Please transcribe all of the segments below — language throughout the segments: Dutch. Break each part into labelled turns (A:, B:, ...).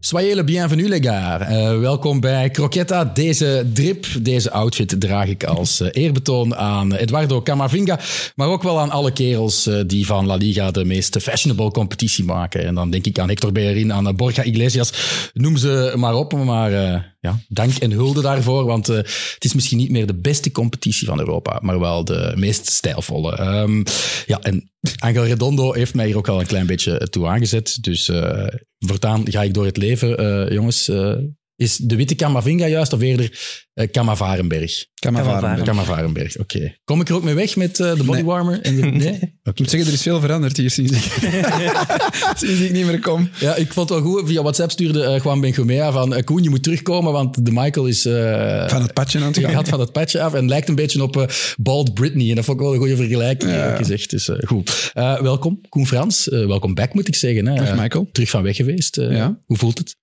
A: Soyez le bienvenu, les gars. Eh, welkom bij Croquetta. Deze drip, deze outfit draag ik als eh, eerbetoon aan Eduardo Camavinga, maar ook wel aan alle kerels eh, die van La Liga de meest fashionable competitie maken. En dan denk ik aan Hector Bellerin, aan eh, Borja Iglesias, noem ze maar op. Maar eh, ja, dank en hulde daarvoor, want eh, het is misschien niet meer de beste competitie van Europa, maar wel de meest stijlvolle. Ehm, ja, en Angel Redondo heeft mij hier ook al een klein beetje toe aangezet. Dus eh, voortaan ga ik door het leven, eh, jongens. Eh, is de witte Kamavinga juist of eerder eh Kamavarenberg?
B: Kamavaren.
C: Kamavaren.
A: Kamavarenberg, oké. Kom ik er ook mee weg met eh, de bodywarmer? En de, nee?
B: Ik moet zeggen, er is veel veranderd hier sinds ik, sinds ik niet meer kom.
A: Ja, ik vond het wel goed. Via WhatsApp stuurde eh, Juan Benjumea van eh, Koen, je moet terugkomen, want de Michael is... eh,
B: Van het padje aan het gaan.
A: gehad van dat patje af en lijkt een beetje op eh, Bald Britney. En dat vond ik wel een goede vergelijking, eerlijk gezegd. Dus eh, goed. Eh, welkom, Koen Frans. Eh, welkom back, moet ik zeggen. Hè.
B: Dag,
A: Eh,
B: Michael.
A: terug van weg geweest. Eh,
B: Ja.
A: Hoe voelt het?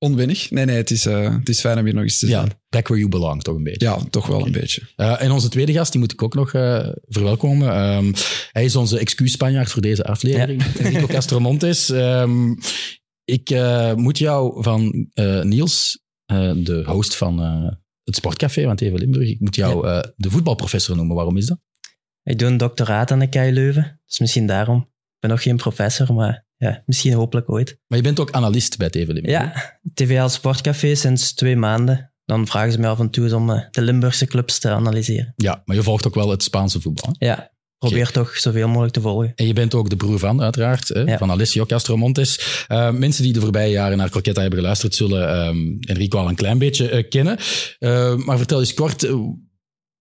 B: Onwinnig. Nee, nee, het is, eh, het is fijn om hier nog eens te
A: Ja,
B: zijn.
A: back where you belong, toch een beetje.
B: Ja, toch wel een beetje.
A: Eh, en onze tweede gast, die moet ik ook nog eh, verwelkomen. Ehm, hij is onze excuus-Spanjaard voor deze aflevering. Nico Castromontes. Ehm, ik eh, moet jou van eh, Niels, eh, de host van eh, het Sportcafé van TV Limburg, ik moet jou eh, de voetbalprofessor noemen. Waarom is dat?
C: Ik doe een doctoraat aan de KU Leuven, dus misschien daarom. Ik ben nog geen professor, maar ja, misschien hopelijk ooit.
A: Maar je bent ook analist bij het Evenement.
C: Ja, TVL Sportcafé sinds twee maanden. Dan vragen ze mij af en toe eens om eh, de Limburgse clubs te analyseren.
A: ja, maar je volgt ook wel het Spaanse voetbal. hè?
C: Ja, probeer toch zoveel mogelijk te volgen.
A: En je bent ook de broer van, uiteraard, hè,
C: Ja.
A: van Alessio Castromontes. Eh, mensen die de voorbije jaren naar Croquetta hebben geluisterd, zullen ehm, Enrico al een klein beetje eh, kennen. Eh, maar vertel eens kort, eh,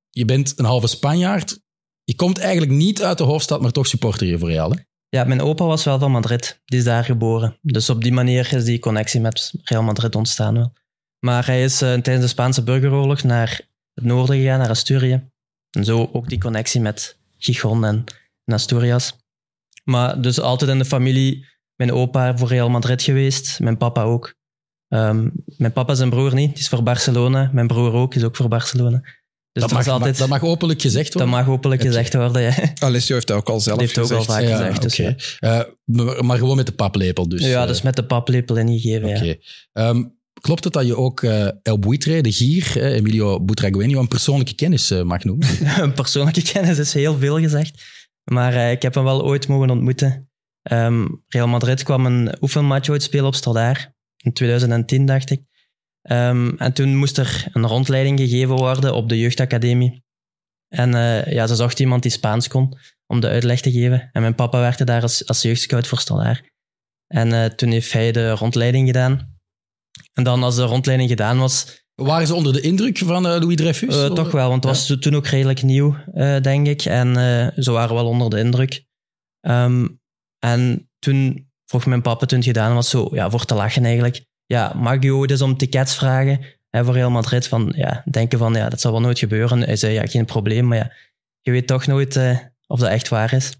A: je bent een halve Spanjaard. Je komt eigenlijk niet uit de hoofdstad, maar toch supporter je voor Real. Hè?
C: Ja, mijn opa was wel van Madrid. Die is daar geboren. Dus op die manier is die connectie met Real Madrid ontstaan wel. Maar hij is eh, tijdens de Spaanse burgeroorlog naar het noorden gegaan, naar Asturië. En zo ook die connectie met Gijon en, en Asturias. Maar dus altijd in de familie, mijn opa voor Real Madrid geweest, mijn papa ook. Ehm, mijn papa zijn broer niet, die is voor Barcelona. Mijn broer ook, die is ook voor Barcelona. Dus
A: dat,
C: dat,
A: mag,
C: is altijd,
A: dat mag openlijk gezegd
C: dat
A: worden.
C: mag hopelijk
A: Oké.
C: gezegd worden. Ja.
B: Alessio heeft dat ook al zelf
C: Die heeft ook al
B: gezegd.
C: vaak
A: Ja,
C: gezegd. Dus,
A: oké. Eh, maar- maar gewoon met de paplepel dus.
C: ja,
A: eh,
C: dus met de paplepel ingegeven.
A: Oké.
C: Ja.
A: Ehm, klopt het dat je ook eh, El Buitre, de gier, eh, Emilio Butragueño, een persoonlijke kennis eh, mag noemen?
C: Een persoonlijke kennis is heel veel gezegd. Maar eh, ik heb hem wel ooit mogen ontmoeten. Ehm, Real Madrid kwam een oefenmatch ooit spelen op Standaard. In 2010, dacht ik. Ehm, en toen moest er een rondleiding gegeven worden op de jeugdacademie. En eh, ja, ze zocht iemand die Spaans kon om de uitleg te geven. En mijn papa werkte daar als, als jeugdscout voor Standaard. En eh, toen heeft hij de rondleiding gedaan. En dan als de rondleiding gedaan was,
A: Waren ze onder de indruk van eh, Louis Dreyfus?
C: Eh, toch wel, want het was toen ook redelijk nieuw, eh, denk ik. En eh, ze waren wel onder de indruk. Ehm, en toen vroeg mijn papa, toen het gedaan was, zo, ja, voor te lachen eigenlijk. Ja, mag je ooit eens om tickets vragen hè, voor Real Madrid? Van, ja, denken van, ja, dat zal wel nooit gebeuren. Hij zei, ja, geen probleem, maar ja, je weet toch nooit eh, of dat echt waar is.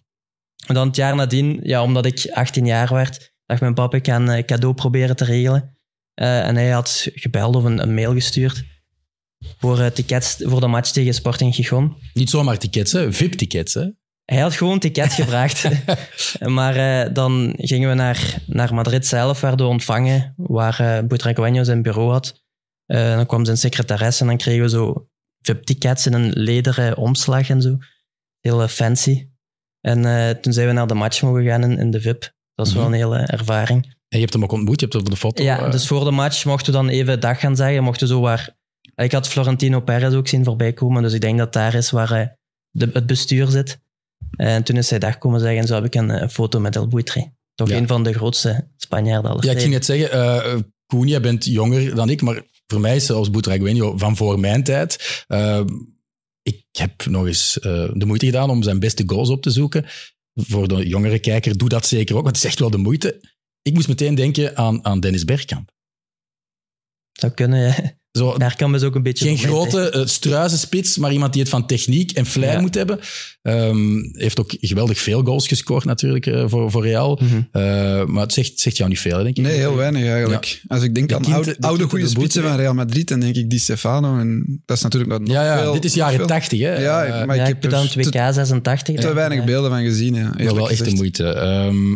C: En dan het jaar nadien, ja, omdat ik 18 jaar werd, dacht mijn papa, ik ga een eh, cadeau proberen te regelen. Eh, en hij had gebeld of een, een mail gestuurd voor eh, tickets voor de match tegen Sporting Gijon.
A: Niet zomaar tickets, hè? VIP-tickets. Hè?
C: Hij had gewoon een ticket gevraagd. maar eh, dan gingen we naar, naar Madrid zelf, werden we ontvangen, waar eh Butragueño zijn bureau had. Eh, dan kwam zijn secretaresse en dan kregen we zo VIP-tickets in een lederen omslag en zo. Heel eh, fancy. En eh, toen zijn we naar de match mogen gaan in, in de VIP. Dat was wel een hele ervaring.
A: En je hebt hem ook ontmoet, je hebt hem op de foto.
C: Ja,
A: eh,
C: dus voor de match mochten we dan even dag gaan zeggen. Mochten we zo waar... Ik had Florentino Perez ook zien voorbij komen, dus ik denk dat daar is waar eh, de, het bestuur zit. En toen is hij dag komen zeggen, en zo heb ik een, eh, foto met El Buitre. Toch
A: Ja.
C: een van de grootste Spanjaarden aller
A: ja, ik
C: tijden.
A: ging net zeggen, eh Koen, jij bent jonger dan ik, maar voor mij is zelfs Butragueño van voor mijn tijd. Eh, ik heb nog eens eh, de moeite gedaan om zijn beste goals op te zoeken. Voor de jongere kijker, doe dat zeker ook, want het is echt wel de moeite. Ik moest meteen denken aan, aan Dennis Bergkamp.
C: Zou kunnen, ja.
A: Zo,
C: Daar kan dus ook een beetje...
A: Geen
C: voor mee
A: grote eh, struizenspits, maar iemand die het van techniek en flair
C: Ja.
A: moet hebben. Eh, Ehm, heeft ook geweldig veel goals gescoord natuurlijk eh, voor, voor Real.
C: Mhm.
A: Eh, maar het zegt, zegt jou niet veel, hè, denk ik.
B: Nee, heel weinig eigenlijk. Als ik denk
A: De
B: aan
A: kind-
B: oude,
A: de
B: oude
A: kind
B: goede
A: in de boete,
B: spitsen van Real Madrid, dan denk ik Di Stefano. En dat is natuurlijk nog
A: Ja, ja
B: veel-
A: dit is
B: nog
A: jaren
B: veel-
A: 80, hè?
B: Ja,
A: Eh,
B: maar
C: ja,
B: ik
C: ik
B: heb
C: heb
B: er
C: dan het
B: te-
C: WK 86.
B: Te
C: dan,
B: weinig
C: eh,
B: beelden van gezien, ja.
A: Maar
B: eerlijk
A: wel echt
B: gezegd.
A: de moeite. Ehm,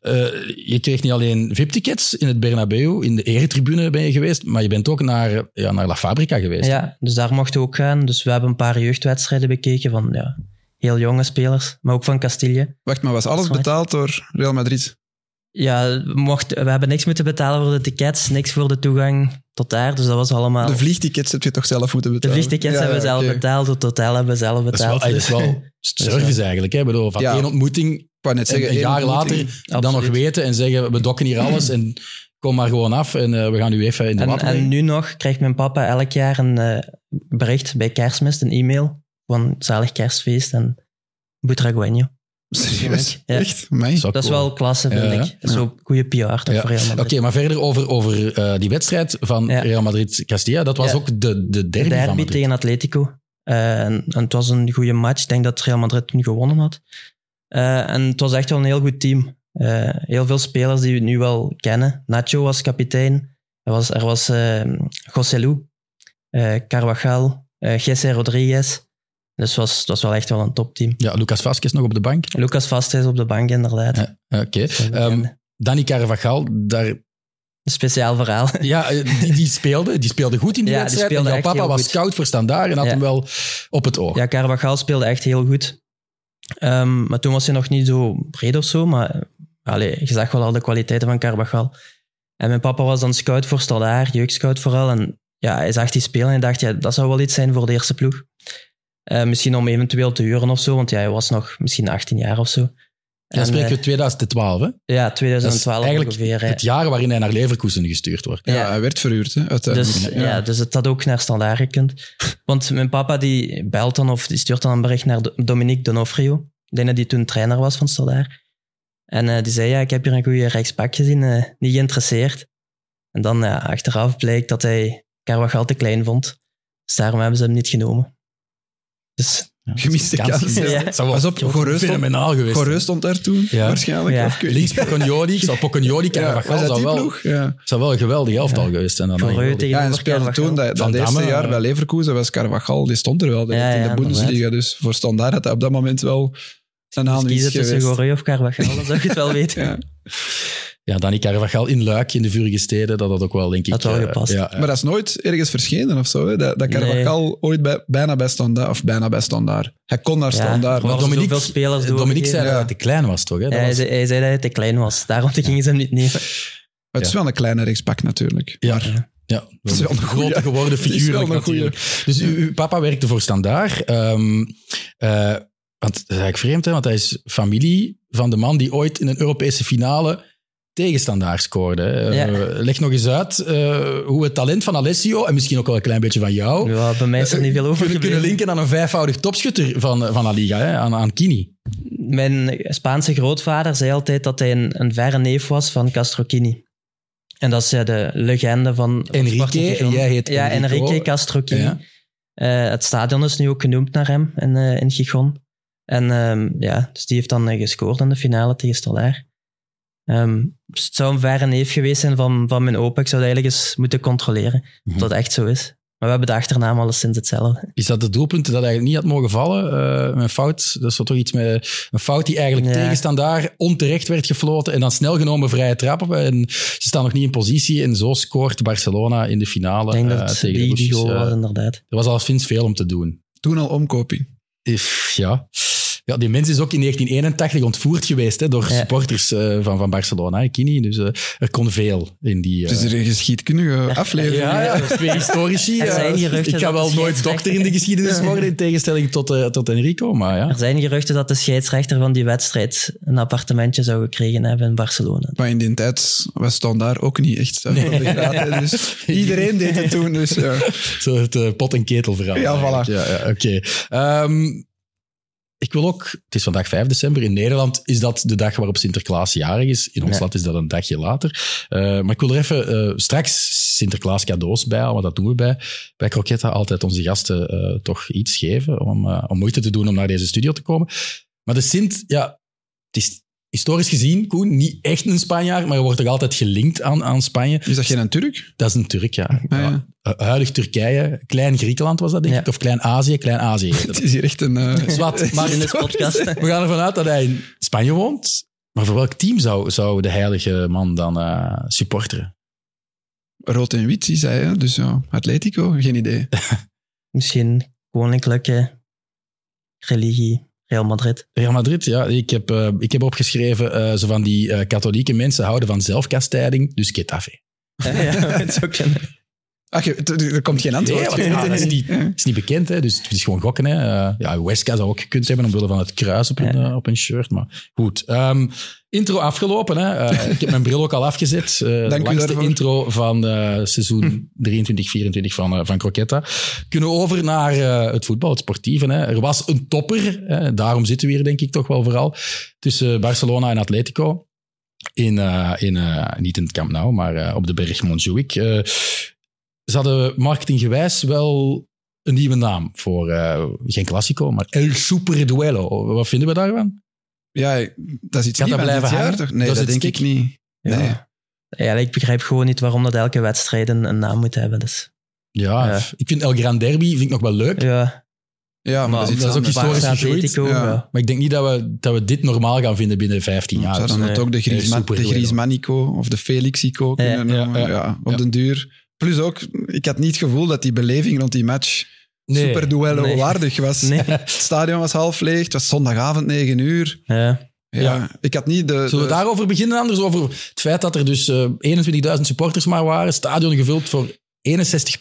A: eh, je kreeg niet alleen VIP-tickets in het Bernabeu, in de eretribune ben je geweest, maar je bent ook naar, ja, naar La Fabrica geweest.
C: Ja, dus daar mochten we ook gaan. Dus we hebben een paar jeugdwedstrijden bekeken van ja, heel jonge spelers, maar ook van Castille.
B: Wacht, maar was alles
C: Sorry.
B: betaald door Real Madrid?
C: Ja, we, mochten, we hebben niks moeten betalen voor de tickets, niks voor de toegang tot daar. Dus dat was allemaal...
B: De vliegtickets heb je toch zelf moeten
C: De
B: betalen?
C: vliegtickets
B: Ja,
C: hebben we
B: ja,
C: zelf
B: oké.
C: betaald, het hotel hebben we zelf
A: Dat is wel, ah,
C: betaald.
A: dat is wel service eigenlijk. Hè? Ik bedoel, van
B: Ja.
A: één ontmoeting,
B: Ik wou net zeggen,
A: en een
B: één
A: jaar
B: ontmoeting.
A: later dan nog
C: Absoluut.
A: weten en zeggen, we dokken hier alles en kom maar gewoon af en eh, we gaan u even in de
C: En,
A: water
C: en
A: leggen.
C: nu nog krijgt mijn papa elk jaar een eh, bericht bij kerstmis, een e-mail van zalig kerstfeest en Butragueño.
B: Serieus?
C: Ja.
B: Echt? Mij?
A: Zo
C: Dat is
A: Oh, cool.
C: wel klasse, vind
A: Ja,
C: ik. Zo goede PR toch
A: Ja.
C: voor Real Madrid.
A: Oké, maar verder over, over eh, die wedstrijd van
C: Ja.
A: Real Madrid-Castilla. Dat was
C: Ja.
A: ook de, de derby,
C: derby,
A: van Madrid.
C: tegen Atletico. Eh, en, en het was een goede match. Ik denk dat Real Madrid nu gewonnen had. Eh, en het was echt wel een heel goed team. Eh, heel veel spelers die we nu wel kennen. Nacho was kapitein. Er was, er was eh, Joselu, eh, Carvajal, eh Jesse Rodriguez. Dus het was, het was wel echt wel een topteam.
A: Ja, Lucas Vasquez nog op de bank.
C: Lucas Vasquez op de bank, inderdaad.
A: Ja, Oké. Ehm,
C: Een
A: Dani Carvajal, daar
C: speciaal verhaal.
A: Ja, eh, die, die speelde. Die speelde goed in die
C: Ja, die
A: wedstrijd. En
C: speelde
A: jouw
C: echt
A: papa
C: heel
A: was
C: goed.
A: koud voor standaard en had
C: Ja.
A: hem wel op het oog.
C: Ja, Carvajal speelde echt heel goed. Ehm, maar toen was hij nog niet zo breed of zo, maar eh, allee, je zag wel al de kwaliteiten van Carvajal. En mijn papa was dan scout voor Stadaar, jeugdscout vooral. En ja, hij zag die spelen en hij dacht, ja, dat zou wel iets zijn voor de eerste ploeg. Eh, misschien om eventueel te huren of zo, want ja, hij was nog misschien 18 jaar of zo.
A: Dan
C: En,
A: spreken
C: eh,
A: we 2012, hè?
C: ja,
A: Dat is
C: 2012
A: eigenlijk
C: ongeveer. hè.
A: het jaar waarin hij naar Leverkusen gestuurd wordt.
B: Ja,
C: Ja.
B: hij werd verhuurd, hè,
A: eh,
B: uiteindelijk.
C: Dus, ja. dus het had ook naar standaard gekund. Want mijn papa die belt dan of die stuurt dan een bericht naar Do- Dominique Donofrio. Ik denk dat die toen trainer was van standaard. En eh, die zei, ja, ik heb hier een goede rechtspak gezien, eh, niet geïnteresseerd. En dan ja, achteraf bleek dat hij Carvajal te klein vond. Dus daarom hebben ze hem niet genomen. Dus
B: Gemiste
A: Kans
B: kans.
A: gemist.
C: Ja.
A: Het zou wel
B: Pas op, Goreus stond-
A: fenomenaal geweest.
B: Goreus stond daar toen,
A: dus- Ja.
B: waarschijnlijk.
C: Ja.
B: Of ik weet
A: Links
B: niet.
A: Pocagnoli. Ik zou Pocagnoli
B: Ja, was
A: Carvajal
B: dat
A: zou,
B: die
A: wel,
B: ploeg? Ja,
A: zou wel een geweldig elftal geweest zijn. Dan
C: Goreus
A: Geweldig.
C: tegen-
B: ja en
C: Over
B: speelde
C: Carvajal.
B: toen, dat,
A: Van
B: dat eerste
A: Damme,
B: jaar bij
A: eh.
B: Leverkusen was Carvajal, die stond er wel direct
C: Ja,
B: in de
C: ja,
B: Bundesliga. Dus voor standaard had hij op dat moment wel een
C: dus
B: aanwinst
C: kiezen tussen
B: geweest.
C: Goreu of Carvajal, dan zou je het wel weten.
B: Ja.
A: Ja, Dani Carvajal in Luik, in de vurige steden. Dat had ook wel, denk ik...
C: Had wel
A: eh,
C: gepast.
A: Ja, eh,
B: Maar dat is nooit ergens verschenen of zo. Hè? Dat, dat Carvajal ooit bij, bijna bij standaard, of bijna bij standaard. Hij kon naar
C: Ja,
B: standaard.
C: maar
B: maar-
C: worden zoveel spelers
A: Dominique zei
C: doorgegeven.
A: dat
B: Ja.
A: hij te klein was, toch? Hè? Dat
C: Ja, hij,
A: was-
C: zei, hij zei dat hij te klein was, daarom gingen ze hem niet nemen.
B: Maar het is wel een kleine rechtspak natuurlijk.
A: Ja. Ja,
B: Dat is wel een
A: een
B: goeie.
A: grote geworden
B: is
A: figuur.
B: wel een
A: natuurlijk. Dus uw, uw papa werkte voor Standaard. Ehm eh, want dat is eigenlijk vreemd, hè? want hij is familie van de man die ooit in een Europese finale tegen Standaard scoorde. hè. Eh,
C: Ja.
A: Leg nog eens uit eh, hoe het talent van Alessio, en misschien ook wel een klein beetje van jou,
C: Ja, bij mij is er niet veel over
A: kunnen, Eh, kunnen
C: gebleven.
A: linken aan een vijfvoudig topschutter van, eh, van La Liga, hè? Aan, aan Kini.
C: Mijn Spaanse grootvader zei altijd dat hij een, een verre neef was van Castrocini. En dat is eh, de legende van... van
A: Enrique,
C: Sparta Gijon.
A: en jij heet
C: Ja,
A: Enrico.
C: Enrique Castrocini.
A: Ja.
C: Eh, het stadion is nu ook genoemd naar hem in, eh in Gijon. En ehm, ja, dus die heeft dan eh, gescoord in de finale tegen Stallaar. Ehm, dus het zou een verre neef geweest zijn van, van mijn opa. Ik zou dat eigenlijk eens moeten controleren
A: Mhm.
C: of dat echt zo is. Maar we hebben de achternaam alleszins hetzelfde.
A: Is dat het doelpunt dat eigenlijk niet had mogen vallen? Eh, een fout, dat is wel toch iets met een fout die eigenlijk
C: Ja.
A: tegenstandaar onterecht werd gefloten en dan snel genomen vrije trappen. En ze staan nog niet in positie en zo scoort Barcelona in de finale
C: Ik denk dat
A: eh,
C: het
A: tegen de
C: die, die
A: Russisch.
C: goal
A: Eh,
C: was, inderdaad.
A: er was al sinds veel om te doen.
B: Toen al omkoping.
A: If, ja. ja, die mens is ook in 1981 ontvoerd geweest hè, door
C: Ja.
A: supporters eh, van, van Barcelona, hè, Kini. Dus eh, er kon veel in die... eh,
C: Dus
B: Het is er een geschiedkundige aflevering.
A: ja, ja, dat is twee historici.
C: Er
A: eh,
C: zijn geruchten
A: ik ga
C: dat
A: wel nooit
C: de scheidsrechter-
A: dokter in de geschiedenis worden, in tegenstelling tot, eh, tot Enrico. Maar ja.
C: Er zijn geruchten dat de scheidsrechter van die wedstrijd een appartementje zou gekregen hebben in Barcelona.
B: Maar in die tijd was standaard ook niet echt. zo van de graad, hè. Dus iedereen deed het toen. Dus, ja.
A: Zo het eh, pot- en ketelverhaal.
B: Ja, voilà.
A: eigenlijk. Ja, ja, oké. Ehm, ik wil ook... Het is vandaag 5 december. In Nederland is dat de dag waarop Sinterklaas jarig is. In ons
C: Ja.
A: land is dat een dagje later. Eh, maar ik wil er even eh, straks Sinterklaas cadeaus bij halen. Want dat doen we bij, bij Croquetta altijd onze gasten eh, toch iets geven. Om, eh, om moeite te doen om naar deze studio te komen. Maar de Sint, ja, het is historisch gezien, Koen, niet echt een Spanjaard. Maar je wordt toch altijd gelinkt aan, aan Spanje.
B: Is dat geen Turk?
A: Dat is een Turk, ja.
B: Ah,
A: Ja.
B: ja.
A: Eh, huidig Turkije, klein Griekenland was dat, denk
C: Ja.
A: ik. Of klein Azië, klein Azië. heet
B: Het
A: het.
B: is hier echt een... eh,
A: Zwat, maar
C: in deze podcast.
A: we gaan ervan uit dat hij in Spanje woont. Maar voor welk team zou, zou de heilige man dan eh, supporteren?
B: rood en wit, is hij. Hè? Dus ja, Atletico, geen idee.
C: Misschien koninklijke religie, Real Madrid.
A: Real Madrid, ja. Ik heb, eh, ik heb opgeschreven, eh, zo van die eh, katholieke mensen houden van zelfkastijding, dus Getafe.
C: ja, dat zou kunnen.
B: Ach, Ah, je- er er komt geen antwoord.
A: Nee, want ja, dat is niet-
B: Ja.
A: is niet bekend, hè? dus het is gewoon gokken. Hè? Eh, ja, Weska zou ook gekund hebben omwille van het kruis op een,
C: Ja.
A: eh, op een shirt. Maar goed, Ehm, intro afgelopen. Hè? Eh, ik heb mijn bril ook al afgezet. Eh, de
B: Dank u
A: langste
B: daarvoor.
A: intro van eh, seizoen 23-24 van, eh, van Croquetta. Kunnen we over naar eh, het voetbal, het sportieve. Hè? Er was een topper, hè? daarom zitten we hier denk ik toch wel vooral, tussen Barcelona en Atletico. In, eh, in, eh, niet in het Camp Nou, maar eh, op de berg Montjuïc. Eh, ze hadden marketinggewijs wel een nieuwe naam voor, eh, geen Classico, maar El Super Duello. Wat vinden we daarvan?
B: Ja, ik- dat is iets
A: Gaat
B: nieuws
A: dat
B: van
A: blijven
B: dit jaar,
A: hangen?
B: toch? Nee,
A: Dat
B: dat,
A: is het
B: denk ik
A: stick.
B: niet.
C: Ja.
B: Nee.
C: Ja, ik begrijp gewoon niet waarom dat elke wedstrijd een, een naam moet hebben. Dus,
A: Ja,
C: Ja.
A: ik vind El Gran Derby vind ik nog wel leuk.
C: ja,
B: Ja, Ah, maar, dat is, iets
A: dat is ook
B: anders.
A: historisch
C: Barca,
A: gegroeid.
C: Atletico,
B: Ja.
C: ja.
A: Maar ik denk niet dat we, dat we dit normaal gaan vinden binnen 15 jaar. Dus-
B: Zou dan
C: nee.
B: het ook de, Griezmann,
A: super
B: de
A: duel.
B: Griezmannico of de Felixico kunnen
A: ja,
B: noemen?
A: ja.
B: Ja, op
A: Ja.
B: den duur. Plus ook, ik had niet het gevoel dat die beleving rond die match
A: Nee.
B: super duello
C: Nee.
B: waardig dus was.
C: nee.
B: Het stadion was half leeg, het was zondagavond 9 uur.
C: Ja.
B: Ja,
A: Ja.
B: Ik had niet de...
A: Zullen we
B: de-
A: daarover beginnen anders? Over het feit dat er dus eh, 21.000 supporters maar waren, stadion gevuld voor 61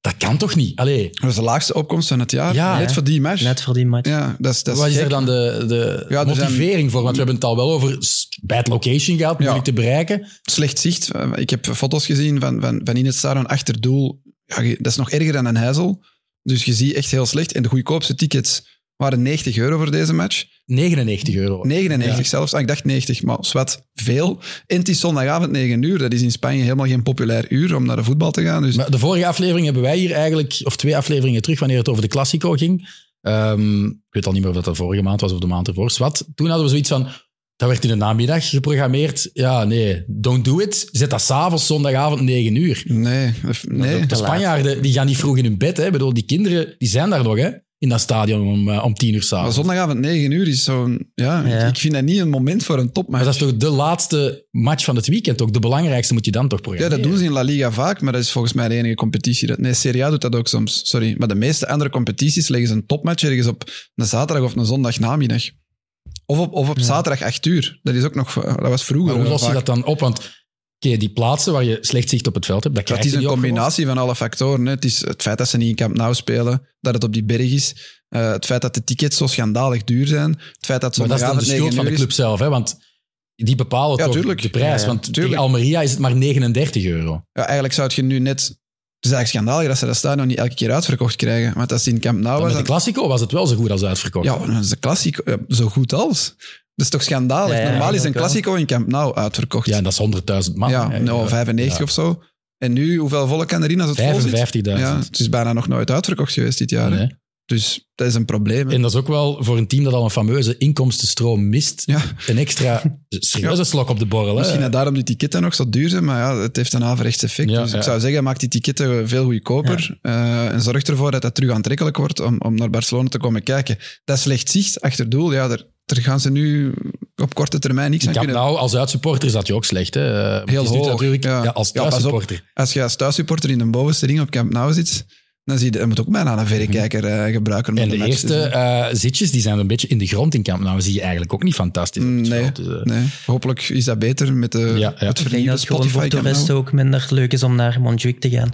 A: Dat kan toch niet? Allee,
B: dat was de laagste opkomst van het jaar,
A: Ja,
B: net
C: hè.
B: voor die match.
C: Net voor die match.
B: Ja, dat is, dat is
A: wat is
B: gek.
A: er dan de, de
B: Ja, er zijn-
A: motivering voor? Want we hebben het al wel over s- bad location gehad,
B: Ja.
A: moeilijk te bereiken.
B: slecht zicht. Ik heb foto's gezien van, van, van in het stadion achter doel. Ja, je- dat is nog erger dan een heizel. Dus je ziet echt heel slecht. En de goedkoopste tickets waren 90 euro voor deze match.
A: 99 euro.
B: 99
A: Ja.
B: zelfs. Ah, ik dacht 90, maar zwart veel. En het is zondagavond 9 uur. Dat is in Spanje helemaal geen populair uur om naar de voetbal te gaan. Dus
A: Maar de vorige aflevering hebben wij hier eigenlijk, of twee afleveringen terug, wanneer het over de Classico ging. Ehm, ik weet al niet meer of dat de vorige maand was of de maand ervoor. Wat? Toen hadden we zoiets van. Dat werd in de namiddag geprogrammeerd. Ja, nee, don't do it. Zet dat s'avonds, zondagavond, 9 uur.
B: nee, of- nee.
A: De
C: Te laat.
A: Spanjaarden die gaan niet vroeg in hun bed. Hè. Ik bedoel, die kinderen die zijn daar nog hè, in dat stadion om, eh, om 10 uur
B: Maar
A: s'avonds.
B: Ah, zondagavond 9 uur is zo'n... Ja,
C: Ja.
B: Ik, ik vind dat niet een moment voor een
A: Maar
B: topmatch.
A: dat is toch de laatste match van het weekend ook? De belangrijkste moet je dan toch
B: Ja,
A: programmeren?
B: dat doen ze in La Liga vaak, maar dat is volgens mij de enige competitie. dat- Nee, Serie A doet dat ook soms, sorry. Maar de meeste andere competities leggen ze een topmatch ergens op een zaterdag of een zondag namiddag. Of op, of op
C: Ja.
B: zaterdag 8 uur. Dat, is ook nog, dat was vroeger.
A: Maar hoe
B: wel
A: los je
B: vaak.
A: dat dan op? Want oké, die plaatsen waar je slecht zicht op het veld hebt, dat,
B: Dat
A: krijg
B: is
A: je
B: een
A: niet opgelost.
B: combinatie van alle factoren. hè. Het is het feit dat ze niet in Camp Nou spelen, dat het op die berg is, eh, het feit dat de tickets zo schandalig duur zijn, het feit dat
A: Maar dat is dan de
B: zondagavond
A: schuld
B: 9
A: van de
B: uur
A: club
B: is.
A: zelf, hè? want die bepalen
B: Ja,
A: toch
B: tuurlijk.
A: de prijs.
C: Ja,
A: want
B: tuurlijk.
A: tegen Almeria is het maar 39 euro.
B: Ja, eigenlijk zou het je nu net... Het is eigenlijk schandalig dat ze dat stadion niet elke keer uitverkocht krijgen. Want als ze in Camp Nou
A: Dan
B: was,
A: met de
B: dan-
A: Classico was het wel zo goed als uitverkocht.
B: Ja, dat is de Classico. Ja, Zo goed als. Dat is toch schandalig?
C: Ja, ja,
B: Normaal is een
C: ook wel.
B: Classico in Camp Nou uitverkocht.
A: Ja,
B: Ja,
A: en dat is 100.000 man. hè.
B: nou,
A: Ja.
B: 95
A: ja.
B: of zo. En nu, hoeveel volk kan erin als het vol zit?
A: 55.000.
B: Ja, het is bijna nog nooit uitverkocht geweest dit jaar. hè.
A: Nee.
B: Dus dat is een probleem. hè.
A: En dat is ook wel voor een team dat al een fameuze inkomstenstroom mist,
B: Ja,
A: een extra serieuze slok op de borrel.
B: misschien
A: Hè?
B: dat daarom die ticketen nog zo duur zijn, maar ja, het heeft een averechts effect.
A: Ja,
B: dus
A: ja.
B: ik zou zeggen, maak die ticketen veel goedkoper eh, en zorg ervoor dat dat terug aantrekkelijk wordt om, om naar Barcelona te komen kijken. Dat slecht zicht achter doel, ja, daar, daar gaan ze nu op korte termijn niks aan
A: Ik heb
B: kunnen
A: nou, als uitsupporter zat je ook slecht. Hè? Eh, het
B: Heel
A: is nu
B: hoog,
A: natuurlijk-
B: ja.
A: ja, als
B: Ja, pas op.
A: thuissupporter.
B: Als je als thuissupporter in de bovenste ring op Camp Nou zit, dan zie je, je moet ook bijna een verrekijker eh, gebruiken. om
A: Mhm. en
B: de
A: de
B: match te
A: eerste
B: zien.
A: eh, zitjes die zijn een beetje in de grond in kamp. Nou, zie je eigenlijk ook niet fantastisch. op het
B: Mm, Nee.
A: veld. Dus, eh,
B: Nee, hopelijk is dat beter met de,
A: Ja, ja.
B: het
C: Ik denk
B: vernieuwde
C: dat het gewoon
B: Spotify
C: voor
B: Camp Nou.
C: toeristen ook minder leuk is om naar Montjuïc te gaan.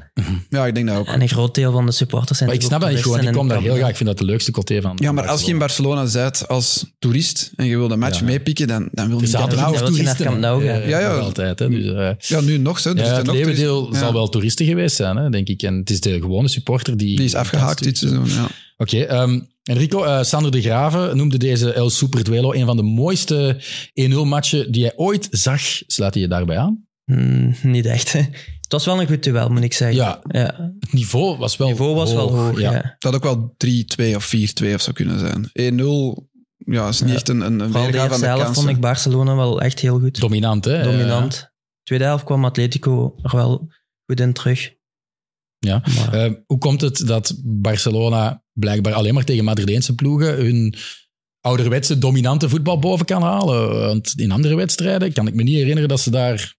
B: Ja, ik denk dat ook.
C: En een groot deel van de supporters zijn
A: Maar ik snap
C: natuurlijk
A: dat niet
C: ook
A: gewoon. Ik kom
C: toeristen
A: daar heel
C: en
A: graag. Ik vind dat de leukste coté van.
B: Ja, maar
A: van
B: als je in Barcelona bent als toerist en je wil de match
A: Ja.
B: meepikken, dan, dan wil je
A: Er
B: niet Camp
A: zaten
C: Ja,
B: Nou.
A: nou
C: want je
A: toeristen.
C: naar Camp Nou
A: hè.
C: gaat.
A: Eh,
B: Ja, ja.
A: nog altijd. Hè, dus, eh,
B: Ja, nu nog. Hè, dus
A: ja,
B: er
A: het
B: zijn ook toeristen.
A: leeuwendeel
B: Ja.
A: zal wel toeristen geweest zijn, hè, denk ik. En het is de gewone supporter die...
B: Die is afgehaakt dit seizoen. Ja.
A: Oké, ehm, Enrico, eh, Sander de Graven noemde deze El Super Duelo een van de mooiste 1-0-matchen die hij ooit zag. Slaat hij je daarbij aan?
C: Hmm, niet echt. Het was wel een goed duel, moet ik zeggen.
A: Ja,
C: Ja,
A: het niveau was wel
C: het niveau was wel hoog. Ja.
B: Dat had ook wel 3-2 of 4-2 of zo kunnen zijn. 1-0 ja, is niet
C: Ja.
B: echt een, een, een
C: Vooral de
B: weergave
C: eerste
B: van de
C: helft
B: kansen. eh,
C: vond ik Barcelona wel echt heel goed.
A: Dominant, hè?
C: Dominant. Tweede helft kwam Atletico er wel goed in terug.
A: Ja.
C: Maar-
A: Eh, eh, hoe komt het dat Barcelona blijkbaar alleen maar tegen Madrileense ploegen hun ouderwetse dominante voetbal boven kan halen? Want in andere wedstrijden kan ik me niet herinneren dat ze daar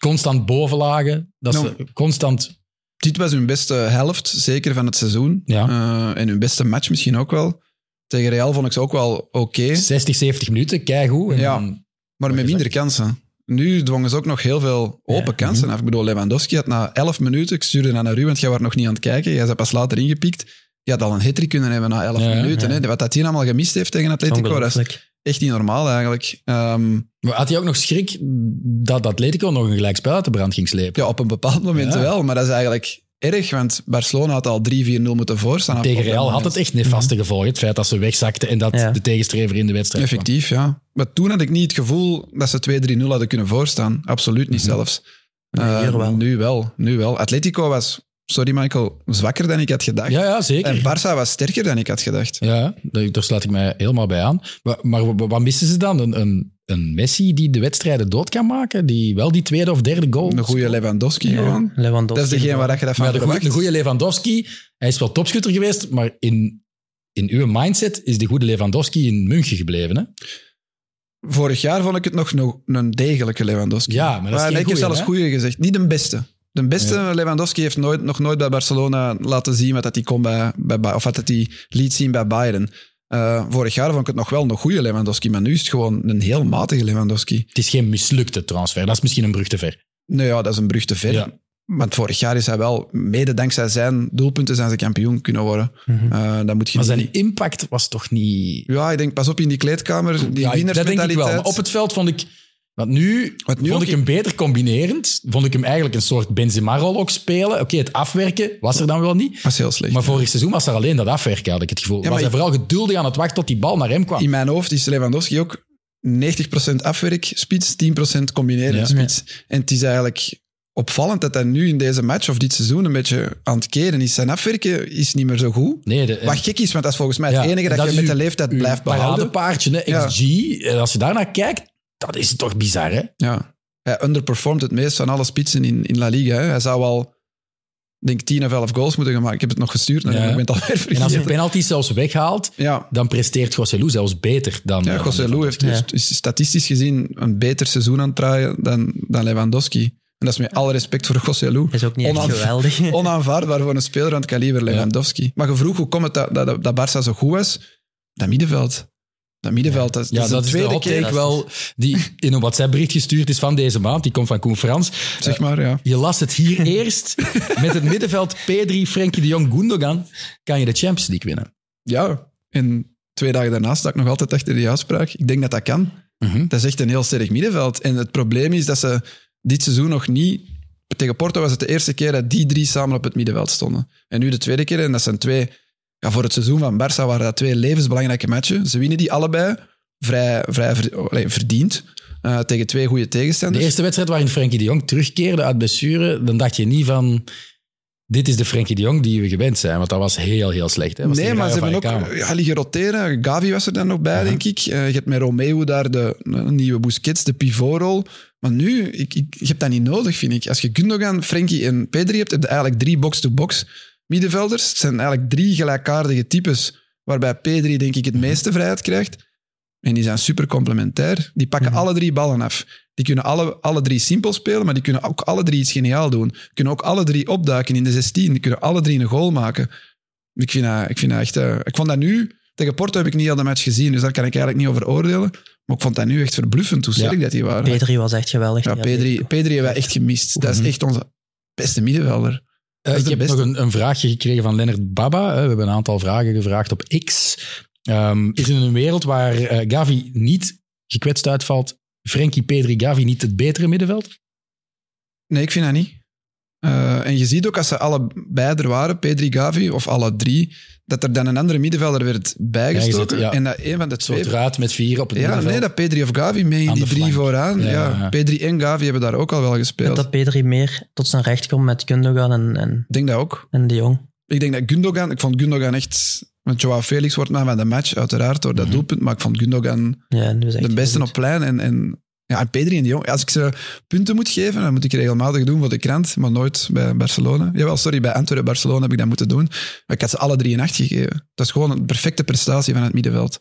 A: constant boven lagen. Dat
B: Nou.
A: ze constant...
B: Dit was hun beste helft, zeker van het seizoen.
A: Ja.
B: Eh, en hun beste match misschien ook wel. Tegen Real vond ik ze ook wel oké,
A: 60, 70 minuten, keigoed. En
B: Ja.
A: dan-
B: maar met minder kansen. Nu dwongen ze ook nog heel veel open
C: Ja.
A: mhm.
B: kansen af. Ik bedoel, Lewandowski had na 11 minuten, ik stuurde dat naar u, want jij was nog niet aan het kijken, jij bent pas later ingepikt. Je had al een hat kunnen hebben na 11
A: Ja,
B: minuten.
C: ja.
B: Hè. Wat dat hier allemaal gemist heeft tegen Atletico, dat is
C: Ongelooflijk.
B: echt niet normaal eigenlijk. Ehm,
A: Maar had hij ook nog schrik dat Atletico nog een gelijkspel uit de brand ging slepen?
B: Ja, op een bepaald moment
A: Ja.
B: wel, maar dat is eigenlijk erg, want Barcelona had al 3-4-0 moeten voorstaan.
A: Tegen
B: Op dat Mhm.
A: Real had
B: moment.
A: het echt nefaste gevolgen. Het feit dat ze wegzakten en dat
C: Ja.
A: de tegenstrever in de wedstrijd kwam.
B: Effectief, ja. Maar toen had ik niet het gevoel dat ze 2-3-0 hadden kunnen voorstaan. Absoluut niet
A: Mhm.
B: zelfs.
C: Nee, hier
B: Eh,
C: wel.
B: Nu wel, nu wel. Atletico was, sorry Michael, zwakker dan ik had gedacht.
A: Ja, ja, zeker.
B: en Barça was sterker dan ik had gedacht.
A: Ja, daar, daar sluit ik mij helemaal bij aan. Maar, maar wa- wat missen ze dan? Een, een, een Messi die de wedstrijden dood kan maken? Die wel die tweede of derde goal...
B: Een goede Lewandowski
C: Ja,
B: gewoon. Dat
C: Lewandowski.
B: is degene waar je dat van
A: Maar de goe- de
B: verwacht.
A: goede Lewandowski, hij is wel topschutter geweest, maar in, in uw mindset is de goede Lewandowski in München gebleven. Hè?
B: Vorig jaar vond ik het nog nog een degelijke Lewandowski.
A: Ja, maar dat is geen
B: nee, ik heb
A: goeie,
B: zelfs
A: hè?
B: goede gezegd. Niet de beste. De beste Lewandowski heeft nooit, nog nooit bij Barcelona laten zien wat dat hij kon bij, bij Ba- of wat dat hij liet zien bij Bayern. Eh, vorig jaar vond ik het nog wel een goede Lewandowski, maar nu is het gewoon een heel matige Lewandowski.
A: Het is geen mislukte transfer, dat is misschien een brug te ver.
B: Nou ja, dat is een brug te ver.
A: Ja.
B: Want vorig jaar is hij wel, mede dankzij zijn doelpunten, zijn ze kampioen kunnen worden.
C: Mhm.
B: Eh dat moet je
A: Maar
B: niet-
A: zijn impact was toch niet...
B: Ja, ik denk, pas op in die kleedkamer, die
A: Ja, ik- dat denk ik wel.
B: winnersmentaliteit.
A: Maar op het veld vond ik... Want nu,
B: Wat nu
A: vond
B: ook-
A: ik hem beter combinerend. Vond ik hem eigenlijk een soort Benzema-rol ook spelen. Oké, het afwerken was er dan wel niet.
B: was heel slecht.
A: Maar vorig seizoen was er alleen dat afwerken, had ik het gevoel.
B: maar
A: was hij
B: ik-
A: vooral geduldig aan het wachten tot die bal naar hem kwam.
B: In mijn hoofd is Lewandowski ook 90% afwerk spits, 10% combineren
A: Ja.
B: spits. En het is eigenlijk opvallend dat hij nu in deze match of dit seizoen een beetje aan het keren is. Zijn afwerken is niet meer zo goed.
A: nee, de,
B: Wat gek is, want dat is volgens mij
A: Ja,
B: het enige dat,
A: dat
B: je
A: is
B: met
A: uw-
B: de leeftijd
A: uw
B: blijft behouden.
A: paradepaardje, hè, XG. En Als je daarnaar kijkt, dat is toch bizar, hè?
B: Ja. Hij underperformt het meest van alle spitsen in, in La Liga. Hè. Hij zou al, denk 10 of 11 goals moeten gaan maken. Ik heb het nog gestuurd, naar
A: Ja.
B: hem, maar ik ben het alweer
A: En als je
B: vergeten.
A: penalties zelfs weghaalt,
B: Ja,
A: dan presteert Gosselu zelfs beter dan...
B: ja
A: eh,
B: José Lu heeft
C: Ja.
B: heeft- is statistisch gezien een beter seizoen aan het draaien dan, dan Lewandowski. En dat is met alle respect voor José Lu.
C: Is ook niet echt
B: Onaanv-
C: geweldig.
B: Onaanvaardbaar voor een speler aan het kaliber Lewandowski. Maar je vroeg hoe komt het dat, dat, dat Barça zo goed was? Dat middenveld. Dat middenveld, dat,
A: Ja,
B: is
A: dat
B: de
A: is de
B: tweede
A: hot
B: keer,
A: take wel die in een WhatsApp-bericht gestuurd is van deze maand. Die komt van Koen Frans.
B: zeg maar. Ja.
A: Je las het hier eerst. Met het middenveld P3, Frenkie de Jong, Gundogan kan je de Champions League winnen.
B: ja, en twee dagen daarna sta ik nog altijd achter die uitspraak. Ik denk dat dat kan.
A: Mhm.
B: Dat is echt een heel sterk middenveld. En het probleem is dat ze dit seizoen nog niet... Tegen Porto was het de eerste keer dat die drie samen op het middenveld stonden. En nu de tweede keer. En dat zijn twee... Ja, voor het seizoen van Barça waren dat twee levensbelangrijke matchen. Ze winnen die allebei vrij, vrij ver- oh, allee, verdiend. eh, tegen twee goede
A: De
B: tegenstanders.
A: eerste wedstrijd waarin Frenkie de Jong terugkeerde uit blessure, dan dacht je niet van... Dit is de Frenkie de Jong die we gewend zijn, want dat was heel, heel slecht. Hè? Was
B: nee,
A: die
B: maar ze
A: rare
B: hebben
A: van
B: ook
A: Rijkaard.
B: ja, liggen roteren. Gavi was er dan nog bij, denk ik. Eh, je hebt met Romeo daar de eh, nieuwe Busquets, de pivotrol. Maar nu, ik, ik, je hebt dat niet nodig, vind ik. Als je Gundogan, Frenkie en Pedri hebt, heb je eigenlijk drie box-to-box middenvelders. Het zijn eigenlijk drie gelijkaardige types, waarbij Pedri, denk ik, het
A: Mhm.
B: meeste vrijheid krijgt. En die zijn super complementair. Die pakken
C: Mhm.
B: alle drie ballen af. Die kunnen alle, alle drie simpel spelen, maar die kunnen ook alle drie iets geniaal doen. Kunnen ook alle drie opduiken in de 16. Die kunnen alle drie een goal maken. Ik, vind dat, ik, vind dat echt, eh, ik vond dat nu... Tegen Porto heb ik niet al de match gezien, dus daar kan ik eigenlijk niet over oordelen. Maar ik vond dat nu echt verbluffend hoe sterk
A: Ja.
B: dat die waren.
C: Pedri was echt geweldig.
B: ja, Pedri, Pedri hebben wij echt gemist. Dat is
A: Mhm.
B: echt onze beste middenvelder.
A: Eh,
B: is
A: ik
B: de
A: heb
B: beste.
A: nog een, een vraagje gekregen van Lennart Baba. hè. We hebben een aantal vragen gevraagd op X. Ehm, is in een wereld waar eh, Gavi niet gekwetst uitvalt, Frenkie, Pedri, Gavi niet het betere middenveld?
B: Nee, ik vind dat niet. Eh, en je ziet ook als ze allebei er waren, Pedri, Gavi of alle drie, dat er dan een andere middenvelder werd bijgestoken.
A: Bijgezet, ja.
B: En dat een van de
A: Een
B: twee.
A: soort ruit met vier op het
B: Ja,
A: middenveld.
B: nee, dat Pedri of Gavi mee in
A: Aan
B: die
A: de
B: drie
A: flank.
B: vooraan.
A: Ja,
B: Ja,
A: ja.
B: Pedri en Gavi hebben daar ook al wel
C: Ik
B: gespeeld.
C: denk dat Pedri meer tot zijn recht komt met Gundogan en, en,
B: Ik denk dat ook.
C: en De Jong.
B: Ik denk dat Gundogan, ik vond Gundogan echt. Want Joao Felix wordt man van de match, uiteraard, door dat
A: Mhm.
B: doelpunt. Maar ik vond Gundogan
C: Ja, die was echt
B: de
C: heel
B: beste
C: goed.
B: op plein. En, en, ja, en Pedri en de Jong. Als ik ze punten moet geven, dan moet ik regelmatig doen voor de krant, maar nooit bij Barcelona. Jawel, sorry, bij Antwerpen Barcelona heb ik dat moeten doen. Maar ik had ze alle drie een acht gegeven. Dat is gewoon een perfecte prestatie van het middenveld.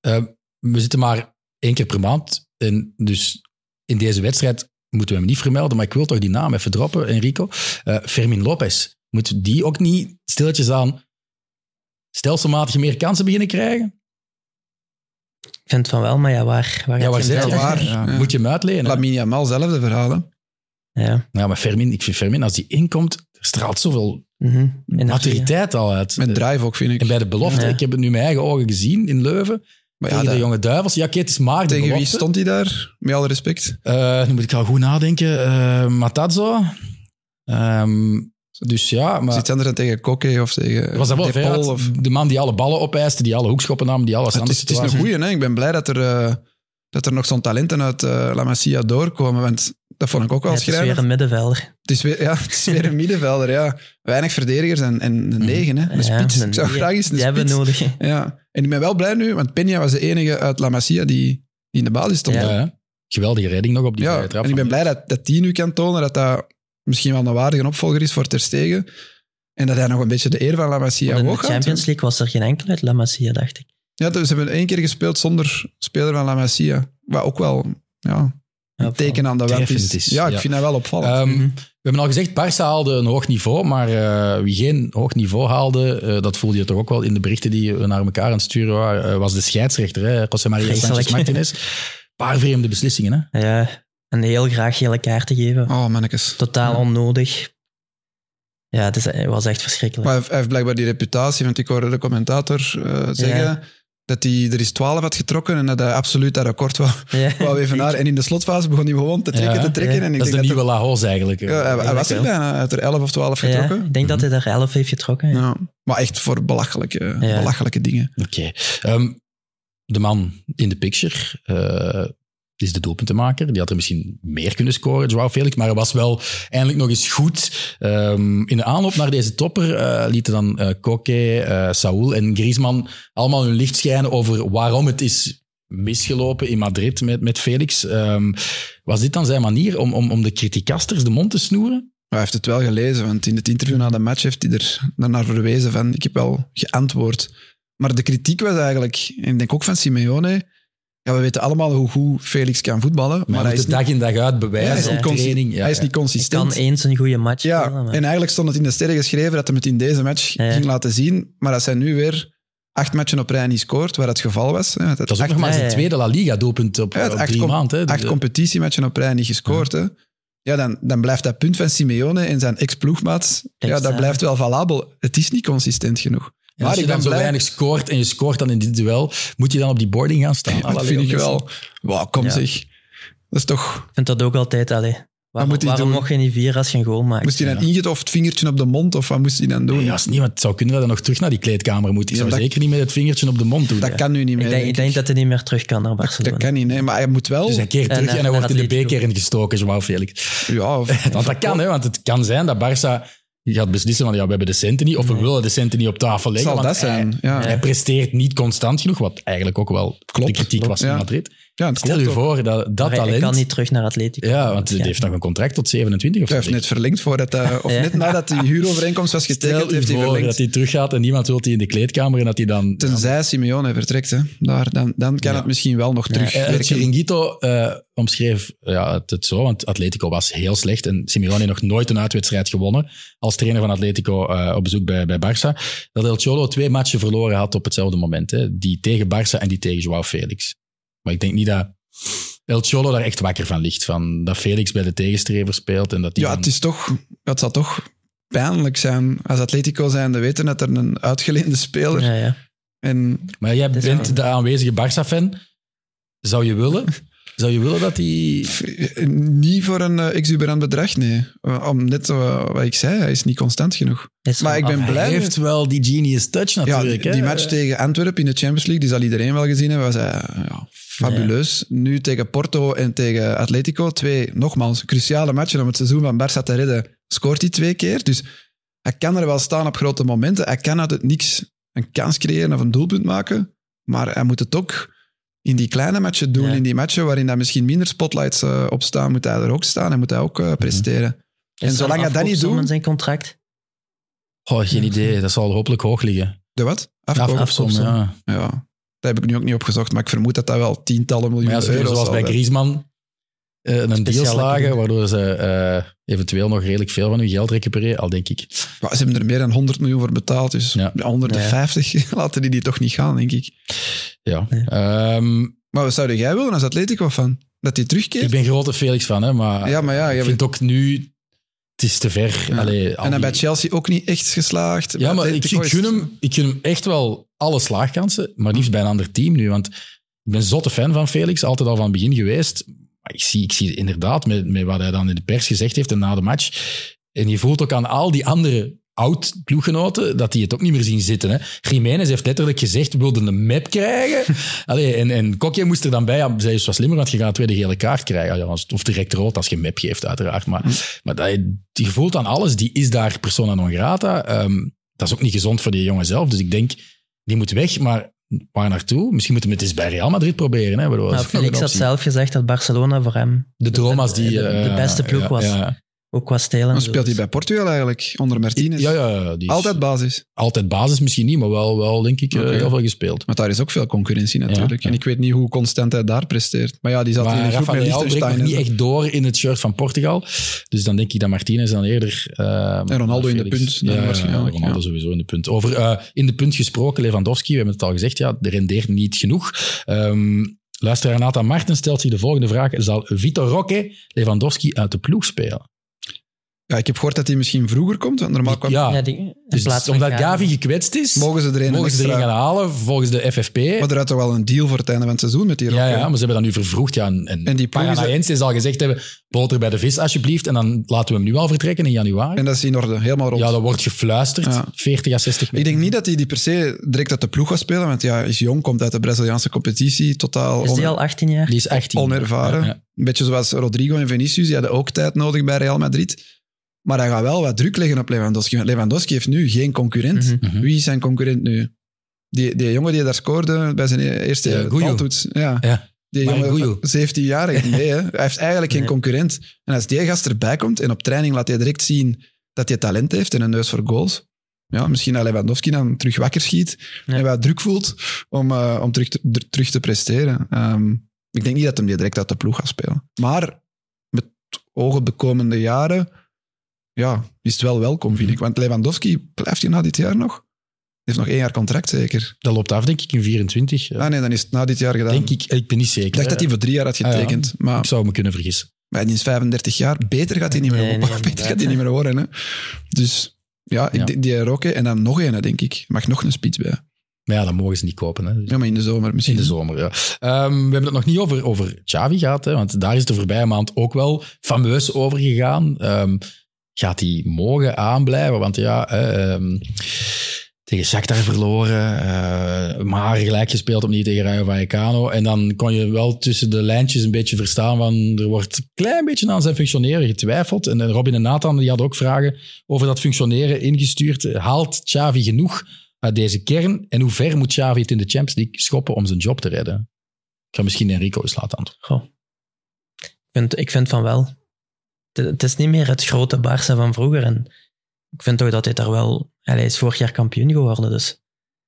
A: Eh, we zitten maar één keer per maand. En dus in deze wedstrijd moeten we hem niet vermelden, maar ik wil toch die naam even droppen, Enrico. Eh Fermin Lopez. Moet die ook niet stilletjes aan stelselmatig meer kansen beginnen krijgen?
C: Ik vind van wel, maar ja, waar, waar,
A: Ja,
C: gaat
A: waar
C: je
A: zit
C: hem
A: hij?
C: zetten?
B: Waar?
A: Ja.
B: Ja.
A: Moet je hem uitlenen? hè?
B: Lamine Yamal, zelfde verhaal. hè.
C: Ja.
A: Ja, maar Fermin, ik vind Fermin, als die inkomt, er straalt zoveel
C: mhm. Energie,
A: maturiteit al uit.
B: Met drive ook, vind ik.
A: En bij de belofte,
C: Ja.
A: ik heb het nu mijn eigen ogen gezien in Leuven,
B: Maar ja,
A: tegen
B: dat-
A: de jonge duivels. Ja, oké, het is maar de
B: tegen wie
A: belofte.
B: stond hij daar? Met alle respect.
A: Eh, nu moet ik al goed nadenken. Eh Matazzo. Ehm, dus ja,
B: Dat
A: maar...
B: is iets anders dan tegen Koke of tegen
A: Was dat wel
B: Depol
A: veruit
B: of-
A: de man die alle ballen opeiste, die alle hoekschoppen nam, die alles
B: Het
A: andere
B: is, het is een goeie, hè. Ik ben blij dat er, eh, dat er nog zo'n talenten uit eh, La Masia doorkomen, want dat vond ik ook
C: ja.
B: wel
C: Het is
B: schrijnend.
C: weer een middenvelder.
B: Het is weer, ja, het is weer een middenvelder, ja. Weinig verdedigers en, en een negen, hè. Een
C: Mm. Ja,
B: spits.
C: een
B: Ik zou
C: negen.
B: graag eens een
C: Die hebben we
B: spits...
C: nodig. hè.
B: Ja. En ik ben wel blij nu, want Peña was de enige uit La Masia die, die in de basis stond.
C: Ja.
B: Ja,
A: Ja, hè. geweldige redding nog op die vrije trap.
B: en ik ben
A: van-
B: blij dat, dat die nu kan tonen dat dat misschien wel een waardige opvolger is voor Ter Stegen. En dat hij nog een beetje de eer van La Masia
C: Want in de
B: hoog houdt.
C: Champions League was er geen enkel uit La Masia, dacht ik.
B: Ja, dus ze hebben één keer gespeeld zonder speler van La Masia. Wat ook wel ja,
C: Ja,
B: een teken Um, aan de wand
A: Treffend
B: is.
A: is,
B: Ja, ik
A: ja.
B: vind dat wel opvallend.
A: Ehm,
C: Mhm.
A: We hebben al gezegd, Barça haalde een hoog niveau, maar eh, wie geen hoog niveau haalde, eh, dat voelde je toch ook wel in de berichten die we naar elkaar aan het sturen waren, eh, was de scheidsrechter, hè, José Maria
C: Vreselijk.
A: Sanchez Martinez. Paar vreemde beslissingen, hè?
C: Ja, en heel graag gele kaarten geven.
B: oh, mannetjes.
C: Totaal
B: Ja.
C: onnodig. Ja, het, is, het was echt verschrikkelijk.
B: Maar hij heeft- hij heeft blijkbaar die reputatie, want ik hoorde de commentator eh, zeggen
C: Ja.
B: dat hij er is 12 had getrokken en dat hij absoluut dat record wou,
C: Ja.
B: wou even naar. En in de slotfase begon hij gewoon te trekken,
A: Ja,
B: te trekken.
C: ja.
B: En ik
A: Dat is de
B: denk
A: nieuwe Laos eigenlijk. eh.
B: dat er- ja, hij, hij was er
C: eigenlijk
B: bijna, hij had er 11 of 12
C: Ja,
B: getrokken.
C: ik denk dat
A: Mhm.
C: hij er 11 heeft getrokken. ja.
B: Ja. Maar echt voor belachelijke,
C: Ja.
B: belachelijke dingen.
A: Oké. Ehm, de man in de picture eh, is de doelpuntenmaker. Die had er misschien meer kunnen scoren, Joao Felix. Maar hij was wel eindelijk nog eens goed. Ehm, in de aanloop naar deze topper eh, lieten dan eh Koke, eh Saúl en Griezmann allemaal hun licht schijnen over waarom het is misgelopen in Madrid met, met Felix. Ehm, was dit dan zijn manier om, om, om de criticasters de mond te snoeren?
B: Maar hij heeft het wel gelezen, want in het interview na de match heeft hij er naar verwezen van ik heb wel geantwoord. Maar de kritiek was eigenlijk, en ik denk ook van Simeone, ja, we weten allemaal hoe goed Felix kan voetballen, maar,
A: Maar
B: hij
A: hij
B: is,
A: moet
B: niet,
A: het dag in dag uit
B: hij is
A: bewijzen.
B: niet
A: op
B: consi-
A: training. Ja,
B: hij is
A: ja.
B: niet
C: Ik kan
B: consistent.
C: eens een goede match
B: Ja,
C: spelen, maar-
B: en eigenlijk stond het in de sterren geschreven dat hij het in deze match
C: Ja.
B: ging laten zien, maar als hij nu weer acht matchen op rij niet scoort, waar het geval was, hè, dat
A: Dat is ook
B: acht,
A: nog maar
C: Ja,
A: zijn
C: ja.
A: tweede La Liga-doelpunt op,
B: Ja, het
A: op
B: acht
A: drie
B: com-
A: maanden. hè.
B: acht
A: Dus, eh,
B: competitiematchen op rij niet gescoord, hè. Ja, dan, dan blijft dat punt van Simeone en zijn ex-ploegmaat, ja, dat
C: staan.
B: blijft wel valabel. Het is niet consistent genoeg.
A: Ja, als
B: Maar
A: je
B: ik
A: dan
B: ben
A: zo
B: blij.
A: weinig scoort en je scoort dan in dit duel, moet je dan op die boarding gaan staan?
B: Dat
A: Alla
B: vind ik
A: Leo Messi.
B: wel. Wauw, kom
C: Ja.
B: zeg. Dat is toch...
C: Ik vind dat ook altijd. Allee. Waarom,
B: moet hij
C: waarom
B: doen?
C: mocht je niet vier als je een goal maakt?
B: Moest hij dan ingetoft vingertje op de mond of wat moest hij dan doen?
A: Nee, als niet, want het zou kunnen dat hij nog terug naar die kleedkamer moet. Ik
B: Ja,
A: zou
B: dat-
A: zeker niet met het vingertje op de mond doen.
B: dat kan nu niet meer.
C: ik denk, ik
B: denk
C: denk
B: ik.
C: dat hij niet meer terug kan naar
B: dat,
C: Barcelona.
B: kan niet, nee. Maar hij moet wel...
A: Dus hij keert
C: En,
A: terug en,
C: eh,
A: hij wordt in
C: naar
A: de
C: Atletico.
A: B-kern gestoken, Joao Felix.
B: ja, of-
A: Want dat kan, hè, want het kan zijn dat Barça gaat beslissen van ja, we hebben de centen niet, of we
C: Nee.
A: willen de centen niet op tafel leggen.
B: zal
A: want
B: dat zijn.
A: Hij,
B: ja.
A: hij presteert niet constant genoeg, wat eigenlijk ook wel
B: Klopt,
A: de kritiek
B: klopt,
A: was in
B: ja.
A: Madrid.
B: ja, het
A: Stel
B: klopt
A: je
B: ook.
A: voor dat dat
C: Maar hij- hij
A: talent...
C: kan niet terug naar Atletico.
A: Ja, want hij
C: Ja.
A: heeft nog een contract tot 27 of zo.
B: Hij heeft net verlengd voordat... dat- Of
C: Ja.
B: net nadat die huurovereenkomst was getekend,
A: Stel u
B: heeft hij
A: voor dat
B: verlengd.
A: hij teruggaat en niemand wil die in de kleedkamer en dat hij dan...
B: Tenzij Simeone vertrekt, hè. Daar, dan, dan kan
A: Ja.
B: het misschien wel nog
C: Ja.
A: Eh,
B: terugwerken.
A: het Chiringuito eh, omschreef ja, het, het zo, want Atletico was heel slecht en Simeone heeft nog nooit een uitwedstrijd gewonnen als trainer van Atletico eh, op bezoek bij, bij Barça. Dat El Cholo twee matchen verloren had op hetzelfde moment. Hè. Die tegen Barça en die tegen Joao Felix. Maar ik denk niet dat El Cholo daar echt wakker van ligt. Van dat Felix bij de tegenstrever speelt en dat die
B: Ja,
A: dan-
B: het, is toch, het zal toch pijnlijk zijn als Atletico zijn. We weten dat er een uitgeleende speler...
C: Ja, ja.
B: En
A: Maar jij
C: is
A: bent
C: wel-
A: de aanwezige Barça-fan. Zou je willen Zou je willen dat die...
B: F- Niet voor een eh, exuberant bedrag, nee. Eh, Om net eh, wat ik zei, hij is niet constant genoeg.
C: Is
B: Maar ik ben
A: Hij
B: blij.
A: heeft wel die genius touch
B: Ja,
A: natuurlijk.
B: die,
A: hè.
B: die match tegen Antwerpen in de Champions League, die zal iedereen wel gezien hebben, was eh, ja, fabuleus. Nu tegen Porto en tegen Atletico, twee, nogmaals, cruciale matchen om het seizoen van Barça te redden, scoort hij twee keer. Dus hij kan er wel staan op grote momenten. Hij kan uit het niks een kans creëren of een doelpunt maken, maar hij moet het ook in die kleine matchen doen,
C: Ja.
B: in die matchen waarin daar misschien minder spotlights eh, op staan, moet hij er ook staan en moet hij ook eh, presteren.
C: Mm-hmm. Is
B: en
C: er
B: zolang
C: een
B: hij dat niet
C: afkoopsom in
B: doet...
C: zijn contract.
A: Oh, geen idee. Dat zal hopelijk hoog liggen.
B: De wat?
A: Af,
B: Afkoop-
A: afsom, ja.
B: Ja, daar heb ik nu ook niet op gezocht, maar ik vermoed dat dat wel tientallen
A: Maar ja,
B: miljoenen
A: ze kunnen
B: euro's
A: zoals
B: zal
A: bij
B: zijn.
A: Griezmann eh, een deal
C: Speciale
A: slagen,
C: club.
A: waardoor ze eh, eventueel nog redelijk veel van hun geld recupereren, al denk ik.
B: Maar ze hebben er meer dan 100 miljoen voor betaald, dus
A: Ja.
B: 150 laten die die toch niet gaan, denk ik.
A: Ja.
C: Nee.
A: Ehm,
B: Maar wat zou jij willen als Atletico fan? Dat die
A: ik
B: terugkeert?
A: ben grote Felix van, hè, maar
B: Ja, maar ja,
A: ik
B: jij
A: vind ook nu... Het is te ver.
B: Ja.
A: Allee, al
B: En dan
A: die-
B: bij Chelsea ook niet echt geslaagd.
A: Ja,
B: Bij
A: maar ik,
B: Atletico
A: ik,
B: is-
A: gun hem, ik gun hem echt wel alle slaagkansen, maar liefst bij een ander team nu. Want ik ben zotte fan van Felix, altijd al van het begin geweest. Maar ik zie, ik zie inderdaad, met, met wat hij dan in de pers gezegd heeft en na de match. En je voelt ook aan al die andere oud-ploeggenoten dat die het ook niet meer zien zitten. Hè. Jiménez heeft letterlijk gezegd, we wilden een map krijgen. Allee, en, en Kokje moest er dan bij. Ja, zij is wat slimmer, want je gaat een tweede gele kaart krijgen. Ja, als- Of direct rood, als je een map geeft, uiteraard. Maar, maar dat, die gevoelt aan alles, die is daar persona non grata. Ehm, dat is ook niet gezond voor die jongen zelf. Dus ik denk, die moet weg, maar waar naartoe? Misschien moeten we het eens bij Real Madrid proberen. Hè, waardoor-
C: Maar
A: dat is nog
C: Nou, Felix
A: een
C: had
A: optie.
C: zelf gezegd dat Barcelona voor hem
A: de droom als die...
C: de- de
A: eh,
C: beste ploeg
A: ja,
C: was.
A: Ja,
C: ook qua stelen.
B: Dan speelt hij bij Portugal eigenlijk, onder Martinez.
A: ja, ja, ja, die is
B: Altijd basis.
A: altijd basis misschien niet, maar wel, wel denk ik, eh,
B: Oké.
A: heel veel gespeeld.
B: Want daar is ook veel concurrentie natuurlijk.
A: ja.
B: En ik weet niet hoe constant hij daar presteert. Maar ja, die zat in
A: Maar
B: een groep
A: Rafa
B: met
A: Leal breekt nog
B: Liechtenstein.
A: niet
B: en-
A: echt door in het shirt van Portugal. Dus dan denk ik dat Martinez dan eerder... eh,
B: En Ronaldo in de
A: Felix-
B: punt, dan
A: Ja,
B: waarschijnlijk,
A: Ronaldo
B: ja.
A: sowieso in de punt. Over eh, in de punt gesproken, Lewandowski, we hebben het al gezegd, ja, de rendeert niet genoeg. Ehm luisteraar Nata Marten stelt zich de volgende vraag. Zal Vitor Roque Lewandowski uit de ploeg spelen?
B: Ja, ik heb gehoord dat hij misschien vroeger komt, want normaal kwam...
A: ja,
C: in
A: dus
C: plaats van
A: omdat
C: Gavi.
A: Gavi gekwetst is, mogen,
B: Mogen ze er een
A: ze
B: extra-
A: erin gaan halen volgens de FFP.
B: Maar er had toch wel een deal voor het einde van het seizoen met die
A: Ja,
B: Rocket.
A: ja, maar ze hebben dat nu vervroegd. Ja, en, en,
B: En die ploeg is-
A: Paranaenses al gezegd hebben, boter bij de vis alsjeblieft. En dan laten we hem nu al vertrekken in januari.
B: En dat is in orde, helemaal rond.
A: Ja, dat wordt gefluisterd.
B: Ja.
A: 40 à 60
B: Ik denk niet dat hij die per se direct uit de ploeg gaat spelen, want ja, is jong, komt uit de Braziliaanse competitie, totaal
C: Is
B: on-
C: die al 18 jaar?
A: Die is 18.
B: onervaren.
A: Ja, ja.
B: Een beetje zoals Rodrigo en Vinicius, die hadden ook tijd nodig bij Real Madrid. Maar hij gaat wel wat druk leggen op Lewandowski, want Lewandowski heeft nu geen concurrent.
C: Mhm.
A: Mhm.
B: Wie is zijn concurrent nu? Die, die jongen die daar scoorde bij zijn e- eerste
A: Eh, Guyo.
B: baltoets. Ja.
A: Ja.
B: Die
A: Maar Guyo.
B: jongen, 17 jaar, nee, hè. hij heeft eigenlijk geen
C: Nee.
B: concurrent. En als die gast erbij komt en op training laat hij direct zien dat hij talent heeft en een neus voor goals. Ja, misschien dat Lewandowski dan terug wakker schiet
C: Ja.
B: en wat druk voelt om, eh, om terug, te, dr- terug te presteren. Ehm, ik denk niet dat hem die direct uit de ploeg gaat spelen. Maar met ogen op de komende jaren ja, is het wel welkom,
A: Mhm.
B: vind ik. Want Lewandowski blijft hij na dit jaar nog. Hij heeft nog één jaar contract, zeker.
A: Dat loopt af, denk ik, in 24. Ja.
B: Ah nee, dan is het na dit jaar gedaan.
A: denk
B: ik
A: ik, ik ben niet zeker.
B: dacht dat hij voor drie jaar had
A: Ah, ja.
B: getekend. Maar
A: Ik zou me kunnen vergissen.
B: maar die is 35 jaar. Beter gaat hij niet meer,
C: Nee,
B: worden.
C: nee,
B: Beter
C: inderdaad.
B: gaat hij niet meer worden. Hè. Dus ja, ik
A: Ja.
B: denk die Roque en dan nog een, denk ik. Mag nog een spits bij.
A: Maar ja, dat mogen ze niet kopen. Hè. Dus
B: Ja, maar in de zomer misschien.
A: In de zomer, ja. Ehm, we hebben het nog niet over, over Xavi gehad, hè, want daar is de voorbije maand ook wel fameus over gegaan. Ehm, gaat hij mogen aanblijven? Want ja, hè, ehm, tegen Shakhtar verloren, eh, maar gelijk gespeeld opnieuw tegen Rayo Vallecano. En dan kon je wel tussen de lijntjes een beetje verstaan van er wordt een klein beetje aan zijn functioneren getwijfeld. En eh, Robin en Nathan die hadden ook vragen over dat functioneren ingestuurd. Haalt Xavi genoeg uit deze kern? En hoe ver moet Xavi het in de Champions League schoppen om zijn job te redden? Ik ga misschien Enrico eens laten antwoorden.
C: Goh. Ik, vind, ik vind van wel. Het, het is niet meer het grote Barça van vroeger. En ik vind toch dat hij daar wel... Hij is vorig jaar kampioen geworden, dus...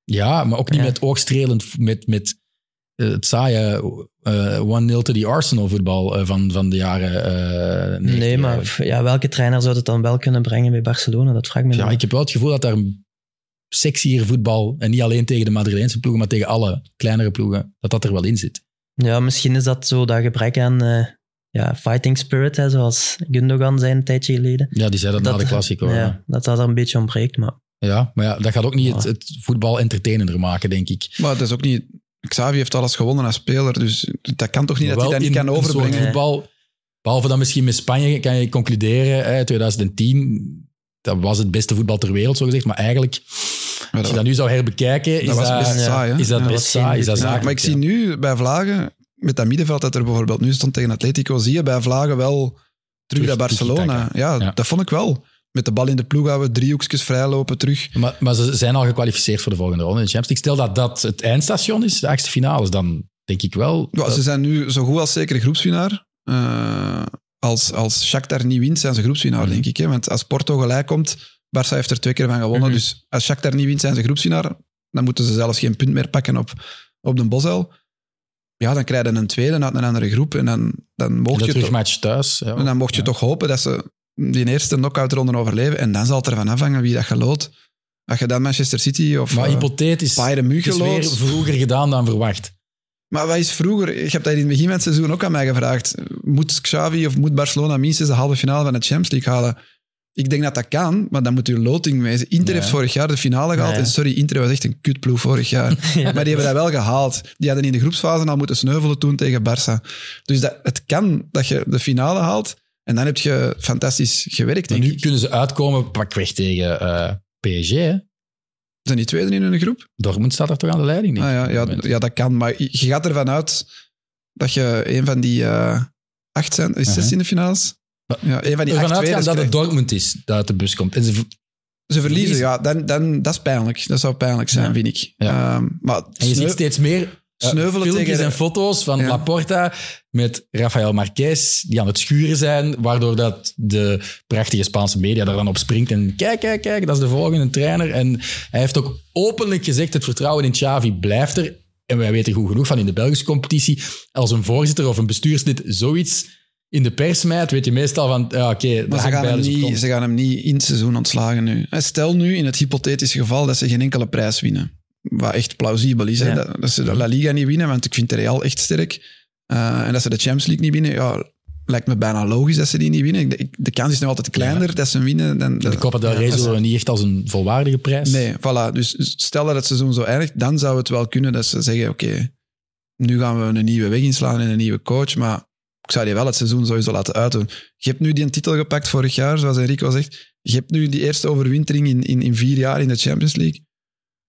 A: Ja, maar ook niet
C: Ja.
A: met oogstrelend, met, met eh, het saaie eh, 1-0 te die Arsenal-voetbal eh, van, van de jaren eh, 90
C: Nee, maar
A: eigenlijk.
C: pff, ja, welke trainer zou dat dan wel kunnen brengen bij Barcelona? Dat vraag ik me
A: Ja,
C: dan
A: ik heb wel het gevoel dat daar sexier voetbal, en niet alleen tegen de Madrileense ploegen, maar tegen alle kleinere ploegen, dat dat er wel in zit.
C: Ja, misschien is dat zo dat gebrek aan eh, ja, fighting spirit, hè, zoals Gundogan zei een tijdje geleden.
A: Ja, die zei dat, na de Classico.
C: ja,
A: Ja.
C: dat dat er een beetje ontbreekt, maar
A: ja, maar ja, dat gaat ook niet
C: Ja.
A: het, het voetbal entertainender maken, denk ik.
B: Maar dat is ook niet Xavi heeft alles gewonnen als speler, dus dat kan toch niet dat hij dat niet kan
A: Een soort
B: overbrengen.
A: voetbal, behalve dan misschien met Spanje, kan je concluderen, hè, 2010, dat was het beste voetbal ter wereld, zo gezegd. Maar eigenlijk,
B: Maar
A: als je
B: dat-
A: dat nu zou herbekijken, is
B: dat
A: dat,
B: was best saai, hè?
A: is dat
B: Ja.
A: best saai. Is dat
B: Ja,
A: zakelijk,
B: maar ik
A: ja.
B: zie nu bij Vlagen, met dat middenveld dat er bijvoorbeeld nu stond tegen Atletico, zie je bij Vlagen wel terug
A: Terug
B: bij Barcelona.
A: tiki-taka.
B: Ja,
A: Ja.
B: dat vond ik wel. Met de bal in de ploeg gaan we driehoekjes vrijlopen terug.
A: Maar, maar ze zijn al gekwalificeerd voor de volgende ronde in de Champions League. Stel dat dat het eindstation is, de achtste finales, dan denk ik wel...
B: Ja,
A: dat-
B: ze zijn nu zo goed als zeker groepswinnaar. Eh, als, als Shakhtar niet wint, zijn ze groepswinnaar,
A: Mhm.
B: denk ik. Hè? Want als Porto gelijk komt, Barça heeft er twee keer van gewonnen.
C: Mhm.
B: Dus als Shakhtar niet wint, zijn ze groepswinnaar. Dan moeten ze zelfs geen punt meer pakken op, op de Bosel. Ja, dan krijg je een tweede uit een andere groep. En dan, dan
A: en
B: mocht
A: dat
B: je toch,
A: terugmatch thuis. Ja,
B: en dan mocht je
A: ja.
B: toch hopen dat ze die eerste knock-outronde overleven. En dan zal het ervan afhangen wie dat geloodt. Als je dan Manchester City of
A: Maar
B: eh,
A: hypothetisch, het
B: Bayern München
A: is weer
B: loopt...
A: vroeger gedaan dan verwacht.
B: Maar wat is vroeger? Ik heb dat in het begin van het seizoen ook aan mij gevraagd. Moet Xavi of moet Barcelona minstens de halve finale van de Champions League halen? Ik denk dat dat kan, maar dan moet uw loting wezen. Inter
A: Ja.
B: heeft vorig jaar de finale gehaald.
C: Ja.
B: En sorry, Inter was echt een kutploeg vorig jaar.
C: Ja.
B: Maar die hebben dat wel gehaald. Die hadden in de groepsfase al moeten sneuvelen toen tegen Barça. Dus dat, het kan dat je de finale haalt. En dan heb je fantastisch gewerkt,
A: Maar
B: denk
A: nu
B: ik.
A: kunnen ze uitkomen pakweg tegen eh, PSG. Hè?
B: Zijn die tweede in hun groep?
A: Dortmund staat daar toch aan de leiding? denk
B: Ah,
A: ik,
B: ja,
A: op dit
B: ja,
A: moment.
B: ja, dat kan. Maar je je gaat ervan uit dat je een van die eh, acht zijn, is het zes
A: Mhm.
B: in de finales. Ja, een van die
A: Ervan
B: acht
A: uitgaan
B: tweeders
A: dat het
B: krijgt.
A: Dortmund is dat uit de bus komt. En ze,
B: Ze verliezen, ja. Dan, dan, dat is pijnlijk. Dat zou pijnlijk zijn,
C: Ja.
B: vind ik.
A: Ja.
B: Ehm, maar
A: en je
B: sneu-
A: ziet steeds meer eh,
B: Sneuvelen
A: filmpjes
B: tegen-
A: en foto's van
B: Ja.
A: Laporta met Rafael Marquez, die aan het schuren zijn, waardoor dat de prachtige Spaanse media daar dan op springt. En kijk, kijk, kijk, dat is de volgende trainer. En hij heeft ook openlijk gezegd, het vertrouwen in Xavi blijft er. En wij weten goed genoeg van in de Belgische competitie, als een voorzitter of een bestuurslid zoiets in de pers smijt, weet je meestal van, ja, oké, daar
B: maar ze
A: hangt
B: gaan,
A: bij
B: hem
A: dus op
B: niet,
A: kont.
B: ze gaan hem niet in het seizoen ontslagen nu. En stel nu in het hypothetische geval dat ze geen enkele prijs winnen. Wat echt plausibel is. hè.
C: Ja.
B: Dat, dat ze de La Liga niet winnen, want ik vind de Real echt sterk. Eh, en dat ze de Champions League niet winnen, ja, lijkt me bijna logisch dat ze die niet winnen. Ik- ik- de kans is nog altijd kleiner dat ze hem winnen. Dan,
A: De
B: dat-
A: Copa del Rey
B: Ja,
A: zullen we niet echt als een volwaardige prijs.
B: Nee, voilà. Dus stel dat het seizoen zo eindigt, dan zou het wel kunnen dat ze zeggen, oké, nu gaan we een nieuwe weg inslaan en een nieuwe coach, maar ik zou die wel het seizoen sowieso laten uitdoen. Je hebt nu die titel gepakt vorig jaar, zoals Enrico zegt. Je hebt nu die eerste overwintering in, in, in vier jaar in de Champions League.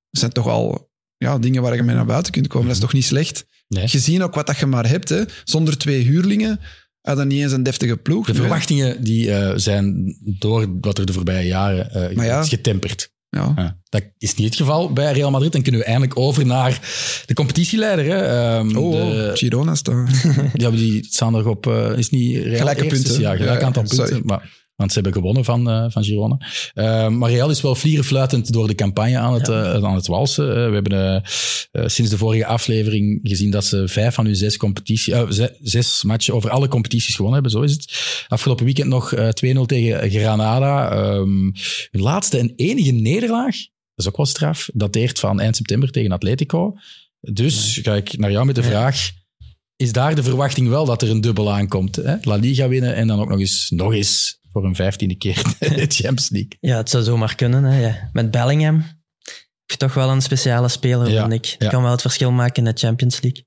B: Dat zijn toch al ja, dingen waar je mee naar buiten kunt komen. Dat is toch niet slecht?
A: Nee.
B: Gezien ook wat dat je maar hebt, hè. zonder twee huurlingen had dat niet eens een deftige ploeg.
A: De
B: Nu, hè.
A: verwachtingen die, eh, zijn door wat er de voorbije jaren eh,
B: Maar ja.
A: is getemperd.
B: Ja.
A: Ja. Dat is niet het geval bij Real Madrid. Dan kunnen we eindelijk over naar de competitieleider. Hè. Ehm,
B: Oh, oh,
A: de-
B: Girona staan.
A: ja, maar die staan nog op... eh, is niet Real
B: Gelijke
A: eerst,
B: punten.
A: is- Ja, gelijk
B: Ja,
A: aantal punten.
B: sorry.
A: Maar, want ze hebben gewonnen van, eh, van Girona. Eh, maar Real is wel vlierenfluitend door de campagne aan het, eh, aan het walsen. Eh, we hebben eh, eh, sinds de vorige aflevering gezien dat ze vijf van hun zes, competitie, eh, ze- zes matchen over alle competities gewonnen hebben. Zo is het. Afgelopen weekend nog eh, 2-0 tegen Granada. Ehm, hun laatste en enige nederlaag, dat is ook wel straf, dateert van eind september tegen Atletico. Dus ga ik naar jou met de
C: Ja.
A: vraag... Is daar de verwachting wel dat er een dubbel aankomt? Hè? La Liga winnen en dan ook nog eens, nog eens voor een vijftiende keer de Champions League.
C: Ja, het zou zomaar kunnen. Hè. ja. Met Bellingham heb je toch wel een speciale speler,
A: Ja,
C: vind ik. Die
A: ja.
C: kan wel het verschil maken in de Champions League.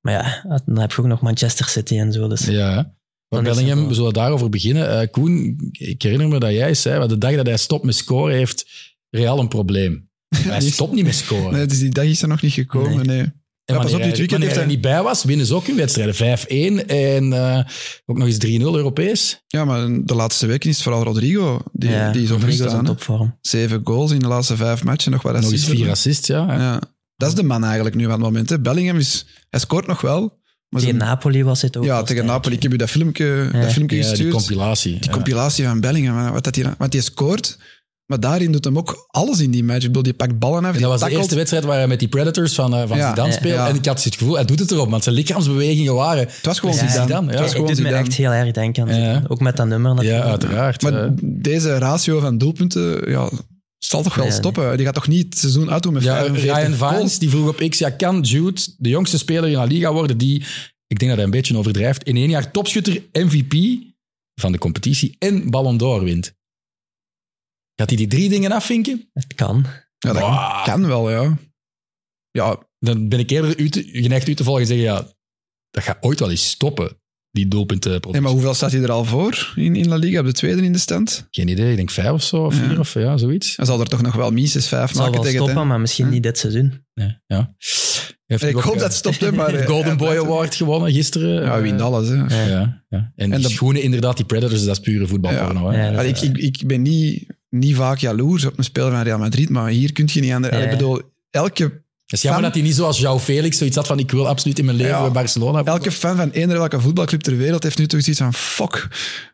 C: Maar ja, dan heb je ook nog Manchester City en zo. Dus.
A: Ja. hè? Maar
C: Dan is
A: Bellingham,
C: het wel-
A: we zullen daarover beginnen. Eh, Koen, ik herinner me dat jij zei, maar de dag dat hij stopt met scoren heeft Real een probleem. Hij stopt niet met scoren.
B: Nee, dus die dag is er nog niet gekomen,
C: Nee.
B: nee.
A: En
B: Ja, pas op,
A: wanneer
B: dit
A: hij-
B: weekend
A: wanneer
B: heeft
A: hij
B: hij-
A: niet bij was, winnen ze ook hun wedstrijden. 5-1 en eh, ook nog eens 3-0 Europees.
B: Ja, maar de laatste weken is het vooral Rodrigo. Die,
C: ja,
B: die is
C: Rodrigo
B: opgestaan.
C: in
B: hè.
C: topvorm.
B: Zeven goals in de laatste vijf matchen. Nog, wat
A: nog eens
B: assists.
A: vier assists, ja. hè.
B: Ja. Dat is de man eigenlijk nu aan het moment. Hè. Bellingham is... Hij scoort nog wel. Maar
C: Tegen
B: zijn-
C: Napoli was het ook.
B: ja,
C: wel
B: tegen
C: sterk.
B: Napoli. Ik heb u dat filmpje,
C: Ja.
B: dat filmpje
A: Ja, die
B: gestuurd. Die,
A: compilatie. ja.
B: compilatie van Bellingham. hè, Wat dat die, want die scoort. Maar daarin doet hem ook alles in die match. Ik bedoel, die pakt ballen af.
A: En
B: die
A: dat was de
B: tackelt.
A: eerste wedstrijd waar hij met die Predators van, eh, van
B: Ja,
A: Zidane
C: ja,
A: speelde.
B: ja.
A: En ik had het gevoel, hij doet het erop, want zijn lichaamsbewegingen waren...
B: Het was gewoon
A: Precies
B: Zidane.
A: Zidane, ja.
B: Het was
A: Ja,
C: Het
B: gewoon
C: doet me
B: Zidane.
C: echt heel erg denken aan
A: Ja, ja.
C: Zidane. Ook met dat nummer. Dat
A: Ja, uiteraard.
B: Maar
A: eh.
B: deze ratio van doelpunten ja, zal toch wel
C: Ja, nee.
B: stoppen. Die gaat toch niet het seizoen uitdoen met
A: ja,
B: 45
A: Ryan
B: goals?
A: Vines die vroeg op X, ja, kan Jude de jongste speler in de Liga worden die, ik denk dat hij een beetje overdrijft, in één jaar topschutter, MVP van de competitie en Ballon d'Or wint? Gaat hij die drie dingen afvinken?
C: Het kan.
A: Ah.
B: Ja, dat
A: Wow.
B: kan wel, ja. Ja,
A: Dan ben ik eerder u te, geneigd u te volgen en zeggen, ja, dat gaat ooit wel eens stoppen, die doelpuntenproductie.
B: Nee, maar hoeveel staat hij er al voor in, in La Liga? Op de tweede in de stand?
A: Geen idee, ik denk vijf of zo, of
B: Ja.
A: vier of ja, zoiets.
B: Hij zal er toch nog wel minstens vijf
C: Het zal
B: maken
C: wel
B: tegen het Hm.
C: stoppen,
B: einde.
C: maar misschien
B: Ja.
C: niet dit seizoen.
A: Nee, ja. Heeft
B: En Ik
A: ook,
B: hoop
A: eh,
B: dat het stopt, hè, maar...
A: de
B: eh,
A: Golden
B: hij
A: Boy
B: blijft-
A: Award gewonnen gisteren.
B: Ja, hij wint alles. Hè.
A: Ja, ja. En, die
B: dat-
A: schoenen inderdaad, die Predators, dat is pure voetbalporno. hè.
C: Ja. Ja, dat
B: Maar ik, ik, ik ben niet, niet vaak jaloers op een speler van Real Madrid, maar hier kun je niet aan de...
C: Ja.
B: Ik bedoel, elke,
A: Het is jammer
B: Van-
A: dat hij niet zoals jouw Felix zoiets had van ik wil absoluut in mijn leven
B: Ja.
A: bij Barcelona.
B: elke fan van eender welke voetbalclub ter wereld heeft nu toch zoiets van fuck.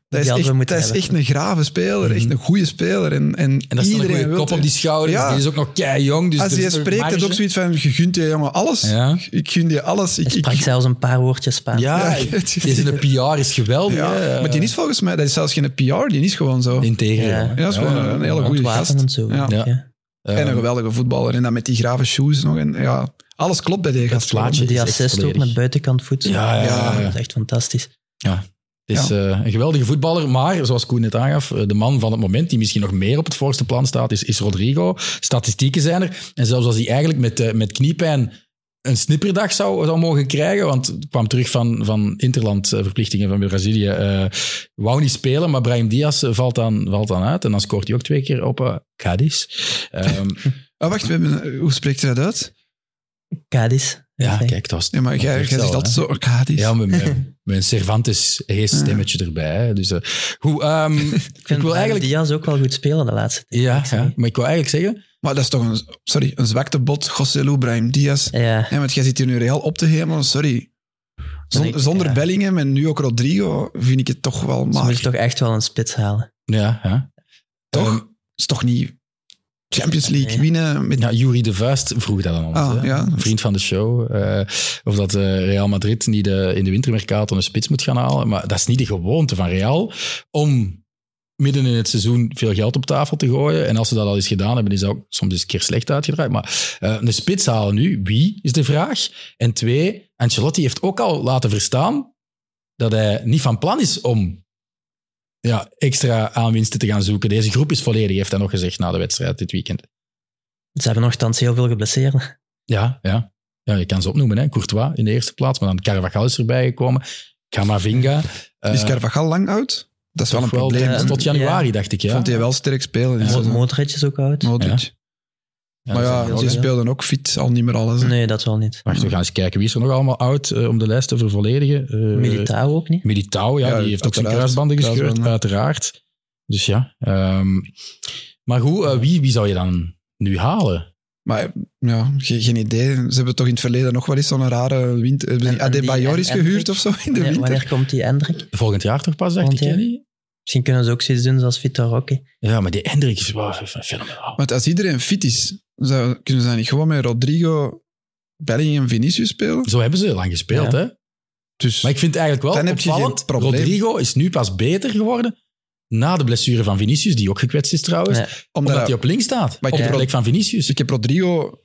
B: Dat is,
C: hadden we
B: echt,
C: moeten
B: dat is
C: hebben.
B: echt een grave speler, echt
A: Mhm.
B: een goede speler. En, en,
A: en daar staat een
B: iedereen
A: goede
B: wil
A: kop
B: het.
A: op die schouders.
B: Ja.
A: Die is ook nog kei jong. Dus
B: Als
A: er
B: je
A: is nog
B: spreekt, dat is
A: marge.
B: ook zoiets van, je gunt je jongen alles.
A: Ja.
B: Ik gun je alles. Ik,
C: Hij
B: ik,
C: sprak zelfs een paar woordjes Spaans.
A: Ja,
B: Ja,
A: het is in de PR is geweldig.
B: ja.
A: hè.
B: Maar die is volgens mij, dat is zelfs geen PR, die is gewoon zo.
A: Integer,
C: Ja.
A: jongen.
B: Ja, dat is gewoon een hele goede gast.
C: Ontwapenend zo.
B: Ja.
C: denk ik, hè.
A: Ja.
B: En een geweldige voetballer. En dan met die grave shoes nog. En, ja, alles klopt bij die gast.
A: plaatje.
C: Die
A: is echt
C: assist ook
A: volledig.
C: met buitenkant voet.
A: Ja, ja,
B: ja,
A: ja.
C: Dat is echt fantastisch.
A: Het is eh, een geweldige voetballer, maar zoals Koen net aangaf, eh, de man van het moment die misschien nog meer op het voorste plan staat, is, is Rodrigo. Statistieken zijn er. En zelfs als hij eigenlijk met, eh, met kniepijn een snipperdag zou, zou mogen krijgen, want het kwam terug van, van interlandverplichtingen van Brazilië, eh, wou niet spelen, maar Brahim Diaz eh, valt dan, valt dan uit. En dan scoort hij ook twee keer op eh Cadiz. Ehm,
B: Ah, wacht, we hebben- hoe spreekt je dat uit?
C: Cadiz.
A: ja,
C: Dat is
A: kijk, dat was...
B: Ja, maar jij, jij
A: dat
B: zegt altijd zo arcadisch.
A: Ja, met mijn, mijn Cervantes hees stemmetje erbij. hè. Dus, eh, goed, ehm,
C: Ik vind
A: Ik wil
C: Brahim
A: eigenlijk-
C: Diaz ook wel goed spelen de laatste tijd.
A: ja,
C: Ik zeg-
A: ja, maar ik wil eigenlijk zeggen,
B: Maar dat is toch een, sorry, een zwakte bot, Joselu, Brahim Diaz.
C: Ja.
B: Ja, want jij zit hier nu real op te hemelen, sorry. Zon-
C: Ik-
B: zonder
C: ja.
B: Bellingham en nu ook Rodrigo vind ik het toch wel
C: Ze
B: maar.
C: moeten toch echt wel een spits halen.
A: Ja, ja.
B: Toch?
A: Ehm,
B: is toch niet Champions League
C: Nee.
B: winnen met
A: ja, Jury nou, de Vuist vroeg dat aan ons.
B: Ah,
A: hè.
B: ja.
A: Een vriend van de show. eh, of dat eh, Real Madrid niet eh, in de wintermercato een spits moet gaan halen. Maar dat is niet de gewoonte van Real om midden in het seizoen veel geld op tafel te gooien. En als ze dat al eens gedaan hebben, is dat ook soms eens een keer slecht uitgedraaid. Maar eh, een spits halen nu, wie, is de vraag. En twee, Ancelotti heeft ook al laten verstaan dat hij niet van plan is om ja, extra aanwinsten te gaan zoeken. Deze groep is volledig, heeft hij nog gezegd na de wedstrijd dit weekend.
C: Ze hebben nogthans heel veel geblesseerden.
A: Ja, ja. ja je kan ze opnoemen. Hè. Courtois in de eerste plaats, maar dan Carvajal is erbij gekomen. Camavinga. eh,
B: is Carvajal lang oud. Dat is wel een
A: toch wel,
B: probleem.
A: eh,
B: hè.
A: tot januari, dacht ik. Ja.
B: Vond hij wel sterk spelen.
A: Ja.
B: Ja.
C: Mo- Modric is ook oud.
B: Modric.
A: Ja,
B: maar
A: dat is
B: ja,
A: een heel
B: ze
C: ja.
A: goed.
B: speelden ook fit, al niet meer alles. hè.
C: Nee, dat wel niet.
A: Wacht, we gaan eens kijken. Wie is er nog allemaal oud eh, om de lijst te vervolledigen? Eh,
C: Militao ook niet.
A: Militao, ja,
B: Ja,
A: die heeft ook zijn
B: uiteraard.
A: kruisbanden gescheurd,
B: Kruisbanden.
A: uiteraard. Dus ja. ehm, maar goed, eh, wie, wie zou je dan nu halen?
B: Maar ja, ge- geen idee. Ze hebben toch in het verleden nog wel eens zo'n rare winter... Hebben ze
C: En-
B: niet
C: en die-
B: Adebayor is
C: en- en-
B: gehuurd of zo in de
C: Wanneer,
B: winter?
C: wanneer komt die Hendrik?
A: Volgend jaar toch pas, dacht
C: Volgend
A: ik,
C: jaar.
A: Jenny?
C: Misschien kunnen ze ook zoiets doen zoals Vitor Roque.
A: Ja, maar die Hendrik is wel fenomenaal.
B: Want als iedereen fit is, zou, kunnen ze dan niet gewoon met Rodrigo, Bellingham en Vinicius spelen?
A: Zo hebben ze lang gespeeld,
C: Ja.
A: hè?
B: Dus
A: Dus- Maar ik vind eigenlijk wel
B: Dan heb je
A: opvallend.
B: geen probleem.
A: Rodrigo is nu pas beter geworden na de blessure van Vinicius, die ook gekwetst is trouwens.
C: Nee.
A: Omdat
B: omdat,
A: hij op links staat,
B: Maar ik
A: op de
B: heb-
A: plek van Vinicius.
B: Dus ik heb Rodrigo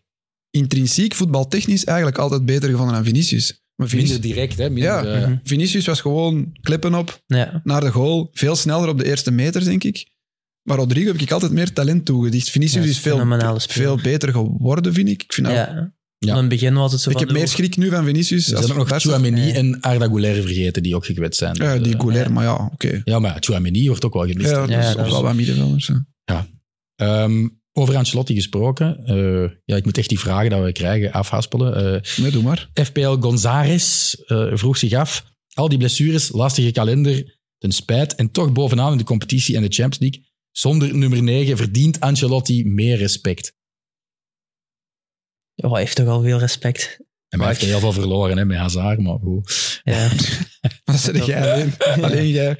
B: intrinsiek, voetbaltechnisch, eigenlijk altijd beter gevonden dan Vinicius. Maar
A: Minder
B: Vinicius,
A: direct, hè?
B: Ja.
A: Minder, eh,
C: Mhm.
B: Vinicius was gewoon klippen op,
C: Ja.
B: naar de goal, veel sneller op de eerste meter, denk ik. Maar Rodrigo heb ik altijd meer talent toegedicht. Vinicius
C: Ja,
B: is veel,
C: fenomenale speler.
B: veel beter geworden, vind ik. Ik, vind dat-
C: Ja.
A: Ja.
C: Van het begin was het zo
B: Nou, ik
C: van...
B: heb meer
C: oeh,
B: schrik nu van Vinicius.
A: Ze
B: als
A: hebben ook nog
B: van Barca.
A: Chouameni
C: Nee.
A: en Arda Güler vergeten, die ook gekwetst zijn.
B: Ja,
A: Dus,
B: die
A: eh,
B: Gouler,
C: ja.
B: maar ja, oké.
A: ja, maar Chouameni wordt ook wel gemist.
B: Ja, dat
C: Ja,
B: is
C: dat
B: ook
C: is-
B: wel wat middenvelders. hè.
A: Ehm, over Ancelotti gesproken. eh, ja, ik moet echt die vragen die we krijgen afhaspelen. Eh,
B: Nee, doe maar.
A: FPL González eh, vroeg zich af. Al die blessures, lastige kalender, ten spijt. En toch bovenaan in de competitie en de Champions League. Zonder nummer 9 verdient Ancelotti meer respect.
C: oh, hij heeft toch al veel respect.
A: En hij
C: Maar
A: heeft heel veel verloren hè, met Hazard, maar goed.
C: Ja.
B: Dat zeg jij alleen. Alleen jij.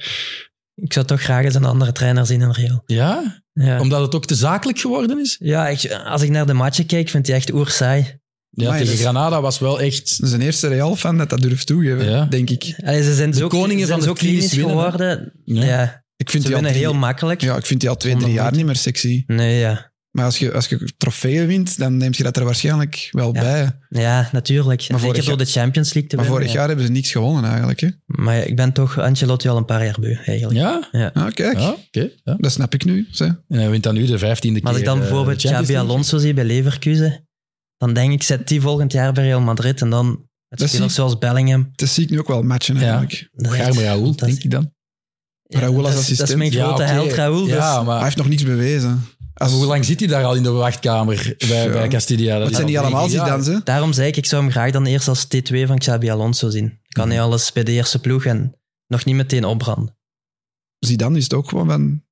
C: Ik zou toch graag eens een andere trainer zien in Real.
A: Ja?
C: Ja.
A: Omdat het ook te zakelijk geworden is?
C: Ja, ik- als ik naar de matchen kijk, vind ik die echt oersaai.
A: Ja,
B: Maar
A: tegen
B: dat is-
A: Granada was wel echt...
B: Dat is een eerste Real-fan dat dat durft toegeven,
A: Ja.
B: denk ik.
C: Allee, ze zijn
A: De
C: zo,
A: koningen
C: ze
A: van
C: zijn
A: de
C: zo klinisch
A: klinisch winnen, hè?
C: geworden.
A: Ja.
C: Ja,
B: Ik vind
C: ze
B: die al
C: winnen
B: drie-
C: heel makkelijk.
B: Ja, ik vind die al twee, drie
C: Zonder
B: jaar
C: moeite.
B: niet meer sexy.
C: Nee, ja.
B: Maar als je, als je trofeeën wint, dan neemt je dat er waarschijnlijk wel
C: Ja.
B: bij. Maar
C: ja, natuurlijk.
B: Maar
C: Zeker
B: vorig
C: door de Champions League te winnen.
B: vorig
C: ja.
B: jaar hebben ze niks gewonnen eigenlijk. Hè?
C: Maar ja, ik ben toch Ancelotti al een paar jaar beu, eigenlijk.
A: Ja?
B: Ah, kijk,
A: Ja, oké. ja.
B: dat snap ik nu. Zeg.
A: En hij wint dan nu de vijftiende keer.
C: Maar als ik dan
A: eh,
C: bijvoorbeeld
A: de Champions
C: Xabi
A: League.
C: Alonso zie bij Leverkusen, dan denk ik, zet die volgend jaar bij Real Madrid. En dan met
B: Dat
C: spelers
B: zie-
C: zoals Bellingham.
B: Dat zie ik nu ook wel matchen eigenlijk.
C: Dat is echt
A: Garme Raoul,
C: fantastisch.
A: denk ik dan.
C: Ja,
B: Raoul als
C: dat is- Dat
B: assistent.
C: is mijn
A: Ja,
C: grote
A: oké.
C: held, Raoul. Dus
A: Ja,
B: Hij
A: maar
B: heeft nog niets bewezen. Als,
A: Ah. hoe lang zit hij daar al in de wachtkamer bij,
B: Ja.
A: bij Castilla? Dat
B: het
A: is
B: zijn
A: al
B: niet allemaal
A: negen jaar.
B: Zidane's, hè?
C: daarom zei ik, ik zou hem graag dan eerst als T2 van Xabi Alonso zien. Ik
A: Mhm.
C: kan hij alles bij de eerste ploeg en nog niet meteen opbranden.
B: Zidane is het ook gewoon van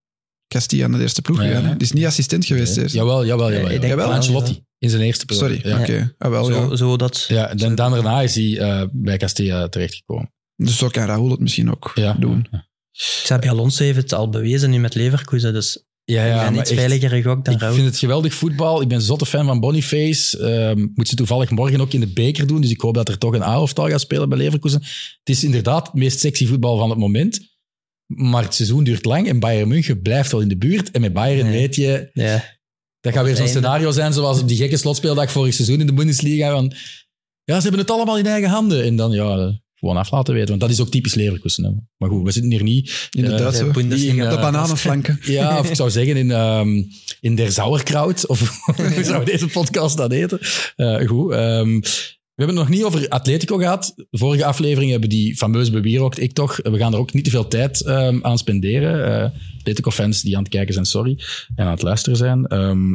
B: Castilla naar de eerste ploeg
A: Ja.
B: gegaan. hè. Die is niet assistent geweest eerst.
A: Jawel, jawel, jawel.
C: Nee, ik
A: jawel.
C: denk
A: Jawel,
C: wel,
A: Ancelotti,
C: ja.
A: in zijn eerste periode.
B: Sorry,
A: Ja.
B: oké. Ah, wel,
C: zo,
B: ja.
C: zo dat...
A: Oh, Ja, en dan daarna is hij eh, bij Castilla terechtgekomen.
B: Dus zo kan Raoul het misschien ook
A: Ja.
B: doen.
C: Xabi Alonso heeft het al bewezen nu met Leverkusen, dus
A: Ja,
C: ik
A: ja,
C: ben
A: maar
C: iets
A: echt,
C: veiligere gok dan
A: Ik
C: Raoul.
A: vind het geweldig voetbal. Ik ben zotte fan van Boniface. Ehm, moet ze toevallig morgen ook in de beker doen. Dus ik hoop dat er toch een A-oftal gaat spelen bij Leverkusen. Het is inderdaad het meest sexy voetbal van het moment. Maar het seizoen duurt lang en Bayern München blijft wel in de buurt. En met Bayern
C: Nee.
A: weet je,
C: Ja.
A: dat gaat weer zo'n
C: Einde.
A: scenario zijn zoals op die gekke slotspeeldag vorig seizoen in de Bundesliga. Van, ja, ze hebben het allemaal in eigen handen. En dan ja, eh, gewoon af laten weten. Want dat is ook typisch Leverkusen. hè. Maar goed, we zitten hier niet...
B: In de
A: eh,
B: Duitse.
C: de Bundesliga.
A: niet in, eh,
B: de bananenflanken.
A: ja, of ik zou zeggen in, ehm, in der Sauerkraut. Of hoe zou deze podcast dat heten? Eh, goed. ehm, we hebben het nog niet over Atletico gehad. De vorige aflevering hebben die fameus bewierookt. Ik toch. We gaan er ook niet te veel tijd ehm, aan spenderen. Eh, Atletico-fans die aan het kijken zijn, sorry. En aan het luisteren zijn. Ehm,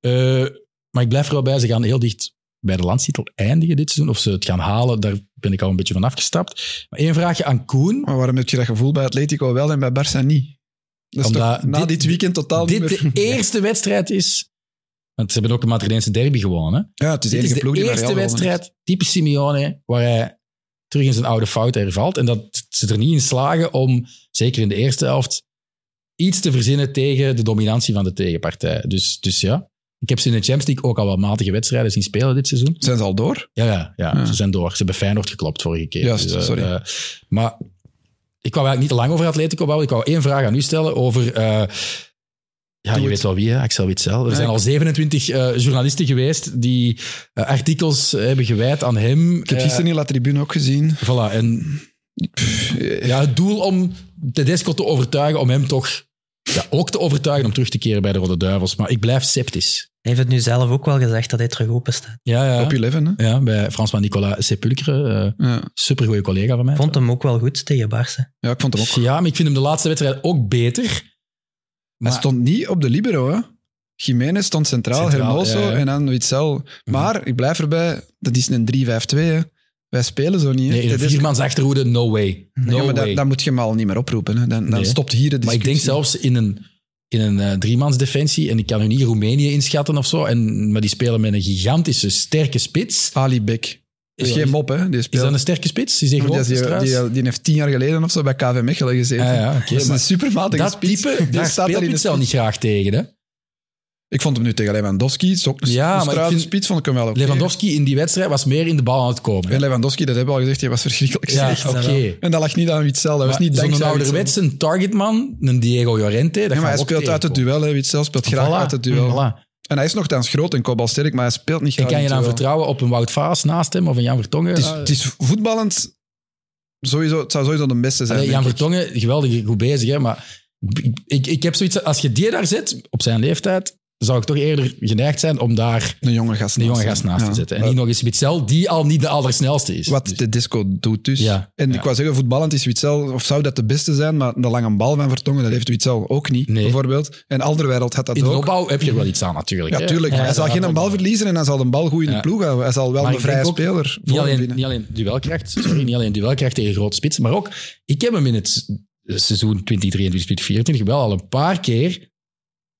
A: eh, maar ik blijf er wel bij. Ze gaan heel dicht bij de landstitel eindigen dit seizoen. Of ze het gaan halen, daar ben ik al een beetje van afgestapt. Maar één vraagje aan Koen.
B: Maar waarom heb je dat gevoel bij Atletico wel en bij Barça niet? Dat is
A: Omdat
B: toch na
A: dit-
B: dit, weekend totaal
A: dit
B: niet meer...
A: de e- eerste wedstrijd is. Want ze hebben ook een Madrideense derby gewonnen. hè. Dus
B: Ja, het is de
A: Dit is
B: enige ploeg
A: de
B: die bij
A: eerste
B: Real gewonnen heeft.
A: wedstrijd, typisch Simeone, waar hij terug in zijn oude fout hervalt. En dat ze er niet in slagen om, zeker in de eerste helft, iets te verzinnen tegen de dominantie van de tegenpartij. Dus, dus ja, ik heb ze in de Champions League ook al wat matige wedstrijden zien spelen dit seizoen.
B: Zijn ze al door?
A: Ja, ja, ja,
B: Ja.
A: ze zijn door. Ze hebben Feyenoord geklopt vorige keer.
B: Juist,
A: eh,
B: sorry.
A: eh, maar ik kwam eigenlijk niet te lang over Atletico bouwen. Ik wou één vraag aan u stellen over... eh, ja,
B: Doe
A: je
B: het.
A: weet wel wie, hè? Axel Witsel. Er
B: Ja,
A: zijn
B: ik-
A: al 27 eh, journalisten geweest die eh, artikels hebben gewijd aan hem. eh,
B: Ik heb gisteren in La Tribune ook gezien.
A: Voilà, en ja, het doel om Tedesco te overtuigen, om hem toch ja, ook te overtuigen om terug te keren bij de Rode Duivels. Maar ik blijf sceptisch.
C: Hij heeft het nu zelf ook wel gezegd dat hij terug open staat.
A: Ja, ja.
B: Op 11, hè?
A: ja bij François Nicolas Sepulcre, eh
B: Ja.
A: supergoeie collega van mij.
C: Ik vond hem ook wel goed tegen Barça.
B: ja, ik vond hem ook.
A: Ja, maar ik vind hem de laatste wedstrijd ook beter. Maar,
B: Hij stond niet op de libero, hè? Jiménez stond centraal,
A: Centraal,
B: Hermoso
A: ja, Mhm. ja.
B: en dan Witzel. Maar ik blijf erbij, dat is een 3-5-2. hè. Wij spelen zo niet. hè.
A: nee, in
B: Dat
A: een
B: is-
A: viermans achterhoede, no way. No
B: Ja, maar
A: way.
B: dat, dat moet je hem al niet meer oproepen. Hè. Dan, dan
A: Nee.
B: stopt hier de
A: maar ik denk
B: discussie.
A: zelfs in een, in een eh, driemans defensie, en ik kan nu niet Roemenië inschatten of zo, en, maar die spelen met een gigantische, sterke spits.
B: Ali Bek. Dat Ah, is
A: Ja,
B: geen mop, hè? Die
A: Is
B: speelt.
A: dat een sterke spits? Is die
B: die,
A: groot?
B: is- die,
A: Struis?
B: die, die heeft tien jaar geleden of zo bij KV Mechelen gezeten.
A: Ah, ja, oké,
B: dat is
A: maar
B: een supermatige
A: dat
B: spits.
A: type, daar
B: Daar staat
A: speelt
B: hij in de
A: Witzel niet graag tegen. Hè?
B: Ik vond hem nu tegen Lewandowski. Het is ook een
A: Ja, maar
B: ja,
A: ik vind-
B: spits, vond ik hem wel oké.
A: Lewandowski in die wedstrijd was meer in de bal aan het komen.
B: En Lewandowski, dat hebben we al gezegd, die was verschrikkelijk
A: ja,
B: slecht.
A: oké.
B: En dat lag niet aan Witzel. Dat was
A: Maar
B: niet
A: Zo'n
B: dankzij Witzel.
A: ouderwetse targetman, een Diego Llorente, dat
B: Ja,
A: gaan
B: maar hij
A: we ook
B: speelt uit het
A: tegenkomen.
B: duel. Hè. Witzel speelt graag
A: Voilà,
B: uit het duel.
A: voilà.
B: En hij is nogthans groot en kopbalsterk, maar hij speelt niet
A: En
B: graag
A: kan je
B: in
A: dan
B: het duel.
A: vertrouwen op een Wout Vaas naast hem of een Jan Vertongen?
B: Het is,
A: Ah,
B: het is voetballend... Sowieso, het zou sowieso de beste zijn.
A: Allee,
B: denk
A: Jan
B: ik.
A: Vertongen, geweldig goed bezig, hè, maar ik, ik, ik heb zoiets... Als je die daar zet, op zijn leeftijd, zou ik toch eerder geneigd zijn om daar
B: Een jonge gast
A: een jonge
B: naast
A: gast
B: hem.
A: naast
B: Ja.
A: te zetten. En niet nog eens Witzel, die al niet de allersnelste is.
B: Wat
A: Dus-
B: de disco doet dus.
A: Ja,
B: en
A: ja.
B: ik wou zeggen, voetballend is Witzel, of zou dat de beste zijn, maar de lange bal van Vertongen, dat heeft Witzel ook niet,
A: Nee.
B: bijvoorbeeld. En Alderwereld had dat
A: in de
B: ook.
A: opbouw heb je er wel iets aan, natuurlijk.
B: Ja,
A: hè.
B: tuurlijk.
A: Ja,
B: hij
A: dat
B: zal geen
A: had
B: een
A: ook
B: bal
A: wel.
B: verliezen en hij zal een bal goed in
A: Ja.
B: de ploeg houden. Hij zal wel
A: Maar
B: een
A: ik denk
B: vrije
A: ook
B: speler
A: Niet
B: voor hem
A: alleen,
B: winnen.
A: niet alleen duelkracht, sorry, niet alleen duelkracht tegen grote spits, maar ook, ik heb hem in het s- seizoen 2023-2024 wel al een paar keer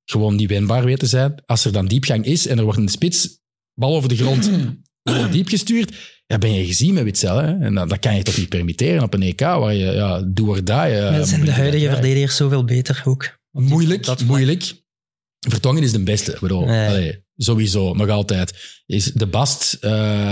A: gewoon niet winbaar weten zijn. Als er dan diepgang is en er wordt een spits bal over de grond wordt diep gestuurd, ja, ben je gezien met Witzel. Hè? En dat, dat kan je toch niet permitteren op een EK waar je ja, doe or die... eh,
C: Maar zijn de
A: moeilijk
C: huidige
A: krijgt.
C: verdedigers zoveel beter ook.
A: Moeilijk,
C: Dat-
A: moeilijk. Vertongen is de beste, ik bedoel.
C: Nee.
A: Allee, sowieso, nog altijd. Is de Bast... eh,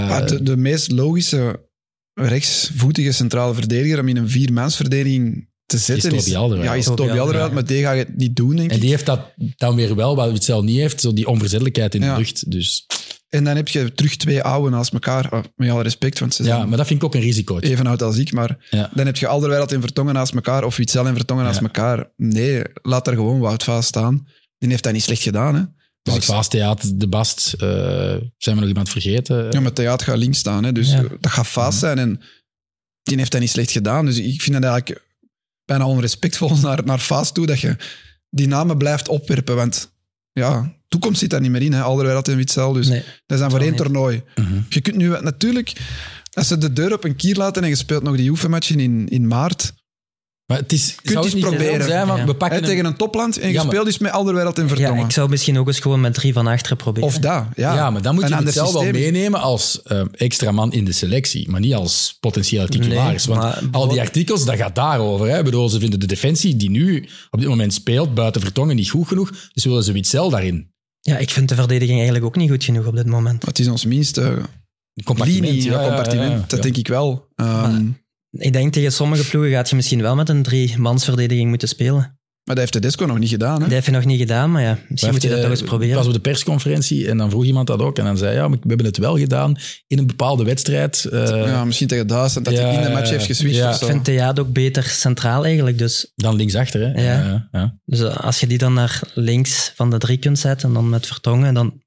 B: Maar de, de meest logische rechtsvoetige centrale verdediger om in een viermansverdediging te zetten
A: Toby Alderweireld.
B: Ja, is
C: Toby
B: Toby Alderweireld,
C: Alderweireld.
B: maar die gaat het niet doen, denk ik.
A: En die heeft dat dan weer wel, wat Witzel niet heeft, zo die onverzettelijkheid in de
B: Ja.
A: lucht. Dus,
B: En dan heb je terug twee oude naast elkaar. Ah, met alle respect, want ze zijn
A: ja, maar dat vind ik ook een risicootje.
B: even oud als ik, maar
A: Ja.
B: dan heb je Alderweireld en Vertongen naast elkaar of Witzel en Vertongen naast
A: Ja.
B: elkaar. Nee, laat daar gewoon Wout Vaas staan. Die heeft dat niet slecht gedaan, hè.
A: Wout Vaastheat, De Bast. eh, zijn we nog iemand vergeten?
B: Ja, maar Theaat gaat links staan, hè, dus
C: Ja.
B: eh, dat gaat vast zijn. En die heeft dat niet slecht gedaan. Dus ik vind dat eigenlijk bijna onrespectvol naar, naar Faas toe, dat je die namen blijft opwerpen. Want ja, toekomst zit daar niet meer in. hè. Alderweireld en Witzel, dus
C: Nee.
B: dat is dan voor één
C: niet.
B: toernooi.
A: Mhm.
B: Je kunt nu wel- natuurlijk, als ze de deur op een kier laten en je speelt nog die oefenmatchen in, in maart,
A: Maar het is,
B: Kunt
A: zou
B: eens
A: niet
B: proberen.
A: heel Zijn, want
C: Ja.
A: we pakken hem-
B: hè, tegen een topland en je
A: Ja, maar-
B: speelt dus met Alderweireld en
C: Ja,
B: Vertongen.
C: ik zou misschien ook eens gewoon met drie van achteren proberen.
B: Of dat, ja.
A: ja. maar dan moet
B: Een
A: je
B: ander
A: het zelf wel
B: systeem.
A: meenemen als eh, extra man in de selectie, maar niet als potentiële titularis.
C: Nee,
A: want
C: maar-
A: al die artikels, dat gaat daarover. Hè. Ik bedoel, ze vinden de defensie die nu op dit moment speelt, buiten Vertongen, niet goed genoeg, dus willen ze Witzel daarin.
C: Ja, ik vind de verdediging eigenlijk ook niet goed genoeg op dit moment.
B: Maar Het is ons minste
A: Compartiment.
B: linie, ja, compartiment.
A: ja, ja.
B: Dat denk ik wel. Ehm,
C: Maar- Ik denk tegen sommige ploegen gaat je misschien wel met een drie-mansverdediging moeten spelen.
B: Maar dat heeft Tedesco nog niet gedaan. Hè?
C: Dat heb je nog niet gedaan, maar ja, misschien moet je dat
A: Heeft,
C: toch eens
A: eh,
C: proberen.
A: was op de persconferentie en dan vroeg iemand dat ook. En dan zei ja, maar we hebben het wel gedaan in een bepaalde wedstrijd. eh,
B: ja, misschien tegen Duitsland, dat
A: ja,
B: hij in de match heeft geswitcht
A: ja.
B: of zo.
C: Ik vind Theaat ook beter centraal eigenlijk. Dus,
A: Dan linksachter. Hè. Eh,
C: Ja.
A: Ja, ja.
C: dus als je die dan naar links van de drie kunt zetten en dan met Vertongen, dan...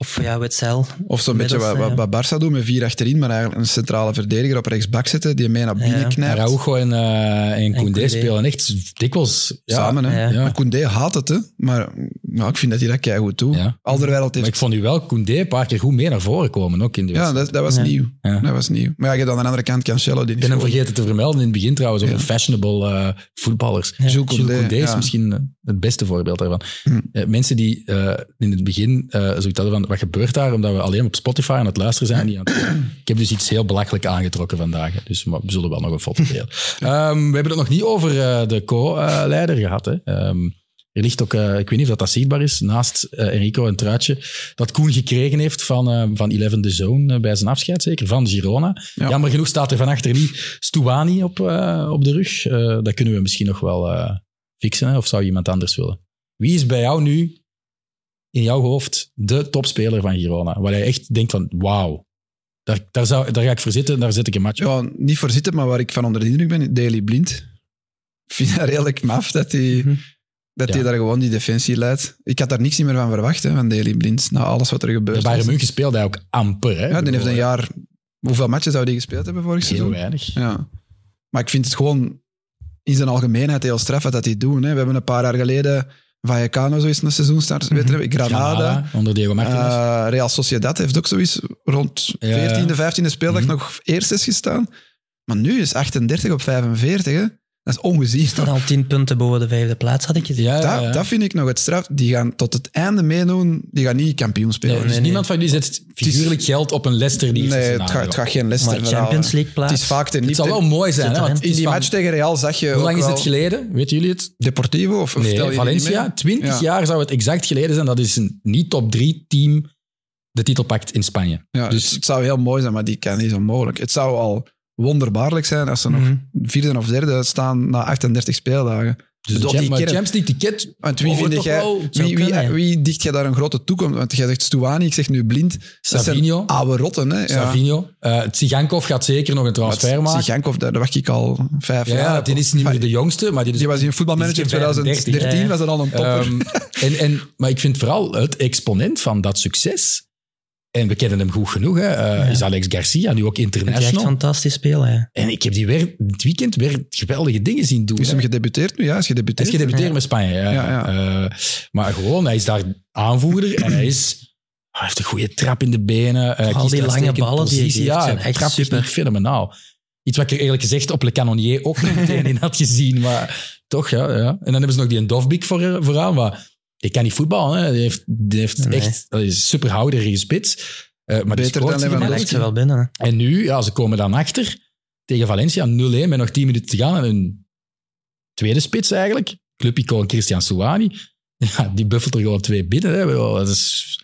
C: Of ja, Witzel.
B: Of zo'n beetje wat,
C: Middels,
B: wat, wat Barça doet met vier achterin, maar eigenlijk een centrale verdediger op rechtsbak zetten, die mee naar binnen
C: Ja.
B: knijpt.
A: Araujo en, eh en Koundé
C: Koundé.
A: spelen echt dikwijls ja,
B: Samen, hè.
C: Ja.
B: Maar Koundé haat het, hè. Maar nou, ik vind dat hij dat keigoed doet.
A: Ja.
B: Alderweireld
A: Maar
B: heeft...
A: ik vond u wel Koundé een paar keer goed mee naar voren komen, ook in de
B: Ja,
A: wedstrijd.
B: dat, dat was
C: Ja.
B: nieuw.
A: Ja.
B: Dat was nieuw. Maar ja, je hebt aan de andere kant Cancelo, die
A: ik
B: niet
A: ben hem vergeten te vermelden in het begin trouwens, over
B: Ja.
A: fashionable eh, voetballers.
C: Ja.
B: Jules Koundé,
A: is
B: ja.
A: misschien eh, het beste voorbeeld daarvan.
B: Hm.
A: Eh, mensen die eh, in het begin eh zoiets hadden van, wat gebeurt daar? Omdat we alleen op Spotify aan het luisteren zijn. Die aan het- ik heb dus iets heel belachelijk aangetrokken vandaag. hè. Dus maar we zullen wel nog een foto delen. Ehm, we hebben het nog niet over eh, de co-leider gehad. Hè. Ehm, er ligt ook, eh, ik weet niet of dat, dat zichtbaar is, naast eh, Enrico een truitje dat Koen gekregen heeft van, eh, van Eleven de Zone eh, bij zijn afscheid, zeker, van Girona.
B: Ja.
A: Jammer genoeg staat er van achter niet Stuani op, eh, op de rug. Eh, dat kunnen we misschien nog wel eh, fixen, hè? of zou je iemand anders willen? Wie is bij jou nu, in jouw hoofd, de topspeler van Girona? Waar je echt denkt van, wauw, daar, daar, zou, daar ga ik voor zitten en daar zet ik een match op.
B: Ja, niet voor zitten, maar waar ik van onder de indruk ben, Daily Blind. Ik vind dat redelijk maf dat hij
C: Mhm.
B: dat
A: Ja.
B: hij daar gewoon die defensie leidt. Ik had daar niks niet meer van verwacht, hè, van Daily Blind, na alles wat er
A: Bij
B: gebeurd
A: Bayern
B: dus is.
A: München speelde hij ook amper. Hè?
B: Ja, die heeft een
A: Heel
B: jaar... Hoeveel matchen zou die gespeeld hebben vorig seizoen? Eh,
A: weinig.
B: Ja. Maar ik vind het gewoon in zijn algemeenheid heel straf wat dat die doen. Hè. We hebben een paar jaar geleden Vallecano zoiets een seizoenstart weten
C: Mhm.
B: hebben. Granada.
A: Granada, onder Diego Martinez.
B: eh, Real Sociedad heeft ook zoiets rond
A: Ja.
B: 14e, 15e speeldag
A: Mhm.
B: nog eerst is gestaan. Maar nu is 38 op 45. Hè. Dat is ongezien.
C: En al tien punten boven de vijfde plaats had ik gezien.
A: ja, ja,
B: Dat,
A: ja.
B: dat vind ik nog het straf. Die gaan tot het einde meedoen. Die gaan niet kampioen spelen.
A: Nee,
C: Nee,
A: dus
C: nee,
A: niemand van jullie zet figuurlijk geld op een Leicester die
B: Nee, het, gaat, het gaat geen Leicester
C: Maar
B: verhaal,
C: Champions
B: hè.
C: League plaats.
B: Het is vaak ten
A: Het zou wel
B: niet.
A: mooi zijn.
C: Zit
A: Hè, want
C: erin.
A: het
B: In
A: is
B: die
A: van-
B: match tegen Real zag je
A: Hoe lang
B: ook
A: is
B: wel
A: het geleden? Weten jullie het?
B: Deportivo? Of of tel je
A: Nee,
B: die niet mee?
A: Valencia. 20
B: Ja.
A: jaar zou het exact geleden zijn. Dat is een niet top 3 team de titel pakt in Spanje.
B: Ja,
A: Dus-
B: dus het zou heel mooi zijn, maar die kan niet zo mogelijk. Het zou al wonderbaarlijk zijn als ze nog
C: Mhm.
B: vierde of derde staan na 38 speeldagen.
A: Dus
B: Bedoel,
A: de Champ-
B: die
A: maar
B: kern-
A: Champions League ticket.
B: Want wie,
A: Oh,
B: vind
A: toch
B: jij,
A: wel,
B: wie,
A: zou
B: wie,
C: kunnen, ja.
B: wie dicht jij daar een grote toekomst? Want jij zegt Stuani, ik zeg nu blind. Dat zijn
A: Savinho.
B: oude rotten, hè? Ja.
A: Savinho. Eh, Tsigankov gaat zeker nog een transfer
B: Maar
A: maken.
B: Zigankov, daar daar wacht ik al vijf
A: Ja,
B: jaar
A: ja,
B: op.
A: die is niet meer de jongste, maar die is
B: Die was in voetbalmanager in
A: Die is geen
B: 2013,
A: 35,
B: was dat al een topper.
A: Ehm, en, en, maar ik vind vooral het exponent van dat succes. En we kennen hem goed genoeg, hè, eh, is Alex Garcia, nu ook
C: Die echt
A: international.
C: fantastisch spelen, ja.
A: En ik heb die weer, dit weekend weer geweldige dingen zien doen.
B: is
A: hè.
B: hem gedebuteerd nu? Ja, is
A: Hij
B: gedebuteerd.
A: is gedebuteerd met Spanje. Ja,
B: Ja, ja.
A: Eh, maar gewoon, hij is daar aanvoerder en hij is... Hij heeft een goede trap in de benen. eh,
C: Vooral
A: kiest
C: die
A: een
C: lange
A: uitstekende
C: ballen die hij
A: positie.
C: geeft
A: Ja,
C: zijn
A: hij
C: echt
A: trapt
C: super.
A: echt fenomenaal. Iets wat ik er eerlijk gezegd op Le Canonier ook niet meteen in had gezien. Maar toch, ja. ja. En dan hebben ze nog die Dovbik voor, eh, vooraan. Maar die kan niet voetballen. Hè. Die heeft, die heeft
C: Nee.
A: echt... Dat is superhouder in spits. Eh, maar die
B: Beter
A: scoort
B: dan
A: zich
C: Maar
A: in de
B: Lewandowski.
C: legt
A: acht-
C: ze wel binnen. hè.
A: en nu, ja, ze komen dan achter tegen Valencia 0-1 met nog 10 minuten te gaan. En hun tweede spits eigenlijk, clubicoon Christian Souani, ja, die buffelt er gewoon twee binnen. Hè. Ik bedoel, Dat is,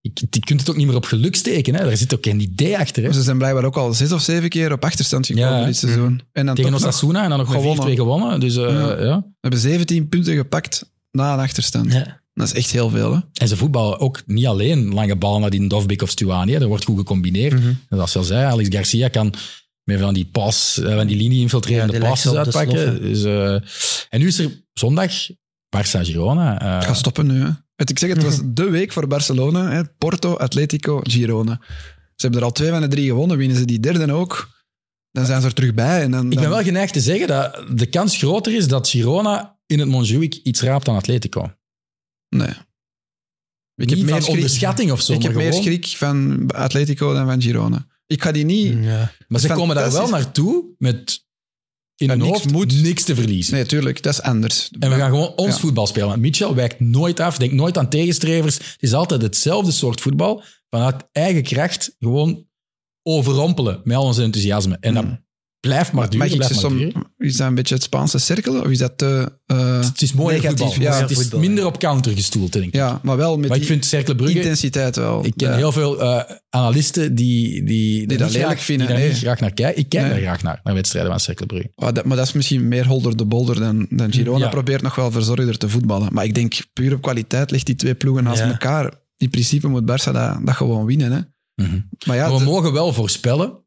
A: ik, je kunt het ook niet meer op geluk steken. Hè. Daar zit ook geen idee achter. Hè.
B: Dus Ze zijn blijkbaar ook al zes of zeven keer op achterstand gekomen
A: Ja. Mhm.
B: dit seizoen. En dan
A: Tegen
B: toch nog-
A: Osasuna en dan nog
B: gewonnen.
A: met 4-2 gewonnen. Dus, eh,
B: Ja.
A: ja.
B: We hebben 17 punten gepakt na een achterstand.
C: Ja.
B: Dat is echt heel veel, hè?
A: En ze voetballen ook niet alleen lange bal naar die Dovbik of Stuani. hè. Er wordt goed gecombineerd.
C: Mhm.
A: En Zoals je al zei, Alex Garcia kan met van die pas, eh, van die linie infiltrerende
C: Ja, die legt
A: passes
C: ze op de
A: uitpakken.
C: sloffen.
A: Dus, eh, en nu is er zondag Barça-Girona. eh,
B: Het gaat stoppen nu, hè? Het, ik zeg het, was de week voor Barcelona. Hè. Porto, Atletico, Girona. Ze hebben er al twee van de drie gewonnen. Winnen ze die derde ook, dan zijn ze er terug bij. En dan,
A: Ik ben
B: dan-
A: wel geneigd te zeggen dat de kans groter is dat Girona in het Montjuïc iets raapt dan Atletico.
B: Nee. Ik
A: Niet
B: heb meer
A: van
B: schrik,
A: onderschatting of zo,
B: ik heb
A: maar
B: meer
A: gewoon-
B: schrik van Atletico dan van Girona. Ik ga die niet...
A: Hmm.
C: Ja.
A: Maar ze komen daar wel
B: Fantastisch.
A: naartoe met in
B: Ja,
A: hun
B: niks
A: hoofd
B: moet.
A: niks te verliezen.
B: Nee, tuurlijk, dat is anders.
A: En we gaan gewoon ons
B: Ja.
A: voetbal spelen. Want Mitchell wijkt nooit af, denkt nooit aan tegenstrevers. Het is altijd hetzelfde soort voetbal. Vanuit eigen kracht gewoon overrompelen met al ons enthousiasme. En dat
B: Hmm.
A: blijft maar duren.
B: Mag ik
A: blijft
B: ze
A: maar
B: som-
A: duren. Dus
B: is dat een beetje het Spaanse cirkelen? Of is dat te... eh,
A: Het is mooi
C: Negatief,
A: voetbal.
B: ja,
A: het is
C: voetbal,
A: minder op counter gestoeld, denk ik.
B: ja, maar wel met
A: maar ik
B: die
A: vind Cercle Brugge...
B: intensiteit wel.
A: Ik ken
B: Ja.
A: heel veel eh, analisten die, die, niet
B: dat lelijk
A: graag,
B: vinden,
A: Die daar niet
B: nee.
A: graag naar kijken. Ik kijk
B: Nee.
A: daar graag naar, naar wedstrijden van Cercle Brugge.
B: Ah, dat- maar dat is misschien meer holder de bolder dan, dan Girona.
A: Ja.
B: Probeert nog wel verzorgder te voetballen. Maar ik denk, puur op kwaliteit ligt die twee ploegen naast
C: Ja.
B: elkaar. In principe moet Barça dat, dat gewoon winnen. Hè?
A: Mhm.
B: Maar ja,
A: Maar we
B: de-
A: mogen wel voorspellen,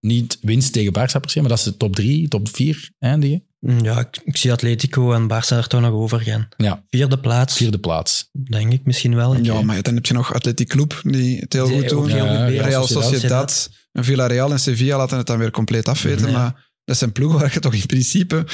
A: niet winst tegen Barça per se, maar dat ze top 3, top 4 eindigen.
C: Ja, ik, ik zie Atletico en Barça er toch nog over gaan.
A: Ja.
C: Vierde plaats,
A: Vierde plaats.
C: denk ik misschien wel.
B: ja, maar dan heb je nog Athletic Club, die het heel
C: Die
B: goed
C: ook
B: doen.
C: heel
A: Ja,
C: goed
A: ja,
C: bezig
B: Real
A: Real
C: zijn.
B: Sociedad, en Villarreal en Sevilla laten het dan weer compleet afweten.
C: Ja.
B: Maar dat zijn ploegen waar je toch in principe,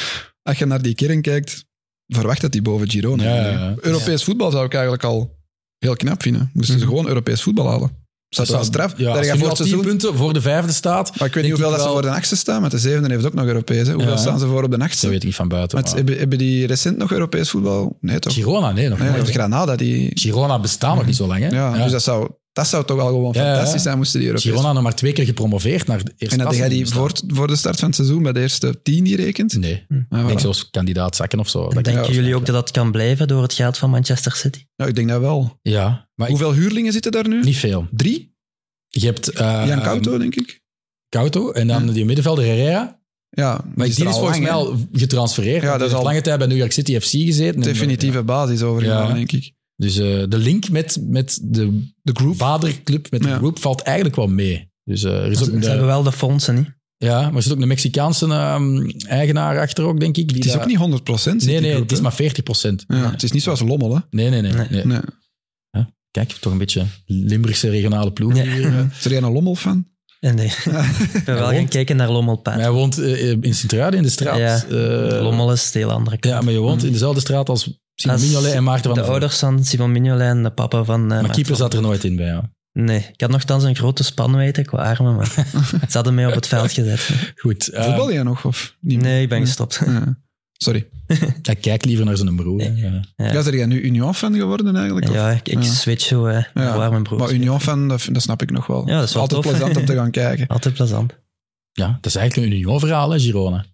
B: als je naar die kern kijkt, verwacht dat die boven Girona
A: Ja,
B: eindigen.
A: ja, ja.
B: Europees voetbal zou ik eigenlijk al heel knap vinden. Moesten ze
C: Mhm.
B: gewoon Europees voetbal halen. Dat is wel straf.
A: Ja, als
B: Daar gaan
A: je
B: voor
A: nu al
B: het
A: 10
B: seizoen-
A: punten voor de vijfde staat,
B: Maar ik weet niet
A: Denk
B: hoeveel
A: ik
B: dat ze
A: wel.
B: voor de achtste staan, want de zevende heeft ook nog Europees. Hè. Hoeveel
A: Ja.
B: staan ze voor op de
A: dat
B: achtste?
A: weet ik niet van buiten.
B: Want
A: maar-
B: hebben, hebben die recent nog Europees voetbal? Nee, toch?
A: Girona, nee, nog
B: Nee,
A: nooit.
B: want Granada, die...
A: Girona bestaat nog niet zo lang, hè?
B: Ja,
A: Ja.
B: dus dat zou, dat zou toch wel gewoon
A: Ja, ja, ja.
B: fantastisch zijn, moesten die Europees...
A: Girona nog maar twee keer gepromoveerd naar de eerste
B: En dat
A: klasse
B: jij die
A: staan.
B: voor, voor de start van het seizoen bij de eerste tien niet rekent?
A: Nee,
B: Ah,
A: ik
B: voilà.
A: denk zelfs kandidaat zakken of zo. Dat kan-
C: Denken jullie ook dat dat kan blijven door het geld van Manchester City?
B: Nou, ik denk dat wel.
A: Ja, maar ik-
B: Hoeveel huurlingen zitten daar nu?
A: niet veel.
B: Drie?
A: Je hebt eh,
B: Jan Couto, denk ik.
A: Couto en dan
B: Ja.
A: die middenvelder Herrera.
B: Ja,
A: Maar die is,
B: er al
A: volgens
B: lang,
A: mij
B: hè.
A: al getransfereerd.
B: Ja,
A: Die
B: dat is
A: heeft
B: al-
A: lange tijd bij New York City FC gezeten.
B: Definitieve basis overgegaan,
A: Ja.
B: denk ik.
A: Dus eh, de link met, met de, de vaderclub, met
B: Ja.
A: de groep, valt eigenlijk wel mee. Dus eh, er is ook
C: Ze
A: een,
C: ze hebben wel de fondsen, niet?
A: ja, maar er zit ook een Mexicaanse ehm, eigenaar achter, ook, denk ik. Die
B: Het is
A: daar-
B: ook niet 100 procent.
A: Nee, nee, het is maar 40
B: Ja, het is niet zoals Lommel, hè.
A: Nee, nee, nee. nee.
C: Nee.
B: Nee.
A: Kijk, toch een beetje Limburgse regionale ploeg.
C: Ja.
A: hier, eh.
B: Is er jij een Lommel van?
C: En nee. Ik ben wel gaan
A: want-
C: kijken naar Lommelpaard.
A: Hij woont eh, in Sint-Truiden in de straat.
C: Ja.
A: Eh,
C: Lommel is de hele andere kant.
A: Ja, maar je woont in dezelfde straat als Simon
C: Als
A: Mignolet en Maarten van
C: de
A: der Voort.
C: ouders van Simon Mignolet en de papa van... eh,
A: Maar
C: Maarten
A: keeper
C: van-
A: zat er nooit in bij jou.
C: Nee, ik had nogthans een grote spanwijdte qua armen, maar ze hadden mij op het veld gezet.
A: Goed. eh,
B: Voetbal jij nog? Of niet?
C: Nee, ik ben gestopt.
B: Ja. Sorry.
A: hij kijkt liever naar zijn broer. hè. Eh, Ja.
C: Ja.
B: Ja, zijn jij nu Union fan geworden eigenlijk? Of-
C: Ja, ik, ik
B: Ja.
C: switch zo eh, naar
B: Ja,
C: waar mijn broer
B: Maar
C: zit.
B: Union fan, dat, dat snap ik nog wel.
C: Ja, dat is wel
B: Altijd
C: tof.
B: plezant om te gaan kijken.
C: Altijd plezant.
A: Ja, dat is eigenlijk een Union-verhaal, hè, Girona.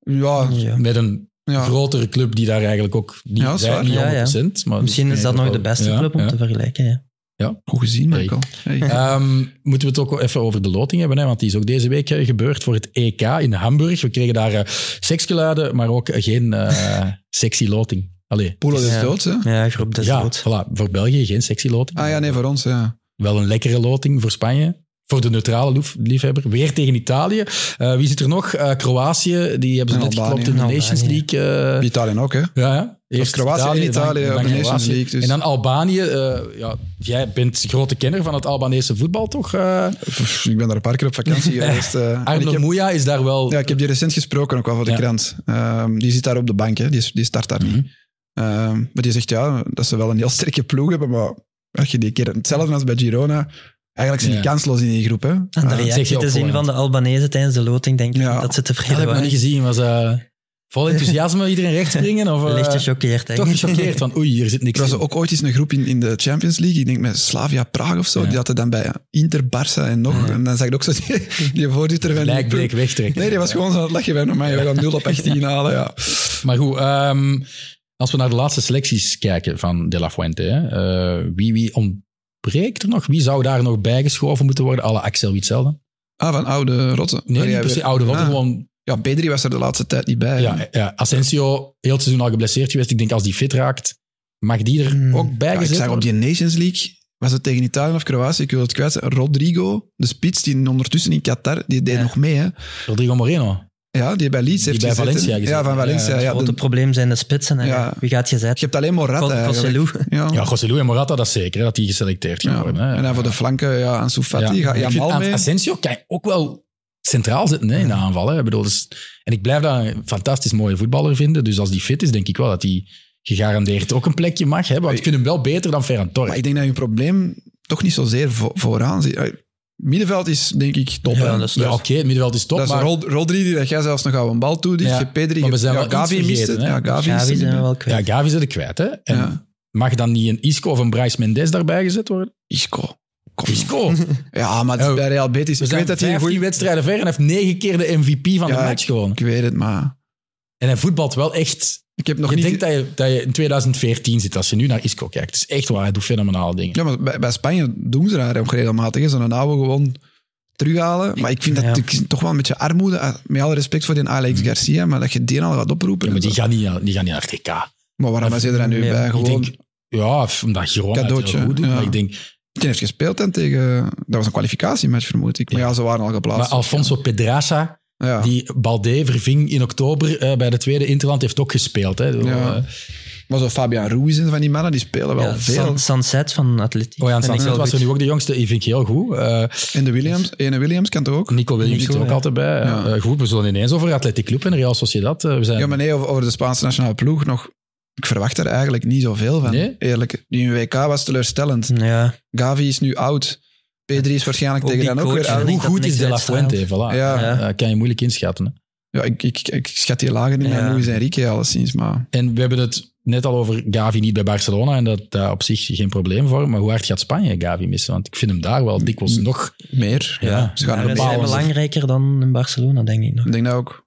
B: Ja,
C: Ja.
A: Met een
B: ja.
A: grotere club die daar eigenlijk ook niet,
B: Ja, dat is
A: zij-
B: waar.
A: niet
C: Ja, ja.
A: 100%. Maar
C: Misschien is dat nog de beste
A: Ja,
C: club om
A: ja.
C: te vergelijken. Ja.
B: Goed gezien, Michael. Hey.
A: Ehm, moeten we het ook even over de loting hebben, hè? want die is ook deze week eh, gebeurd voor het EK in Hamburg. We kregen daar eh, seksgeluiden, maar ook eh, geen eh, sexy loting. Allee.
B: Poelo is
C: Ja.
B: dood, hè?
C: ja, groep des
A: ja,
C: dood.
A: voilà, voor België geen sexy loting.
B: Ah ja, nee, voor ons, ja.
A: Wel een lekkere loting voor Spanje. Voor de neutrale lief- liefhebber. Weer tegen Italië. Eh, wie zit er nog? Eh, Kroatië. Die hebben ze
B: En
A: net
B: Albanië.
A: geklopt in de
C: Albanië.
A: Nations League. eh,
B: Bij Italië ook, hè?
A: Ja, ja. Eerst
B: Kroatië en Italië
A: dan- dan
B: op de Nations
A: Kroatië.
B: League, dus.
A: En dan Albanië. eh, ja, jij bent grote kenner van het Albanese voetbal, toch? eh
B: Pff, Ik ben daar een paar keer op vakantie geweest. eh. En ik
A: Arno
B: heb-
A: Mouya is daar wel...
B: Ja, ik heb die recent gesproken ook wel voor de
A: Ja.
B: krant. Ehm, die zit daar op de bank, hè. Die, is- die start daar
A: Mhm.
B: niet. Ehm, maar die zegt ja, dat ze wel een heel sterke ploeg hebben, maar als je die keer hetzelfde als bij Girona, eigenlijk zijn
A: Ja.
B: die kansloos in die groep. Hè.
C: Aan de
B: Eh,
A: zeg je
C: reactie
A: op
C: te zien
A: voorhand.
C: van de Albanese tijdens de loting, denk ik
B: Ja.
C: niet dat ze
A: dat
C: tevreden
A: heb ik nog
C: waren.
A: niet gezien. Was eh, vol enthousiasme iedereen recht springen? Of, eh,
C: Licht gechoqueerd, denk
A: toch
C: ik.
A: gechoqueerd van oei, hier zit niks
B: Er was
A: in.
B: ook ooit eens een groep in, in de Champions League, ik denk met Slavia Praag of zo,
A: Ja.
B: die hadden dan bij Inter, Barça en nog. En dan zag ik ook zo die, die voorzitter van die
A: Lijkbleek
B: ploeg.
A: wegtrekken.
B: Nee, die was gewoon zo aan het lachen bij mij. We gaan 0 op 18 halen, ja.
A: Maar goed, ehm, als we naar de laatste selecties kijken van De La Fuente, hè, eh, wie, wie ontbreekt er nog? Wie zou daar nog bijgeschoven moeten worden? Alle Axel Witzel?
B: Ah, van oude rotten.
A: Nee,
B: Maar
A: niet
B: jij
A: per se
B: weer-
A: oude rotte,
B: Ah.
A: gewoon
B: Ja, Pedri was er de laatste tijd niet bij.
A: Ja, ja, Asensio, heel het seizoen al geblesseerd geweest. Ik denk als die fit raakt, mag die er
C: Hmm.
A: ook bij
B: Ja, ik
A: gezet
B: zag op
A: worden?
B: die Nations League, was het tegen Italië of Kroatië, ik wil het kwijt, zijn, Rodrigo, de spits, die ondertussen in Qatar, die deed
C: Ja.
B: nog mee. Hè.
A: Rodrigo Moreno.
B: Ja, die bij Leeds
A: Die
B: heeft
A: bij
B: gezeten.
A: Valencia gezeten.
B: Ja, van Valencia.
A: Ja,
B: Ja,
A: het
C: Het grote
B: de-
C: probleem zijn de spitsen. hè.
B: Ja.
C: Wie gaat je
B: je
C: zetten?
B: hebt alleen Morata eigenlijk.
C: Kosselu.
B: Ja.
A: Ja, Gosselu en Morata, dat is zeker, hè, dat die geselecteerd gaan
B: Ja.
A: worden. Hè.
B: En dan voor de flanken, ja, Ansu Fati. Ja,
A: Ik vind
B: Jamal
A: An-
B: mee.
A: Asensio kan je ook wel centraal zitten hè, in de aanval. Hè. Ik bedoel, dus, en ik blijf dat een fantastisch mooie voetballer vinden. Dus als die fit is, denk ik wel dat hij gegarandeerd ook een plekje mag hebben. Want ik vind hem wel beter dan Ferran Torres.
B: Maar ik denk dat je probleem toch niet zozeer vo- vooraan zit. Eh, Middenveld is denk ik top.
C: Ja,
B: hè.
C: dat is- dus-
A: Ja, Oké, het middenveld is top,
B: dat is
A: maar...
B: Rod- Rodri die dat jij zelfs nog aan een bal toe. Die
A: Ja,
B: je Pedri,
A: maar we
B: je-
A: zijn
B: ja,
A: wel iets
B: Gavi mist
A: vergeten,
B: het.
A: hè.
B: Ja, Gavi
C: Ja,
B: is
C: wie
B: er niet
C: zijn we
B: bij.
C: wel
A: Ja,
C: kwijt.
A: Gavi zit er kwijt, hè. En
B: Ja.
A: mag dan niet een Isco of een Bryce Mendes daarbij gezet worden?
B: Isco. Kom.
A: Isco!
B: Ja, maar het is
A: Oh.
B: bij Real Betis.
A: We
B: Ik
A: zijn
B: weet dat hij een
A: 15
B: goeie-
A: wedstrijden ver en heeft negen keer de MVP van de
B: Ja,
A: match gewonnen.
B: Ik weet het, maar
A: En hij voetbalt wel echt...
B: ik heb nog
A: je
B: niet...
A: denkt dat je, dat je in 2014 zit als je nu naar Isco kijkt. Het is echt waar, hij doet fenomenale dingen.
B: Ja, maar bij, bij Spanje doen ze daar ook regelmatig. hè. Zo'n oude gewoon terughalen. Maar ik vind dat
C: Ja.
B: natuurlijk toch wel een beetje armoede. eh, Met alle respect voor die Alex Garcia, maar dat je die al gaat oproepen.
A: Mm. Ja, maar
B: en
A: die
B: zo.
A: gaan niet, naar- die gaan niet naar het TK.
B: Maar waarom is hij er dan nu
C: Ja,
B: bij?
C: ik
B: Gewoon,
A: Ik denk, ja, f- omdat Girona
B: Cadeautje,
A: het heel goed doet.
B: ja.
A: Maar ik denk,
B: Die heeft gespeeld dan tegen... Dat was een kwalificatiematch, vermoed ik. Maar ja, ze waren al
A: maar
B: geplaatst.
A: Alfonso Pedraza,
B: ja.
A: die Balde verving in oktober eh, bij de tweede Interland, heeft ook gespeeld. Hè. Door,
B: Ja.
A: eh,
B: Maar zo Fabian Ruiz en van die mannen, die spelen wel
C: Ja,
B: veel.
C: San- Sunset van Atletico.
A: Oh ja, en
C: Vind ik
A: Sanchez
C: wel
A: was er
C: goed.
A: nu ook de jongste. Die vind ik heel goed. Eh,
B: En de Williams, ene Williams kan toch ook?
A: Nico Williams
C: Nico,
A: zit er ook
C: ja.
A: altijd bij. hè.
B: Ja.
A: Eh, goed, we zullen ineens over Athletic Club en Real Sociedad. eh, we zijn
B: Ja, maar nee, over, over de Spaanse nationale ploeg nog... Ik verwacht er eigenlijk niet zoveel van,
A: Nee?
B: eerlijk. Die WK was teleurstellend.
C: Ja,
B: Gavi is nu oud. P3 is waarschijnlijk
C: Hm. Ook
B: tegen
C: die
B: dan ook
C: coach,
B: weer
C: hè?
B: oud.
A: hoe
C: denk dat
A: goed is
C: niks
A: De La
C: uitstraalt.
A: Fuente? Voilà.
B: Ja,
C: Ja.
A: Eh, kan je moeilijk inschatten. hè.
B: ja ik, ik, ik schat die lager in
C: Ja.
B: dan Luis Enrique alleszins. Maar
A: En we hebben het net al over Gavi niet bij Barcelona en dat daar op zich geen probleem voor. Maar hoe hard gaat Spanje Gavi missen? Want ik vind hem daar wel dikwijls
B: Mm.
A: nog...
B: meer.
A: Ja.
B: Ze gaan
C: daar
B: er
C: is hij
A: bepalen.
C: belangrijker dan in Barcelona, denk ik nog.
B: Ik denk dat ook.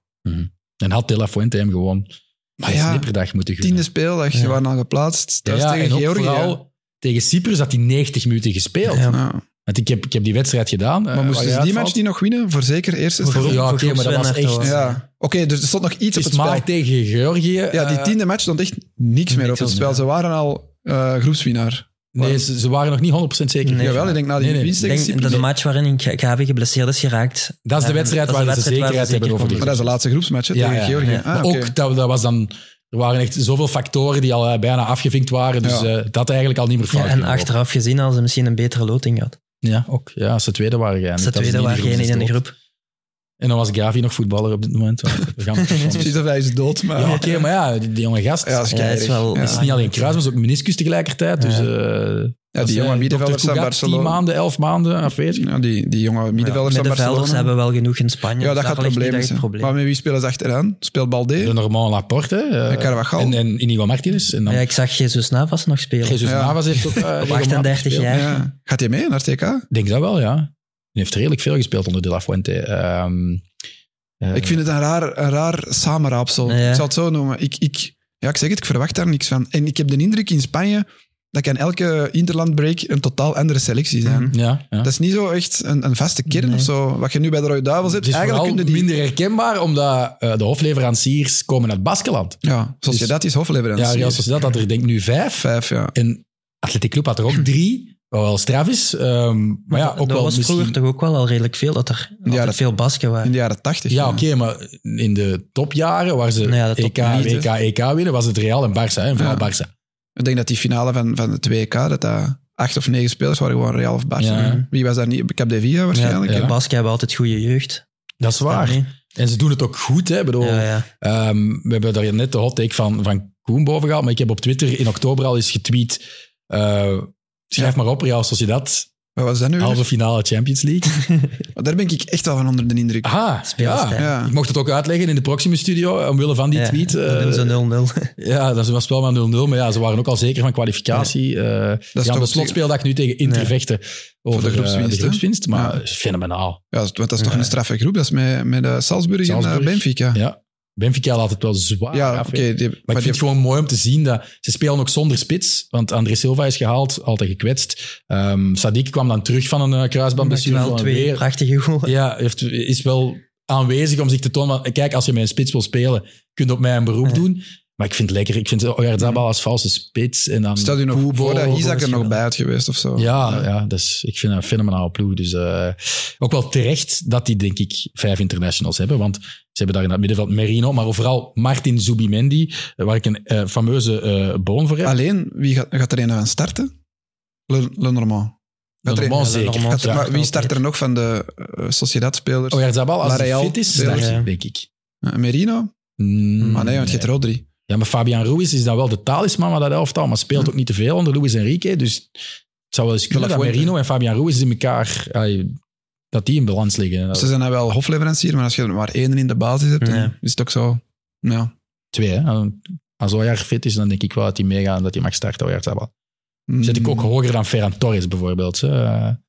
A: En had De La Fuente hem gewoon
B: Maar
A: een
B: ja,
A: snipperdag moeten gunnen.
B: Tiende speeldag, ze
C: Ja.
B: waren al geplaatst.
A: Ja,
B: Thuis
A: ja, en
B: tegen
A: ook
B: Georgië.
A: vooral tegen Cyprus had hij 90 minuten gespeeld.
C: Ja.
B: Ja.
A: Want ik heb, ik heb die wedstrijd gedaan. eh,
B: Maar
A: waar
B: moesten
A: je
B: ze die
A: uitvalt.
B: match niet nog winnen? Voor zeker eerst.
A: Voor-
B: Ja.
A: Ja, oké, maar dat was echt...
C: Groepswinnaar,
B: Ja. Oké, dus er stond nog iets op
A: Het
B: het
A: is
B: spel.
A: maar tegen Georgië.
B: Ja, die
A: eh,
B: tiende match stond echt niks meer op
C: niks
B: het
C: op,
B: spel.
C: ja.
B: Ze waren al eh, groepswinnaar.
A: Nee, ze, ze waren nog niet 100% zeker.
C: Nee.
B: Jawel, ik denk na die
A: Nee, nee,
B: winst
C: Ik
B: tegen
C: denk dat
B: Cyprus.
C: de match waarin Gavi geblesseerd is geraakt...
A: Dat is de
C: Ja,
A: wedstrijd
C: dat is
A: waar
C: de
A: ze
C: wedstrijd waar
A: zekerheid
C: we
A: hebben
C: zeker
A: over die
B: Maar dat is de laatste groepsmatch hè,
A: Ja,
B: tegen
A: ja,
B: Georgië.
C: ja.
B: Ah,
A: Maar
B: oké.
A: ook, dat, dat was dan... Er waren echt zoveel factoren die al eh, bijna afgevinkt waren. Dus
B: Ja.
A: eh, dat eigenlijk al niet meer fout.
C: Ja, en
A: kunnen lopen.
C: achteraf gezien hadden ze misschien een betere loting gehad.
A: Ja, ook. Ja, als ze tweede waren jij.
C: Ze tweede waren geen in de groep.
A: En dan was Gavi nog voetballer op dit moment. We gaan
B: Precies dat hij is dood, maar...
A: ja, oké, maar ja, die, die jonge gast.
B: Ja, dat is
C: Ja, het
B: keirig.
C: is wel-
B: Ja.
A: Het is niet alleen kruis, maar het is ook meniscus tegelijkertijd. Dus,
C: Ja.
A: eh,
B: Ja,
A: dat is,
B: die jonge
A: eh,
B: middenvelders
A: Dr.
B: van
A: Cugat,
B: Barcelona.
A: Tien maanden, elf maanden afwezig.
B: Ja, die, die jonge middenvelders van
C: Middenvelders
B: Barcelona.
C: hebben wel genoeg in Spanje.
B: ja,
C: dus
B: dat gaat
C: daar ligt niet
B: probleem
C: echt
B: zijn.
C: het probleem.
B: Maar met wie spelen ze achteraan? Speelt Balde?
A: De Norman Laporte. eh,
B: En Carvajal.
A: En, en Inigo Martinez. En dan
C: Ja, ik zag Jesus Navas nog spelen.
A: Jesus
B: Ja.
A: Navas heeft ook... eh, regelmatig
C: 38
A: gespeeld.
C: jaar.
B: Ja. Gaat hij mee naar het TK?
A: Ik denk dat wel, ja. Die heeft redelijk veel gespeeld onder De La Fuente. Ehm, eh,
B: Ik vind het een raar, een raar samenraapsel.
C: Ja.
B: Ik zou het zo noemen. Ik, ik, ja, ik zeg het, ik verwacht daar niks van. En ik heb de indruk in Spanje dat kan elke interlandbreak een totaal andere selectie zijn.
C: Mhm.
A: Ja, ja.
B: Dat is niet zo echt een, een vaste kern
C: Nee.
B: of zo. Wat je nu bij de Rode Duivels
A: Het
B: hebt,
A: is
B: eigenlijk
A: vooral
B: kunnen die...
A: minder herkenbaar, omdat eh, de hofleveranciers komen uit Baskeland.
B: Ja, zoals je dat is
A: Dus- Ja,
B: hofleverancier.
A: Real Sociedad had er denk ik nu vijf.
B: Vijf, ja.
A: En Athletic Club had er ook drie, wat wel straf is. Ehm, maar ja, ook
C: Hm. dat
A: wel
C: was
A: misschien...
C: vroeger toch ook wel al redelijk veel dat er altijd
B: dat-
C: veel Basken
B: In
C: waren.
B: de jaren tachtig.
A: Ja, oké, maar in de topjaren, waar ze
C: Nou ja,
A: EK,
C: de topjaren.
A: WK, EK winnen, was het Real en Barça. hè, En vooral
B: Ja.
A: Barça.
B: Ik denk dat die finale van, van het WK, dat dat acht of negen spelers waren gewoon Real of Barça.
A: Ja.
B: Wie was daar niet? Capdevia waarschijnlijk.
A: Ja.
C: De Basken hebben altijd goede jeugd.
A: Dat is waar.
C: Ja,
A: En ze doen het ook goed. Hè? Ik Bedoel,
C: ja, ja.
A: Ehm, we hebben daar net de hot take van, van Koen boven gehaald, maar ik heb op Twitter in oktober al eens getweet. eh, schrijf maar op, Real Sociedad,
B: Wat was dat nu? weer?
A: halve finale Champions League.
B: Daar ben ik echt wel van onder de indruk.
A: Aha,
C: Speelstijl.
A: Ah, ja.
B: Ja.
A: Ik mocht het ook uitleggen in de Proximus Studio, omwille van die
C: Ja,
A: tweet.
C: dan
A: eh,
C: doen ze 0-0.
A: ja, dat was wel maar 0-0, maar ja, ze waren ook al zeker van kwalificatie. eh
B: is
A: ja,
B: toch-
A: de slotspeeldag nu tegen Inter
C: Nee.
A: vechten over
B: de
A: eh,
B: groepswinst,
A: de
B: hè?
A: groepswinst, maar
B: Ja.
A: eh, fenomenaal.
B: Ja, want dat is toch een straffe groep. Dat is met, met eh, Salzburg, en
A: Salzburg.
B: eh, Benfica. Ja,
A: Ja. Benfica laat het wel zwaar af,
B: oké.
A: hè.
B: die-
A: Maar
B: maar
A: ik
B: die-
A: vind het gewoon mooi om te zien dat ze spelen ook zonder spits. Want André Silva is gehaald, altijd gekwetst. Ehm Sadik kwam dan terug van een eh, kruisbandblessure.
C: wel
A: van
C: twee
A: weer-
C: prachtige goals.
A: Ja, heeft, is wel aanwezig om zich te tonen. Van, kijk, als je met een spits wil spelen, kun je op mij een beroep
C: Ja.
A: doen. Maar ik vind het lekker. Ik vind Oyarzabal als valse spits. En dan
B: Stel je nog
A: Kubo,
B: voor dat Isaac er
A: Roosje.
B: nog bij had geweest of zo.
A: Ja, ja dus ik vind dat een fenomenaal ploeg. Dus eh, ook wel terecht dat die, denk ik, vijf internationals hebben. Want ze hebben daar in het middenveld Merino, maar vooral Martin Zubimendi, eh, waar ik een eh, fameuze eh, boon voor heb.
B: Alleen, wie gaat, gaat er een aan starten? Le, Le Normand. Gaat er-
A: Normaal zeker.
C: Normand,
B: gaat er-
A: ja. Oh,
B: maar wie start er nog van de eh, Sociedad-spelers?
A: Oyarzabal, als hij
B: Villarreal,
A: fit is,
B: Villarreal.
A: start,
C: Ja.
A: denk ik.
B: Eh, Merino?
A: Mm,
B: Ah nee, want je hebt Rodri.
A: Ja, maar Fabian Ruiz is dan wel de talisman van dat elftal, maar speelt
B: Hm.
A: ook niet te veel onder Luis Enrique. Dus het zou wel eens kunnen dat
B: Fuente.
A: Merino en Fabian Ruiz in elkaar... ai, dat die in balans liggen.
B: Ze zijn dan wel hofleverancier, maar als je er maar één in de basis hebt, dan
C: Nee.
B: is het ook zo. Ja.
A: Twee, hè. Als Ojar fit is, dan denk ik wel dat hij meegaat en dat hij mag starten, Oyarzabal.
B: Mm,
A: Zit ik ook hoger dan Ferran Torres bijvoorbeeld. hè.
B: ja,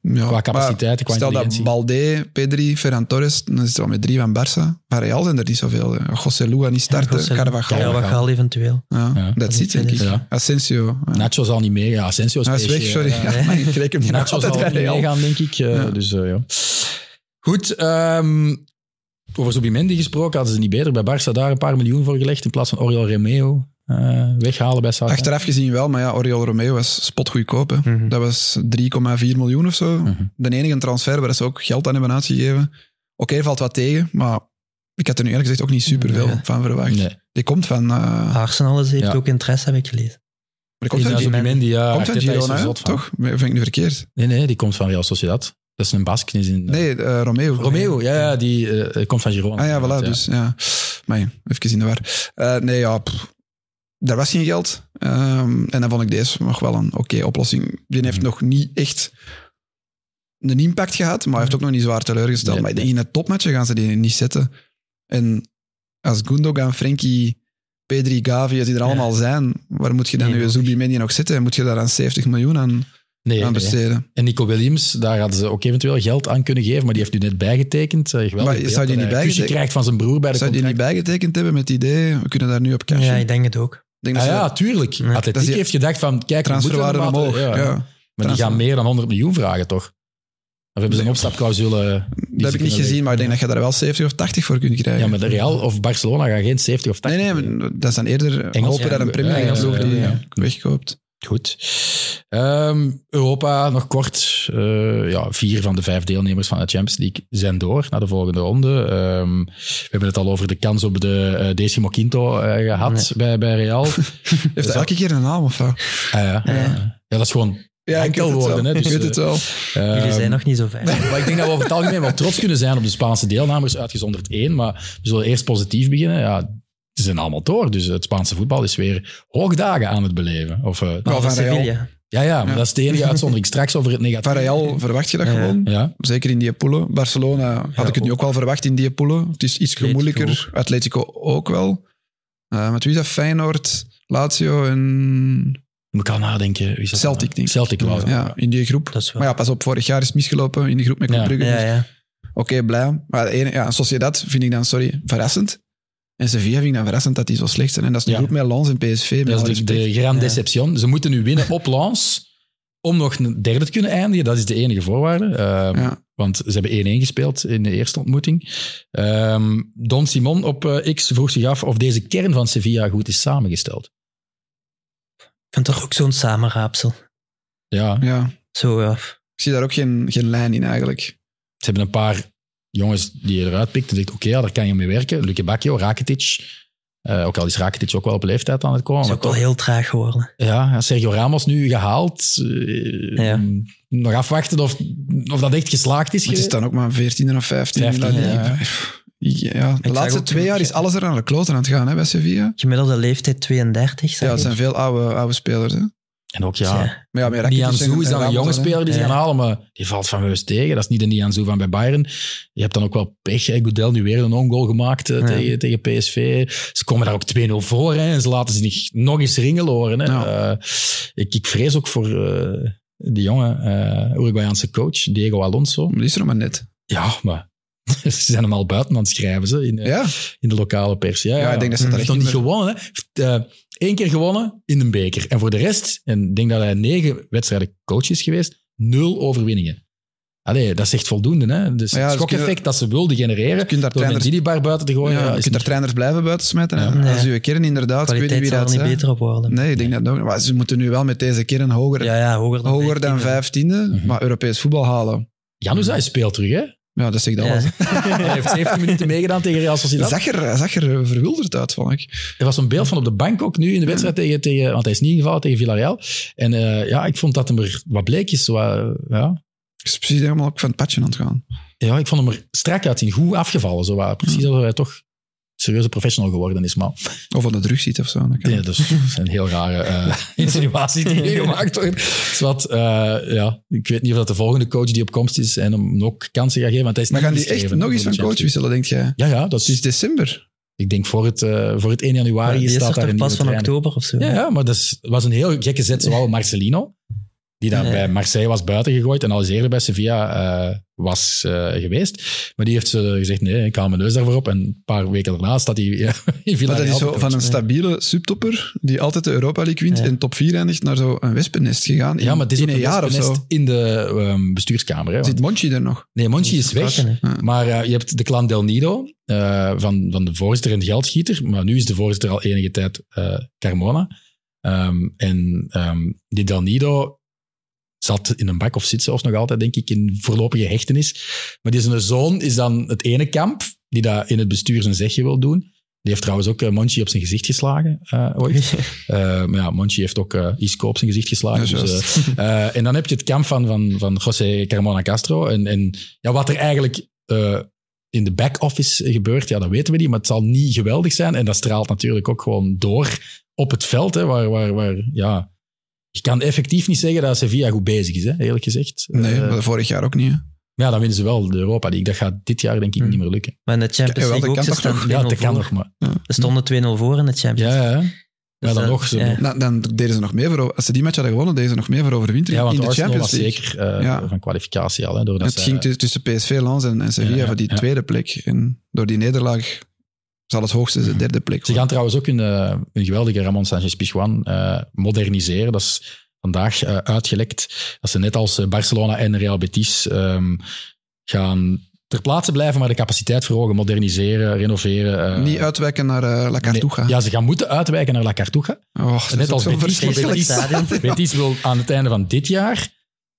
A: Qua
B: Oh, maar
A: capaciteit, qua
B: Stel dat
A: intelligentie.
B: Balde, Pedri, Ferran Torres, dan is het al met drie van Barça. Van Real zijn er niet zoveel. hè. José Lu gaat niet starten,
C: José Lu.
B: Carvajal.
A: Ja,
B: Ja,
A: we gaan.
C: Carvajal eventueel.
A: Ja,
B: dat zit denk ik.
A: Ja. Nou,
B: Asensio. Ja.
A: Nacho zal niet meegaan. Asensio eh,
B: Hij is
A: PSG,
B: weg, sorry.
A: ja.
B: Ja, maar ik reken die nog
A: Nacho zal
B: altijd bij
A: niet
B: Real.
A: meegaan, denk ik. Eh,
B: Ja.
A: Dus eh, ja. Goed, ehm, over Zubimendi gesproken hadden ze niet beter. Bij Barça daar een paar miljoen voor gelegd in plaats van Oriol Romeo eh, weghalen bij Southampton.
B: Achteraf gezien wel, maar ja, Oriol Romeo was spotgoedkoop.
A: Hm.
B: Hè.
C: Mhm.
B: Dat was 3,4 miljoen of zo.
A: Mhm.
B: De enige transfer waar ze ook geld aan hebben uitgegeven. Oké, valt wat tegen, maar ik had er nu eerlijk gezegd ook niet superveel
C: Nee.
B: van verwacht.
A: Nee.
B: Die komt van... eh, maar
C: Arsenal heeft
A: Ja.
C: ook interesse, heb ik gelezen.
B: die komt van,
A: Ja,
B: Gi-
A: Zubimendi, ja.
B: komt van
A: Arteta is er
B: Girona, hè,
A: zot van.
B: toch? Vind ik nu verkeerd?
A: Nee, nee, die komt van Real Sociedad. Dat is een Bask. die is in, eh,
B: Nee, eh, Romeo.
A: Romeo, ja, ja, die eh, komt van Girona.
B: Ah ja,
A: Ja.
B: voilà, dus ja. Maar ja, even in de war. Eh, nee, ja, pff, daar was geen geld. Ehm, en dan vond ik deze nog wel een oké oplossing. Die heeft
A: Mhm.
B: nog niet echt een impact gehad, maar heeft ook nog niet zwaar
A: Mhm.
B: teleurgesteld.
A: Nee.
B: Maar ik denk, in het topmatje gaan ze die niet zetten. En als Gundogan, Frenkie, Pedri, Gavi, als die er
C: Ja.
B: allemaal zijn, waar moet je dan
C: Nee,
B: nu
C: nog.
B: Zubimendi nog zitten? Moet je daar dan 70 miljoen aan,
A: Nee,
B: aan
A: nee.
B: besteden?
A: En Nico Williams, daar hadden ze ook eventueel geld aan kunnen geven, maar die heeft nu net bijgetekend. Eh, geweldig
B: Maar
A: beeld
B: zou die
A: dat
B: niet
A: hij een kusje
B: bijgetekend-
A: krijgt van zijn broer bij de
B: Zou je die niet
A: contract.
B: bijgetekend hebben met het idee, we kunnen daar nu op cashen?
C: Ja, ik
B: Ik
C: denk het ook.
B: denk
A: Ah
B: dat ze
A: ja, tuurlijk.
C: Ja.
A: Atletiek
B: Dat is die-
A: heeft gedacht van, kijk, we moeten
B: transferwaarde
A: er wat-
B: omhoog.
A: ja.
B: ja.
A: Maar die
B: Transfer-
A: gaan meer dan 100 miljoen vragen, toch? Of hebben ze een
B: Nee.
A: opstapclausule?
B: Dat heb ik niet gezien, maar ik denk dat je daar wel 70 of 80 voor kunt krijgen.
A: Ja, maar de Real of Barcelona gaan geen 70 of 80.
B: Nee, nee,
A: geven.
B: maar dat is dan eerder
A: Engels,
B: hopen
A: ja,
B: dat een Premier League
A: ja,
B: ploeg die
A: ja, ja.
B: wegkoopt.
A: Goed. Ehm, Europa, nog kort. Eh, ja, vier van de vijf deelnemers van de Champions League zijn door naar de volgende ronde. Ehm, we hebben het al over de kans op de eh, Decimo Quinto eh, gehad bij, bij Real.
B: Heeft
A: dat-
B: dat elke keer een naam of wat?
A: Ah, ja.
C: Ja.
A: ja, dat is gewoon.
B: Ja, ik weet het
A: Enkelwoorden,
B: wel.
A: hè, dus,
B: ik weet
A: eh,
B: het wel.
A: ehm,
C: Jullie zijn nog niet zo ver.
A: Maar ik denk dat we over het algemeen wel trots kunnen zijn op de Spaanse deelnemers, uitgezonderd één. Maar we zullen eerst positief beginnen. Ja, ze zijn allemaal door, dus het Spaanse voetbal is weer hoogdagen aan het beleven. Of, eh,
B: Wel van Real.
C: Sevilla.
A: ja, ja, maar
B: Ja.
A: dat is de enige uitzondering. Straks over het negatief.
B: Van Real verwacht je dat
C: Ja.
B: gewoon.
A: Ja,
B: Zeker in die poelen. Barcelona had ik het nu ook wel verwacht in die poelen. Het is iets
C: Atletico
B: moeilijker. Atletico ook wel. Eh met wie is dat? Feyenoord, Lazio en
A: moet ik al nadenken. Wie is dat
B: Celtic,
A: dan?
B: denk ik.
A: Celtic, Lazio.
B: ja, in die groep.
C: Dat is wel...
B: Maar ja, pas op, vorig jaar is het misgelopen in de groep met Club
A: Ja.
B: Brugge.
C: ja,
B: Dus
C: ja.
B: Oké, blij. Maar de ene, ja, Sociedad vind ik dan, sorry, verrassend. En Sevilla vind ik dan verrassend dat die zo slecht zijn. En dat is nu
A: Ja.
B: goed met Lens en PSV. met
A: Dat
B: alle
A: is de,
B: respect.
A: de grand
C: Ja.
A: deception. Ze moeten nu winnen op Lens om nog een derde te kunnen eindigen. Dat is de enige voorwaarde. Ehm,
B: Ja.
A: Want ze hebben 1-1 gespeeld in de eerste ontmoeting. Ehm, Don Simon op eh, X vroeg zich af of deze kern van Sevilla goed is samengesteld.
C: Ik vind dat ook zo'n samenraapsel.
A: Ja,
B: ja,
C: Zo, ja.
A: Oh,
B: ik zie daar ook geen, geen lijn in eigenlijk.
A: ze hebben een paar jongens die je eruit pikt en denkt, oké, ja, daar kan je mee werken. Luke Bakio, Rakitic. Eh, ook al is Rakitic ook wel op leeftijd aan het komen.
C: is
A: Maar
C: ook wel
A: toch,
C: heel traag geworden.
A: ja, Sergio Ramos nu gehaald. Eh,
C: Ja.
A: Nog afwachten of, of dat echt geslaagd is.
B: Maar het is dan ook maar 14 of 15.
A: 15,
B: Ja,
A: ja.
B: pff, ik- ja. De
C: zag
B: laatste
C: ook-
B: twee jaar is alles er aan de kloten aan het gaan hè, bij Sevilla.
C: Gemiddelde leeftijd 32,
B: Ja,
C: zeg
B: het
C: ik.
B: zijn veel oude, oude spelers. Hè.
A: en ook
C: Dus
A: ja,
B: Maar ja, met Rakitic
A: Nianzou
B: en-
A: is
B: en
A: dan een
B: Ramos
A: jonge
B: hè.
A: speler die ze
C: Ja.
A: gaan halen, maar die valt fameus tegen. Dat is niet de Nianzou van bij Bayern. Je hebt dan ook wel pech. Hè. Goodell nu weer een ongoal gemaakt eh,
C: Ja.
A: tegen, tegen PSV. Ze komen daar ook 2-0 voor hè, en ze laten zich nog eens ringeloren. Hè.
B: Ja.
A: Eh, ik, ik vrees ook voor eh, die jonge eh Uruguayaanse coach, Diego Alonso.
B: Maar Die is er nog maar net.
A: Ja, maar ze zijn hem al buiten aan het schrijven ze, in, eh,
B: Ja,
A: in de lokale pers. Ja,
B: ja, ik denk dat ze
C: Mm,
B: daar
A: heeft
B: echt
A: nog hmm, niet gewonnen.
B: niet meer-
A: hè. Heeft, eh, één keer gewonnen in een beker. En voor de rest, en ik denk dat hij negen wedstrijden coach is geweest, nul overwinningen. Allee, dat is echt voldoende. Hè? Dus
B: Maar ja,
A: het
B: ze
A: schokeffect
B: kunnen-
A: dat ze wilden genereren
B: kunt daar
A: door een
B: trainers-
A: Didibar buiten te gooien,
B: ja,
A: ja,
B: je
A: is
B: kunt daar
A: niet-
B: trainers blijven buiten smijten. hè.
C: Ja.
B: Als je kern inderdaad, ik weet niet
C: kwaliteit
B: wie
C: zal er
B: dat
C: niet
B: zei.
C: beter op worden.
B: Nee, ik denk dat nog. Maar ze moeten nu wel met deze kern hoger,
C: Ja, ja, hoger dan
B: hoger dan
C: 15e.
B: vijftiende,
A: Mhm.
B: maar Europees voetbal halen.
A: Januzaj speelt terug, hè?
B: Ja, dat zegt
C: Ja.
B: alles.
A: Hij heeft 17 minuten meegedaan tegen Real
B: Hij
A: Sociedad.
B: zag er, hij zag er eh, verwilderd uit, vond ik.
A: Er was een beeld van op de bank ook nu in de wedstrijd tegen, tegen want hij is niet ingevallen tegen Villarreal. En eh, ja, ik vond dat hem er wat bleekjes, zo, eh, ja.
B: Ik is precies helemaal ook van het padje aan het gaan.
A: ja, ik vond hem er strak uitzien, goed afgevallen, zo, wat. precies alsof hij toch serieuze professional geworden is. Maar
B: Of van de druk ziet of zo. dat kan.
A: ja, dus dat zijn heel rare eh, insinuaties die hier gemaakt worden. Dus wat, eh, ja, ik weet niet of dat de volgende coach die op komst is en hem ook kansen gaat geven, want hij is
B: Maar
A: niet
B: gaan die echt
A: geschreven
B: nog eens
A: voor de
B: van coach
A: Champions
B: wisselen, denk jij?
A: League. Ja, ja, dat
B: Het is
A: is,
B: december.
A: ik denk voor het, eh, voor het 1 januari
C: die is
A: staat
C: er
A: daar
C: toch
A: een
C: pas
A: nieuwe
C: van
A: trainer.
C: oktober of zo.
A: Ja, ja maar dat is- was een heel gekke zet. Zowel Marcelino, die daar
C: Ja.
A: bij Marseille was buitengegooid en al eens eerder bij Sevilla eh, was eh, geweest. Maar die heeft eh, gezegd, nee, ik haal mijn neus daarvoor op. En een paar weken daarna staat hij eh, in
B: Maar
A: Villarreal.
B: dat is zo van een
C: ja.
B: stabiele subtopper die altijd de Europa League wint
C: Ja.
B: en top 4 eindigt naar zo'n wespennest gegaan. In,
A: ja, maar het is
B: in
A: ook
B: een jaar of
A: wespennest
B: zo.
A: in de ehm, bestuurskamer. Hè, want-
B: Zit Monchi er nog?
A: nee, Monchi is weg.
C: Vertrokken, hè.
A: Maar eh, je hebt de clan Del Nido eh, van, van de voorzitter en de geldschieter. Maar nu is de voorzitter al enige tijd eh, Carmona. Ehm, en ehm, die Del Nido zat in een bak of zit zelfs nog altijd, denk ik, in voorlopige hechtenis. Maar die zijn zoon is dan het ene kamp die daar in het bestuur zijn zegje wil doen. Die heeft trouwens ook eh, Monchi op zijn gezicht geslagen eh, ooit. Eh, maar ja, Monchi heeft ook eh Isco op zijn gezicht geslagen.
B: Ja,
A: dus, eh, eh, en dan heb je het kamp van, van, van José Carmona Castro. En, en ja, wat er eigenlijk eh, in de back-office gebeurt, ja, dat weten we niet. Maar het zal niet geweldig zijn. En dat straalt natuurlijk ook gewoon door op het veld. Hè, waar, waar, waar, ja, je kan effectief niet zeggen dat Sevilla goed bezig is, hè, eerlijk gezegd.
B: Nee,
A: Eh,
B: maar vorig jaar ook niet. hè.
A: maar ja, dan winnen ze wel de Europa League. Dat gaat dit jaar denk ik
B: Hmm.
A: niet meer lukken.
C: Maar in de Champions
B: Ja, wel,
C: League ook,
B: dat
C: ze
B: kan
C: staan
B: toch
C: 2-0
A: Ja, dat kan
C: voor.
A: nog maar.
C: Ze stonden 2-0 voor in de Champions
A: Ja,
C: League.
A: ja. Maar dan
C: dat-
A: nog, ze,
C: ja.
A: ja.
B: Dan, dan deden ze nog meer voor, als ze die match hadden gewonnen, deden ze nog meer voor overwintering
A: want
B: in de
A: Arsenal
B: Champions
A: was
B: League.
A: zeker eh,
B: Ja.
A: van kwalificatie al. Hè, doordat
B: Het
A: zij-
B: ging tu- tussen PSV, Lens en, en Sevilla
A: Ja, ja,
B: voor die
A: ja.
B: tweede plek. En door die nederlaag zal het hoogste de derde plek
A: Mhm. Ze
B: worden.
A: gaan trouwens ook hun, eh, hun geweldige Ramon Sanchez-Pizjuan eh, moderniseren. Dat is vandaag eh, uitgelekt. Dat ze net als eh, Barcelona en Real Betis ehm, gaan ter plaatse blijven, maar de capaciteit verhogen, moderniseren, renoveren. eh.
B: Niet uitwijken naar eh, La
A: Nee,
B: Cartuja.
A: ja, ze gaan moeten uitwijken naar La Cartuja.
B: Och, dat
A: Net
B: is
A: als
B: ook zo
A: Betis, maar
B: verschrikkelijk.
A: Betis-
C: stadion.
A: Betis wil aan het einde van dit jaar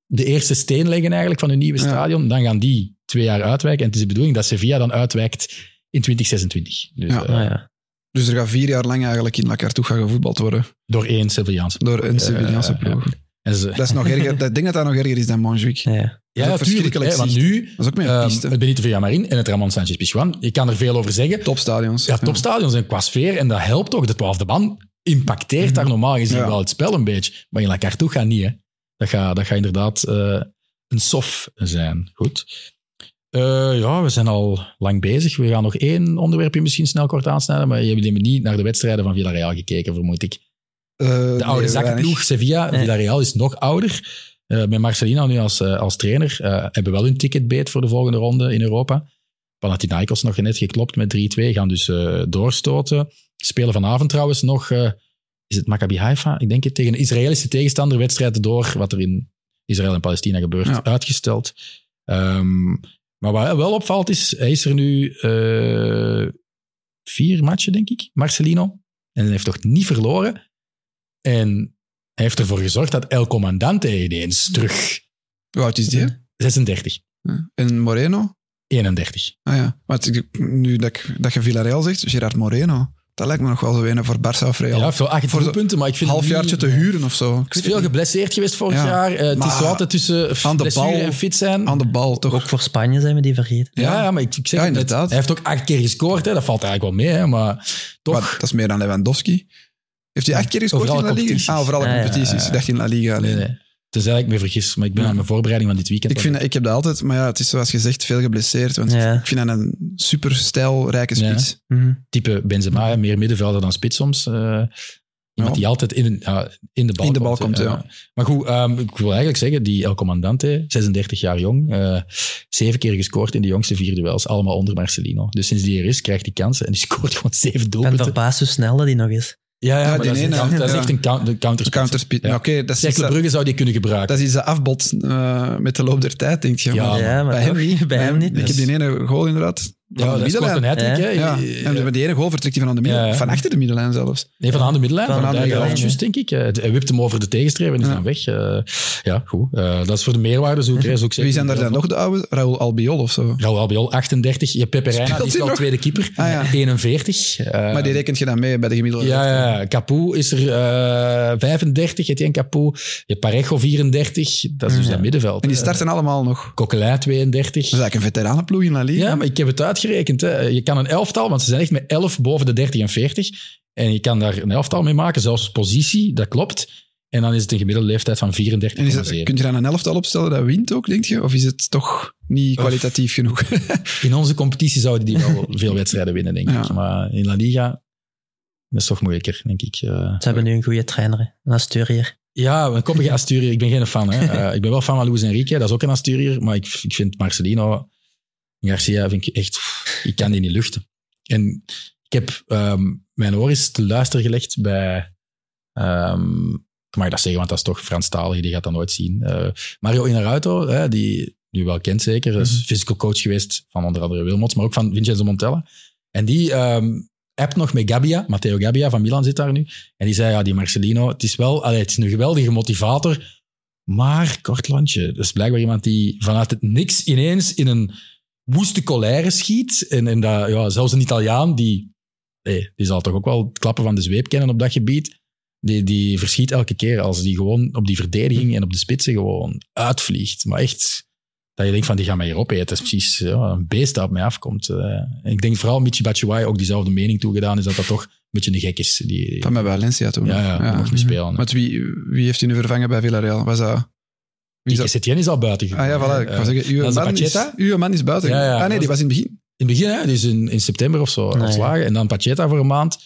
A: de eerste steen leggen eigenlijk van hun nieuwe
B: Ja.
A: stadion. Dan gaan die twee jaar uitwijken. En het is de bedoeling dat Sevilla dan uitwijkt in 2026. Dus,
B: Ja.
A: eh,
C: Ah, ja.
B: Dus er gaat vier jaar lang eigenlijk in La Cartuja gevoetbald worden
A: Door één Sevillaanse.
B: door een Sevillaanse
A: Eh,
B: ploeg.
A: En ze,
B: Dat is nog erger. dat- Ik denk dat dat nog erger is dan Montjuïc.
C: Ja, ja.
A: ja,
B: ook
A: natuurlijk,
B: verschrikkelijk
A: hè, want
B: zicht.
A: nu,
B: Dat is ook meer een
A: ehm
B: piste.
A: het Benito Villamarin en het Ramon Sanchez Pizjuan, je kan er veel over zeggen.
B: Topstadions.
A: Ja, topstadions en qua sfeer, en dat helpt ook. De twaalfde man impacteert daar normaal gezien
B: Mhm. Ja.
A: wel het spel een beetje. Maar in La Cartuja niet, hè. Dat gaat dat gaat inderdaad eh, een sof zijn. Goed. Eh, ja, we zijn al lang bezig. We gaan nog één onderwerpje misschien snel kort aansnijden, maar jullie hebben niet naar de wedstrijden van Villarreal gekeken, vermoed ik.
B: Eh,
A: De
B: nee,
A: oude zakkenploeg
B: weinig.
A: Sevilla,
C: Nee.
A: Villarreal is nog ouder. Eh, met Marcelino nu als, eh, als trainer eh, hebben wel hun ticket beet voor de volgende ronde in Europa. Panathinaikos nog net geklopt met 3-2, gaan dus eh, doorstoten. Spelen vanavond trouwens nog, eh, is het Maccabi Haifa? Ik denk het, tegen een Israëlische tegenstander. Wedstrijden door, wat er in Israël en Palestina gebeurt,
B: Ja.
A: uitgesteld. Ehm, maar wat wel opvalt is, hij is er nu eh, vier matchen, denk ik, Marcelino. En hij heeft toch niet verloren. En hij heeft ervoor gezorgd dat El Comandante ineens terug...
B: Hoe oud is die? hè?
A: 36,
B: Ja. En Moreno?
A: 31.
B: Ah ja. Maar het- nu dat, ik- dat je Villarreal zegt, Gerard Moreno. Dat lijkt me nog wel zo een voor Barça of
A: Ja,
B: Real.
A: hij heeft wel acht
B: Voor zo-
A: punten, maar ik
B: een
A: vind...
B: halfjaartje
A: niet-
B: te huren of zo. Ik
A: Hij
B: weet
A: is veel
B: het niet.
A: geblesseerd geweest vorig
B: Ja,
A: jaar. Eh, het is
B: maar
A: zo altijd tussen f-
B: aan de
A: blessure
B: bal-
A: en fit zijn.
B: Aan de bal, toch?
C: Ook voor Spanje zijn we die vergeten.
A: ja, ja, maar ik, ik zeg
B: Ja,
A: het net.
B: inderdaad.
A: Hij heeft ook acht keer gescoord. Hè. Dat valt eigenlijk wel mee, hè. maar toch...
B: Maar dat is meer dan Lewandowski. Heeft hij echt keer gescoord
A: Overal
B: in La
A: competities.
B: Liga? Ah, overal
C: Ja, ja,
B: competities.
A: ja.
B: Ik dacht in La Liga alleen.
A: nee, nee. Tenzij ik me vergis, maar ik ben
B: Ja.
A: aan mijn voorbereiding van dit weekend.
B: Ik, vind, dat- ik heb dat altijd, maar ja, het is zoals gezegd veel geblesseerd. Want
C: Ja.
B: ik vind dat een super stijlrijke spits.
C: Mhm.
A: type Benzema, hè, meer middenvelder dan spits soms. eh, iemand
B: Ja.
A: die altijd in, ja, in de bal
B: In de
A: komt.
B: bal komt,
A: eh,
B: ja.
A: Maar goed, ehm, ik wil eigenlijk zeggen, die El Comandante, 36 jaar jong, eh, zeven keer gescoord in de jongste vier duels, allemaal onder Marcelino. Dus sinds die er is, krijgt hij kansen en die scoort gewoon zeven
C: Ik ben
A: doelpunten.
C: verbaasd hoe snel dat die nog is.
A: Ja, ja, maar
B: die
A: dat, is een
B: ene,
A: count- dat is
B: ja.
A: echt een count, een counter.
B: Counterspeed.
A: Ja.
B: Nou, Oké, dat, is
A: Cercle
B: iets dat,
A: Brugge zou die kunnen gebruiken.
B: dat is iets dat afbot eh, met de loop der tijd, denk je.
A: Ja,
B: maar
A: maar
C: ja, maar
B: Ah, bij hem
C: toch,
B: niet.
C: Bij hem niet. Dus
B: Ik heb die ene goal inderdaad.
A: ja,
B: Van de
A: dat scoort een
B: middenlijn.
A: hat-trick,
C: Ja.
A: hè?
B: Ja, en met die ene goal vertrekt hij van aan de middenlijn.
A: Eh, Ja, ja.
B: Van achter de middenlijn zelfs.
A: Nee, van aan de middenlijn.
C: Van
A: Van
B: aan de
A: de
B: middenlijn,
A: middenlijn, denk ik. Eh, Hij wipt hem over de tegenstreep en is
B: Ja.
A: dan weg. Eh, ja, goed. Eh, dat is voor de meerwaardezoeker. hè. Is ook zeker
B: Mhm. Wie zijn daar dan nog de oude? Raúl Albiol of zo.
A: Raul Albiol, 38. Je hebt Pepe Reina, die
B: Speelt
A: is
B: hij
A: wel
B: nog?
A: tweede keeper.
B: Ah, ja.
A: 41. Eh,
B: Maar die rekent je dan mee bij de gemiddelde.
A: ja, ja, ja. Capoe is er eh 35, Etienne Capoe. Je hebt Parejo 34, dat is dus
C: Ja.
A: dat middenveld.
B: En die
A: hè.
B: starten allemaal nog.
A: Coquelin 32.
B: Dat is eigenlijk een veteranenploeg in La Liga.
A: Ja, maar ik heb het uitgerekend. Hè. Je kan een elftal, want ze zijn echt met 11 boven de 30 en 40. En je kan daar een elftal mee maken, zelfs positie, dat klopt. En dan is het een gemiddelde leeftijd van 34,7.
B: En is dat, kun je dan een elftal opstellen dat wint ook, denk je? Of is het toch niet kwalitatief genoeg?
A: In onze competitie zouden die wel veel wedstrijden winnen, denk ik.
B: Ja.
A: Maar in La Liga, dat is toch moeilijker, denk ik. Eh,
C: Ze hebben nu een goede trainer, hè. een Asturiër.
A: Ja, een koppige Asturiër. Ik ben geen fan. Hè. Eh, ik ben wel fan van Luis Enrique, dat is ook een Asturiër. Maar ik, ik vind Marcelino Garcia vind ik echt... pff, Ik kan die niet luchten. En ik heb ehm, mijn oor eens te luisteren gelegd bij... ehm, ik mag dat zeggen, want dat is toch Franstalig, die gaat dat nooit zien. Eh, Mario Inarauto, hè, die nu wel kent zeker, is physical coach geweest van onder andere Wilmots, maar ook van Vincenzo Montella. En die ehm appt nog met Gabbia, Matteo Gabbia van Milan zit daar nu. En die zei, ja, die Marcelino, het is wel allee, het is een geweldige motivator, maar kort landje. Dat is blijkbaar iemand die vanuit het niks ineens in een woeste colère schiet. En, en dat, ja, zelfs een Italiaan, die, nee, die zal toch ook wel het klappen van de zweep kennen op dat gebied, die, die verschiet elke keer als die gewoon op die verdediging en op de spitsen gewoon uitvliegt. Maar echt... Dat je denkt van, die gaan mij hier opeten. Dat is precies ja, een beest dat op mij afkomt. eh. En ik denk vooral Michi Batshuayi ook diezelfde mening toegedaan is dat dat toch een beetje een gek is. Die,
B: Van mij Valencia toen. Mhm.
A: ja, ja, die mocht niet spelen.
B: Want wie, wie heeft hij nu vervangen bij Villarreal? Was dat... Wie
A: Die
B: is dat?
A: Setien is al buiten
B: Ah
A: gegaan.
B: ja, voilà.
A: hè.
B: Ik wou zeggen, uw,
A: dat is de
B: man is,
A: Pacheta.
B: uw man is buiten.
A: Ja, ja.
B: ah nee, die was in het begin.
A: In het begin, hè, dus in, in september of zo,
C: Nee.
A: ontslagen. En dan Pacheta voor een maand.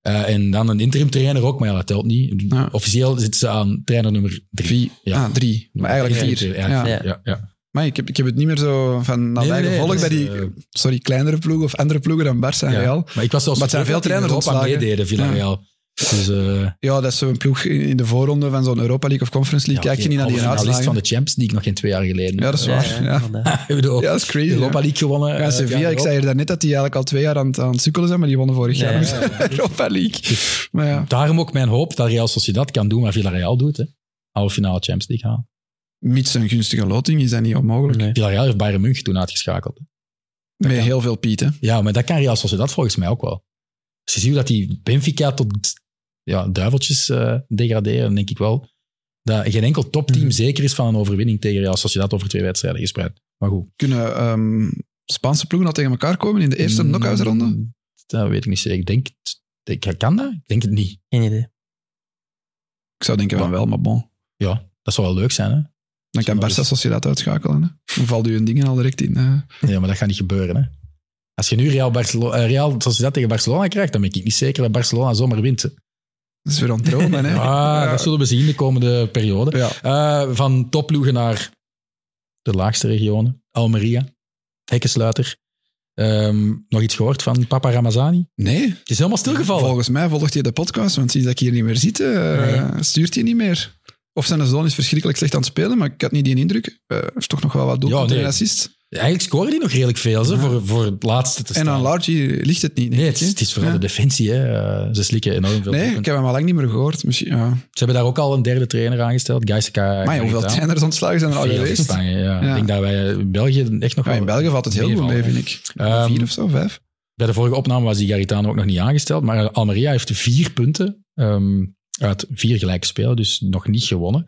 A: Eh, en dan een interim trainer ook, maar ja, dat telt niet.
B: Ja.
A: Officieel zitten ze aan trainer nummer drie.
B: Vier.
A: Ja.
B: Ah, drie. Maar eigenlijk
A: Ja,
B: vier. Ja.
A: eigenlijk
C: Ja.
A: vier, ja, ja.
B: Maar ik heb, ik heb het niet meer zo van
A: Nee,
B: nabij
A: nee, nee,
B: gevolgd
A: dat
B: bij
A: is,
B: die
A: eh,
B: sorry, kleinere ploegen of andere ploegen dan Barça en
A: ja.
B: Real.
A: Maar ik was zelfs
B: Maar het
A: vergeten
B: zijn veel
A: dat die in
B: trainers
A: Europa
B: ontslagen.
A: meededen, Villarreal. Dus eh
B: Ja, dat is zo'n ploeg in in de voorronde van zo'n Europa League of Conference League. Kijk je niet naar die
A: finalist
B: uitslagen.
A: van de Champions League nog geen twee jaar geleden.
B: Ja, dat is
A: Eh,
B: waar.
C: Ja,
B: ja.
C: inderdaad.
A: ik bedoel,
B: Ja, dat is crazy. ja.
A: Europa League gewonnen.
B: Ja,
A: eh,
B: Sevilla,
A: jaar
B: ik zei er daarnet dat die eigenlijk al twee jaar aan, het- aan het sukkelen zijn, maar die wonnen vorig
C: Ja,
B: jaar nog
C: ja,
B: de Europa League. Maar ja,
A: Daarom ook mijn hoop dat Real Sociedad kan doen wat Villarreal doet. Hè. Halve finale Champions League halen.
B: mits een gunstige loting is dat niet onmogelijk.
C: Nee.
A: Villarreal heeft Bayern München toen uitgeschakeld. hè.
B: Met heel veel pieten.
A: Ja, maar dat kan Real Sociedad volgens mij ook wel. Als je ziet hoe dat die Benfica tot ja, duiveltjes eh, degraderen, dan denk ik wel dat geen enkel topteam
C: Mhm.
A: zeker is van een overwinning tegen Real Sociedad over twee wedstrijden gespreid. Maar goed.
B: Kunnen ehm, Spaanse ploegen al tegen elkaar komen in de eerste
A: Mm,
B: knock-outronde?
A: Dat weet ik niet zeker. Ik denk, het- ik, kan dat? Ik denk het niet.
C: Geen idee.
B: Ik zou denken van wel, maar bon.
A: Dat zou wel leuk zijn, hè?
B: Dan kan Barça Sociedad uitschakelen. Hè. Dan valt u een dingen al direct in. eh.
A: Ja, maar dat gaat niet gebeuren, hè? Als je nu Real, Barcelo- eh, Real Sociedad tegen Barcelona krijgt, dan ben ik niet zeker dat Barcelona zomaar wint. hè.
B: Dat is weer aan het dromen, hè.
A: Ah,
B: Ja.
A: dat zullen we zien de komende periode.
B: Ja.
A: Eh, van topploegen naar de laagste regionen. Almeria, hekkensluiter. Ehm, nog iets gehoord van Papa Ramazani? Het
B: Nee,
A: is helemaal stilgevallen.
B: volgens mij volgt hij de podcast, want sinds dat ik hier niet meer zit, eh,
C: Nee.
B: stuurt hij niet meer. Of zijn zoon is verschrikkelijk slecht aan het spelen, maar ik had niet die indruk. Eh, Hij heeft toch nog wel wat doelpunten
A: Ja, nee.
B: en assists.
A: Eigenlijk scoren die nog redelijk veel ze,
B: Ja.
A: voor, voor het laatste te staan.
B: En aan Largy ligt het niet. denk
A: Nee,
B: ik,
A: het is,
B: hè?
A: het is vooral
B: Ja.
A: de defensie. Hè. Eh, ze slikken enorm veel.
B: Nee,
A: doelpunten.
B: ik heb hem al lang niet meer gehoord. Misschien, ja.
A: Ze hebben daar ook al een derde trainer aangesteld, Gaiseka.
B: Maar ja, hoeveel trainers ontslagen zijn er al
A: Veel
B: geweest?
A: gevangen, ja. Ik denk dat wij in België echt nog
B: Ja,
A: wel...
B: in België valt het heel goed mee, vind ik.
A: Ehm,
B: Vier of zo, vijf.
A: Bij de vorige opname was die Garitano ook nog niet aangesteld. Maar Almeria heeft vier punten ehm, uit vier gelijke spelen, dus nog niet gewonnen.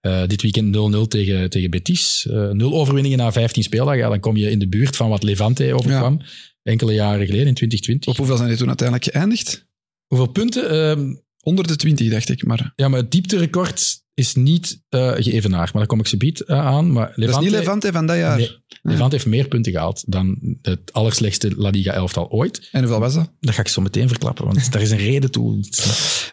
A: Eh, dit weekend 0-0 tegen, tegen Betis. Eh, Nul overwinningen na 15 speeldagen. Ja, dan kom je in de buurt van wat Levante overkwam. Enkele jaren geleden, in 2020.
B: Op hoeveel zijn die toen uiteindelijk geëindigd?
A: Hoeveel punten? Ehm,
B: Onder de twintig, dacht ik. Maar
A: ja, maar het diepterecord is niet eh geëvenaard. Maar daar kom ik zo aan. Maar Levante,
B: dat is niet Levante van dat jaar.
A: Nee. Levante heeft meer punten gehaald dan het allerslechtste La Liga elftal ooit.
B: En hoeveel was dat?
A: Dat ga ik zo meteen verklappen, want daar is een reden toe.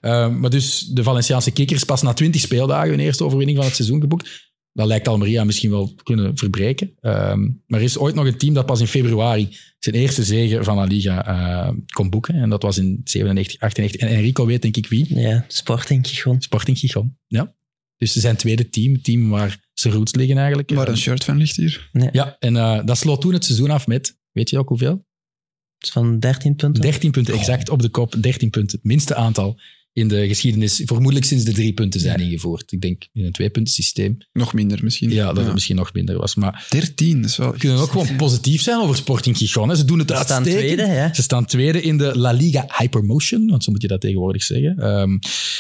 A: Eh, maar dus de Valenciaanse kikkers pas na 20 speeldagen hun eerste overwinning van het seizoen geboekt. dat lijkt Almeria misschien wel kunnen verbreken. Ehm, maar er is ooit nog een team dat pas in februari zijn eerste zege van La Liga eh, kon boeken. En dat was in 97, 98. En Enrico weet denk ik wie.
C: Ja, Sporting Gijon.
A: Sporting Gijon. Ja. Dus ze zijn tweede team, het team waar zijn roots liggen eigenlijk.
B: Waar een shirt van ligt hier.
A: Ja, en eh, dat sloot toen het seizoen af met, weet je ook hoeveel?
C: Dat is van 13 punten.
A: 13 punten exact op de kop, 13 punten. Het minste aantal in de geschiedenis, vermoedelijk sinds de drie punten zijn ingevoerd. Ik denk in een twee punten systeem.
B: Nog minder misschien.
A: Ja, dat het misschien nog minder was. Maar
B: 13, dat is wel...
A: we kunnen ook gewoon positief zijn over Sporting Gijon. hè. Ze doen het
C: Ze staan
A: uitstekend.
C: tweede, hè?
A: Ze staan tweede in de La Liga Hypermotion, want zo moet je dat tegenwoordig zeggen. Ehm,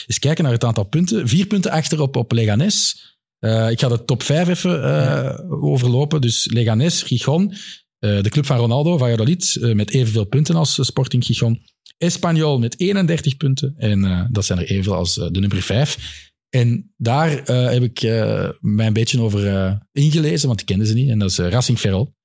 A: eens kijken naar het aantal punten. Vier punten achter op, op Leganes. Eh, ik ga de top vijf even eh, overlopen. Dus Leganes, Gijon, eh, de club van Ronaldo, Valladolid, eh, met evenveel punten als eh, Sporting Gijon. Espanyol met 31 punten. En eh, dat zijn er evenveel als eh, de nummer vijf. En daar eh, heb ik eh, mij een beetje over eh, ingelezen, want ik kende ze niet. En dat is eh, Racing Ferrol.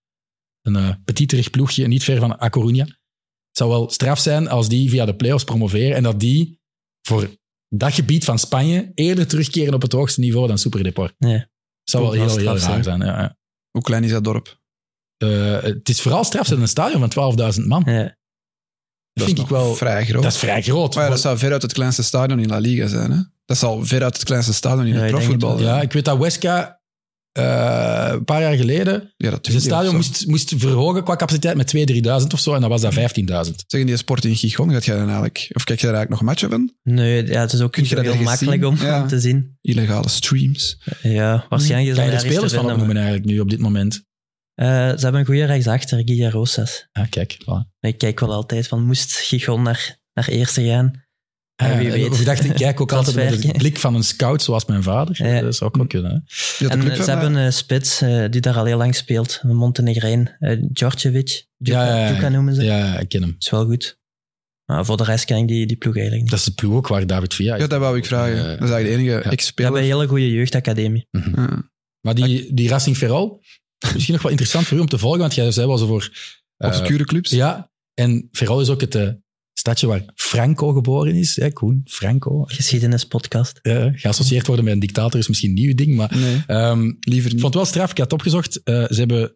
A: Een eh petiterig ploegje, niet ver van A Coruña. Het zou wel straf zijn als die via de playoffs promoveren en dat die voor dat gebied van Spanje eerder terugkeren op het hoogste niveau dan Super Deport.
C: Ja.
A: zou wel
C: Ook wel
A: heel, heel
C: straf
A: raar zijn. ja, ja.
B: Hoe klein is dat dorp?
A: Eh, het is vooral straf zijn in een stadion van 12.000 man.
C: Ja.
A: Dat vind
B: is
A: ik
B: nog
A: wel...
B: vrij groot.
A: Dat is vrij groot.
B: Maar ja, dat zou veruit het kleinste stadion in La Liga zijn. Hè? Dat zal veruit het kleinste stadion in
C: Ja,
B: het
C: ik denk
B: profvoetbal
C: het
A: ja,
B: zijn.
A: ik weet dat Wesca eh, een paar jaar geleden
B: Ja, dat
A: Dus het stadion moest, moest verhogen qua capaciteit met 2.000, 3.000 of zo. En dan was dat 15.000.
B: Zeggen die sport in Gijon, gaat jij dan eigenlijk... Of kijk jij daar eigenlijk nog matchen van?
C: Nee, ja, het is ook
B: Kun
C: niet
B: je
C: zo
B: dat
C: heel
B: ergens
C: makkelijk
B: zien?
C: om
B: Ja.
C: om te zien.
B: Illegale streams.
C: Ja, waarschijnlijk is
A: Kan Hm. je
C: dat
A: er
C: ergens te
A: spelers van
C: vinden,
A: opnoemen eigenlijk nu op dit moment?
C: maar- Eh, ze hebben een goede rechtsachter, Guilla Rosas.
A: Ah, kijk. Voilà.
C: Ik kijk wel altijd van, moest Gigon naar, naar eerste gaan?
A: Ah,
C: En wie
A: ja,
C: weet.
A: Ik dacht, ik kijk ook altijd met
C: Transfer.
A: een blik van een scout zoals mijn vader.
C: Ja.
A: Dat zou ook wel kunnen. hè.
B: Ja, de
C: en
B: club
C: eh, ze
B: van-
C: hebben een spits eh, die daar al heel lang speelt, een Montenegrijn, eh Djordjevic. Djuka,
A: Ja, ja, ja.
C: Djuka noemen ze.
A: Ja, ik ken hem.
C: Is wel goed. Maar voor de rest ken ik die, die ploeg eigenlijk niet.
A: Dat is de ploeg ook waar David Villa is.
B: Ja, dat wou ik vragen.
A: Eh,
B: dat is eigenlijk de enige
A: ja.
C: Ze hebben
B: ex-speler.
C: een hele goede jeugdacademie.
B: Ja.
A: Maar die, die Racing Ferrol, misschien nog wel interessant voor u om te volgen, want jij zei wel zo voor... eh,
B: Obscure clubs.
A: ja, en Ferrol is ook het eh, stadje waar Franco geboren is. Hè, Koen, Franco.
C: Geschiedenispodcast.
A: Eh, geassocieerd worden met een dictator is misschien een nieuw ding, maar...
B: Nee,
A: ehm,
B: liever
A: Ik
B: niet.
A: vond het wel straf. Ik had opgezocht. eh, ze hebben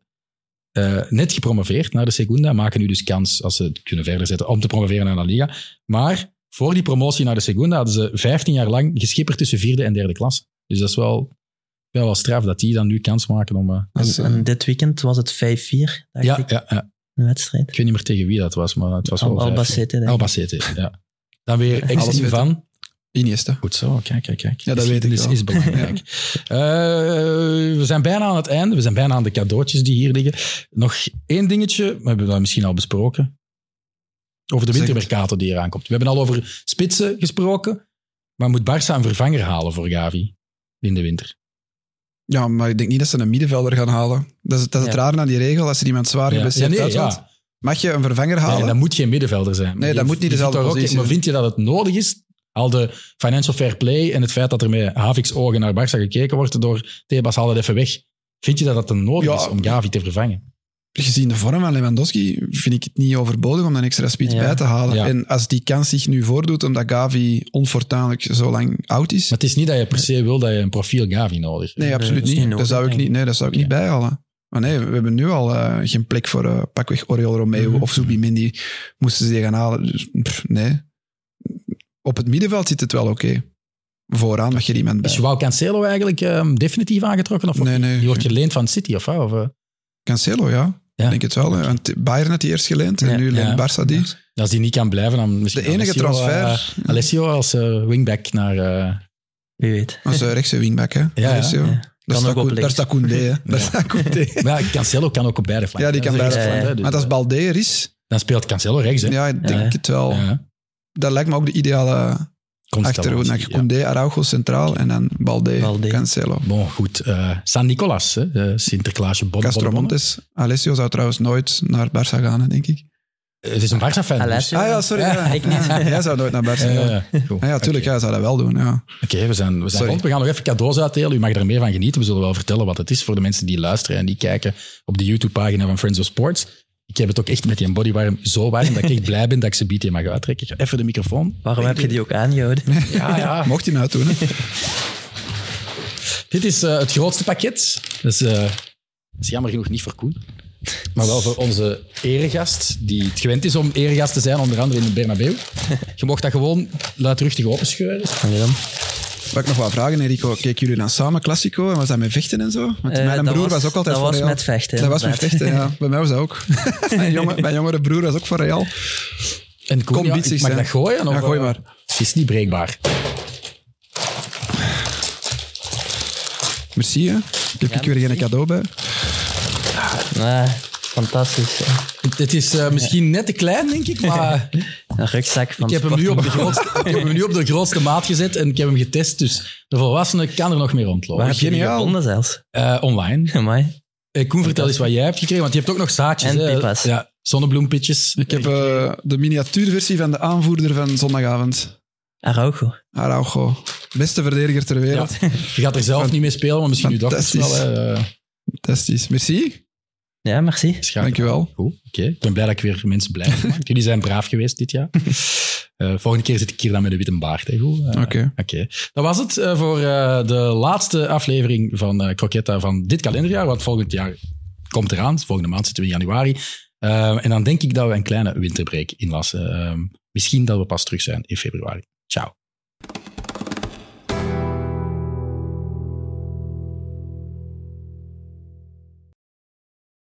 A: eh, net gepromoveerd naar de Segunda. Maken nu dus kans, als ze het kunnen verder zetten, om te promoveren naar La Liga. Maar voor die promotie naar de Segunda hadden ze 15 jaar lang geschipperd tussen vierde en derde klasse. Dus dat is wel, wel, wel straf dat die dan nu kans maken om. eh,
B: Dat is,
C: En,
B: eh,
C: en dit weekend was het 5-4, dacht
A: ja,
C: ik,
A: ja, ja.
C: een wedstrijd.
A: ik weet niet meer tegen wie dat was, maar het was wel.
C: Al,
A: vijf.
C: Albacete, denk ik.
A: Albacete, ja. Dan weer
B: Alles
A: ex-team
B: weten.
A: van.
B: Iniesta.
A: Goed zo, kijk, kijk, kijk.
B: Ja, dat weet ik
A: Geschiedenis
B: wel.
A: is belangrijk. Eh, we zijn bijna aan het einde. We zijn bijna aan de cadeautjes die hier liggen. Nog één dingetje. We hebben dat misschien al besproken. Over de
B: Zeg het.
A: wintermercato die eraan komt. We hebben al over spitsen gesproken. Maar moet Barça een vervanger halen voor Gavi in de winter?
B: Ja, maar ik denk niet dat ze een middenvelder gaan halen. Dat is, dat is het
C: Ja.
B: raar naar die regel. Als er iemand zwaar
A: Ja,
B: geblesseerd
A: nee,
B: uitvalt,
A: ja.
B: mag je een vervanger halen.
A: Nee, dat moet geen middenvelder zijn. Maar
B: dat
A: je-
B: moet niet
A: je
B: dezelfde
A: vindt daar ook-
B: positie
A: Maar
B: zijn.
A: vind je dat het nodig is? Al de financial fair play en het feit dat er met Havik's ogen naar Barça gekeken wordt door Tebas, haal het even weg. Vind je dat dat dan nodig
B: Ja.
A: is om Gavi te vervangen?
B: gezien de vorm van Lewandowski vind ik het niet overbodig om een extra speed
C: Ja.
B: bij te halen.
A: Ja.
B: En als die kans zich nu voordoet, omdat Gavi onfortuinlijk zo lang oud is.
A: Maar het is niet dat je per se wil dat je een profiel Gavi nodig hebt.
B: Nee, absoluut
C: dat is
B: niet.
C: niet
B: dat
C: nodig,
B: zou ik
C: denk
B: niet, nee, dat zou ik niet bijhalen. Maar nee, we hebben nu al eh, geen plek voor eh, pakweg Oriol Romeo
C: Mhm.
B: of Zubimendi. Moesten ze die gaan halen? Dus, pff, nee. Op het middenveld zit het wel oké. Vooraan mag je er iemand bij.
A: Is Joao Cancelo eigenlijk ehm, definitief aangetrokken? Of
B: Nee, nee.
A: Die wordt geleend van City, of, wat? of eh,
B: Cancelo, ja.
A: Ja.
B: Ik denk het wel. hè. Want Bayern had die eerst geleend en
C: Ja.
B: nu leent
A: Ja.
B: Barça die.
A: Als die niet kan blijven, dan misschien...
B: De enige
A: Alessio,
B: transfer...
A: eh, Alessio als eh, wingback naar... eh,
C: Wie weet.
B: Dat is een rechtse wingback, hè?
A: ja.
B: Alessio.
C: Ja.
B: Daar
C: Kan
B: staat
C: ook op
B: Koen- Daar
C: links.
B: staat Koundé, hè.
A: Ja.
B: Daar staat Koundé.
A: maar ja, Cancelo kan ook op beide flanken.
B: Ja, die
A: Dat
B: kan
A: is een rechtsflank,
C: beide flanken.
A: hè, dus,
B: Maar als
A: eh,
B: Baldeer is,
A: Dan speelt Cancelo rechts, hè?
B: ja, ik denk
C: Ja.
B: het wel.
A: Ja.
B: Dat lijkt me ook de ideale
A: Constellatie,
B: achterhoede. Dan
A: ja.
B: Koundé, Araujo centraal en dan Balde,
C: Balde.
B: Cancelo.
A: Bon, goed. eh, San Nicolas, hè? eh, Sinterklaasje, bon,
B: Castro
A: bon, bon.
B: Montes. Alessio zou trouwens nooit naar Barça gaan, hè, denk ik.
A: Eh, Het is een Barca-fan. dus.
C: Alessio.
B: Ah ja, sorry.
A: Ja,
B: Ja.
C: ik niet.
B: Jij zou nooit naar Barça
A: Eh,
B: gaan.
A: goed.
B: Ah ja, tuurlijk,
A: Oké.
B: hij zou dat wel doen. Ja.
A: Oké, we zijn, we zijn
B: Sorry.
A: rond. We gaan nog even cadeaus uitdelen. U mag er meer van genieten. We zullen wel vertellen wat het is voor de mensen die luisteren en die kijken op de YouTube-pagina van Friends of Sports. Ik heb het ook echt met die bodywarm zo warm dat ik echt blij ben dat ik ze biedt mag uittrekken. Ik ga even de microfoon.
C: Waarom heb je die ook aangehouden?
A: Ja, ja.
B: Mocht hij nou doen. Hè.
A: Heb Dit is eh, het grootste pakket. Dat is, eh, dat is jammer genoeg niet voor Koen. Maar wel voor onze eregast, die het gewend is om eregast te zijn, onder andere in de Bernabeu. Je mocht dat gewoon luidruchtig openscheuren.
C: Allee dan.
B: Wat ik nog wat vragen, Enrico. Keken jullie dan samen Classico? En was dat met vechten en zo? Want
C: Eh,
B: mijn
C: dat
B: broer was,
C: was-
B: ook altijd
C: dat
B: voor
C: was
B: Real.
C: met vechten,
B: Dat was met
C: inderdaad.
B: vechten, ja. Bij mij was dat ook. mijn, jonge, mijn jongere broer was ook voor Real.
A: En Koen,
B: Kom,
A: ja,
B: bied
A: ik
B: zich,
A: mag
B: hè.
A: dat gooien? Of,
B: Ja, gooi
A: eh,
B: maar.
A: Het is niet breekbaar.
B: Merci, hè. Ik heb ik weer geen cadeau bij.
C: Nee, Ah, fantastisch.
A: Het, het is eh, misschien net te klein, denk ik, maar eh,
C: Een rugzak van
A: ik heb, hem nu op
C: Sportman.
A: de grootste, ik heb hem nu op de grootste maat gezet en ik heb hem getest. Dus de volwassene kan er nog mee
C: Waar
A: rondlopen.
C: heb je die
B: Geniaal.
C: gevonden zelfs?
A: Eh, online.
C: Amai.
A: Eh, Koen, vertel eens wat jij hebt gekregen, want je hebt ook nog zaadjes.
C: En
A: hè?
C: pipas.
A: Ja, zonnebloempitjes.
B: Ik heb eh, de miniatuurversie van de aanvoerder van zondagavond.
C: Araujo.
B: Araujo. Beste verdediger ter wereld.
A: Je gaat er zelf niet mee spelen, maar misschien nu dochters wel.
B: Fantastisch.
A: hè. Eh,
B: Fantastisch. Merci.
C: Ja, merci.
A: schakel.
B: Dankjewel.
A: Goed, oké. Ik ben blij dat ik weer mensen blij heb gemaakt. Jullie zijn braaf geweest dit jaar. Eh, volgende keer zit ik hier dan met een witte baard. Hè. Goed, eh,
B: Oké.
A: Oké, dat was het eh, voor eh, de laatste aflevering van eh Croquetta van dit kalenderjaar. Want volgend jaar komt eraan. Volgende maand zitten we in januari. Eh, Ehm, en dan denk ik dat we een kleine winterbreak inlassen. Eh, misschien dat we pas terug zijn in februari. Ciao.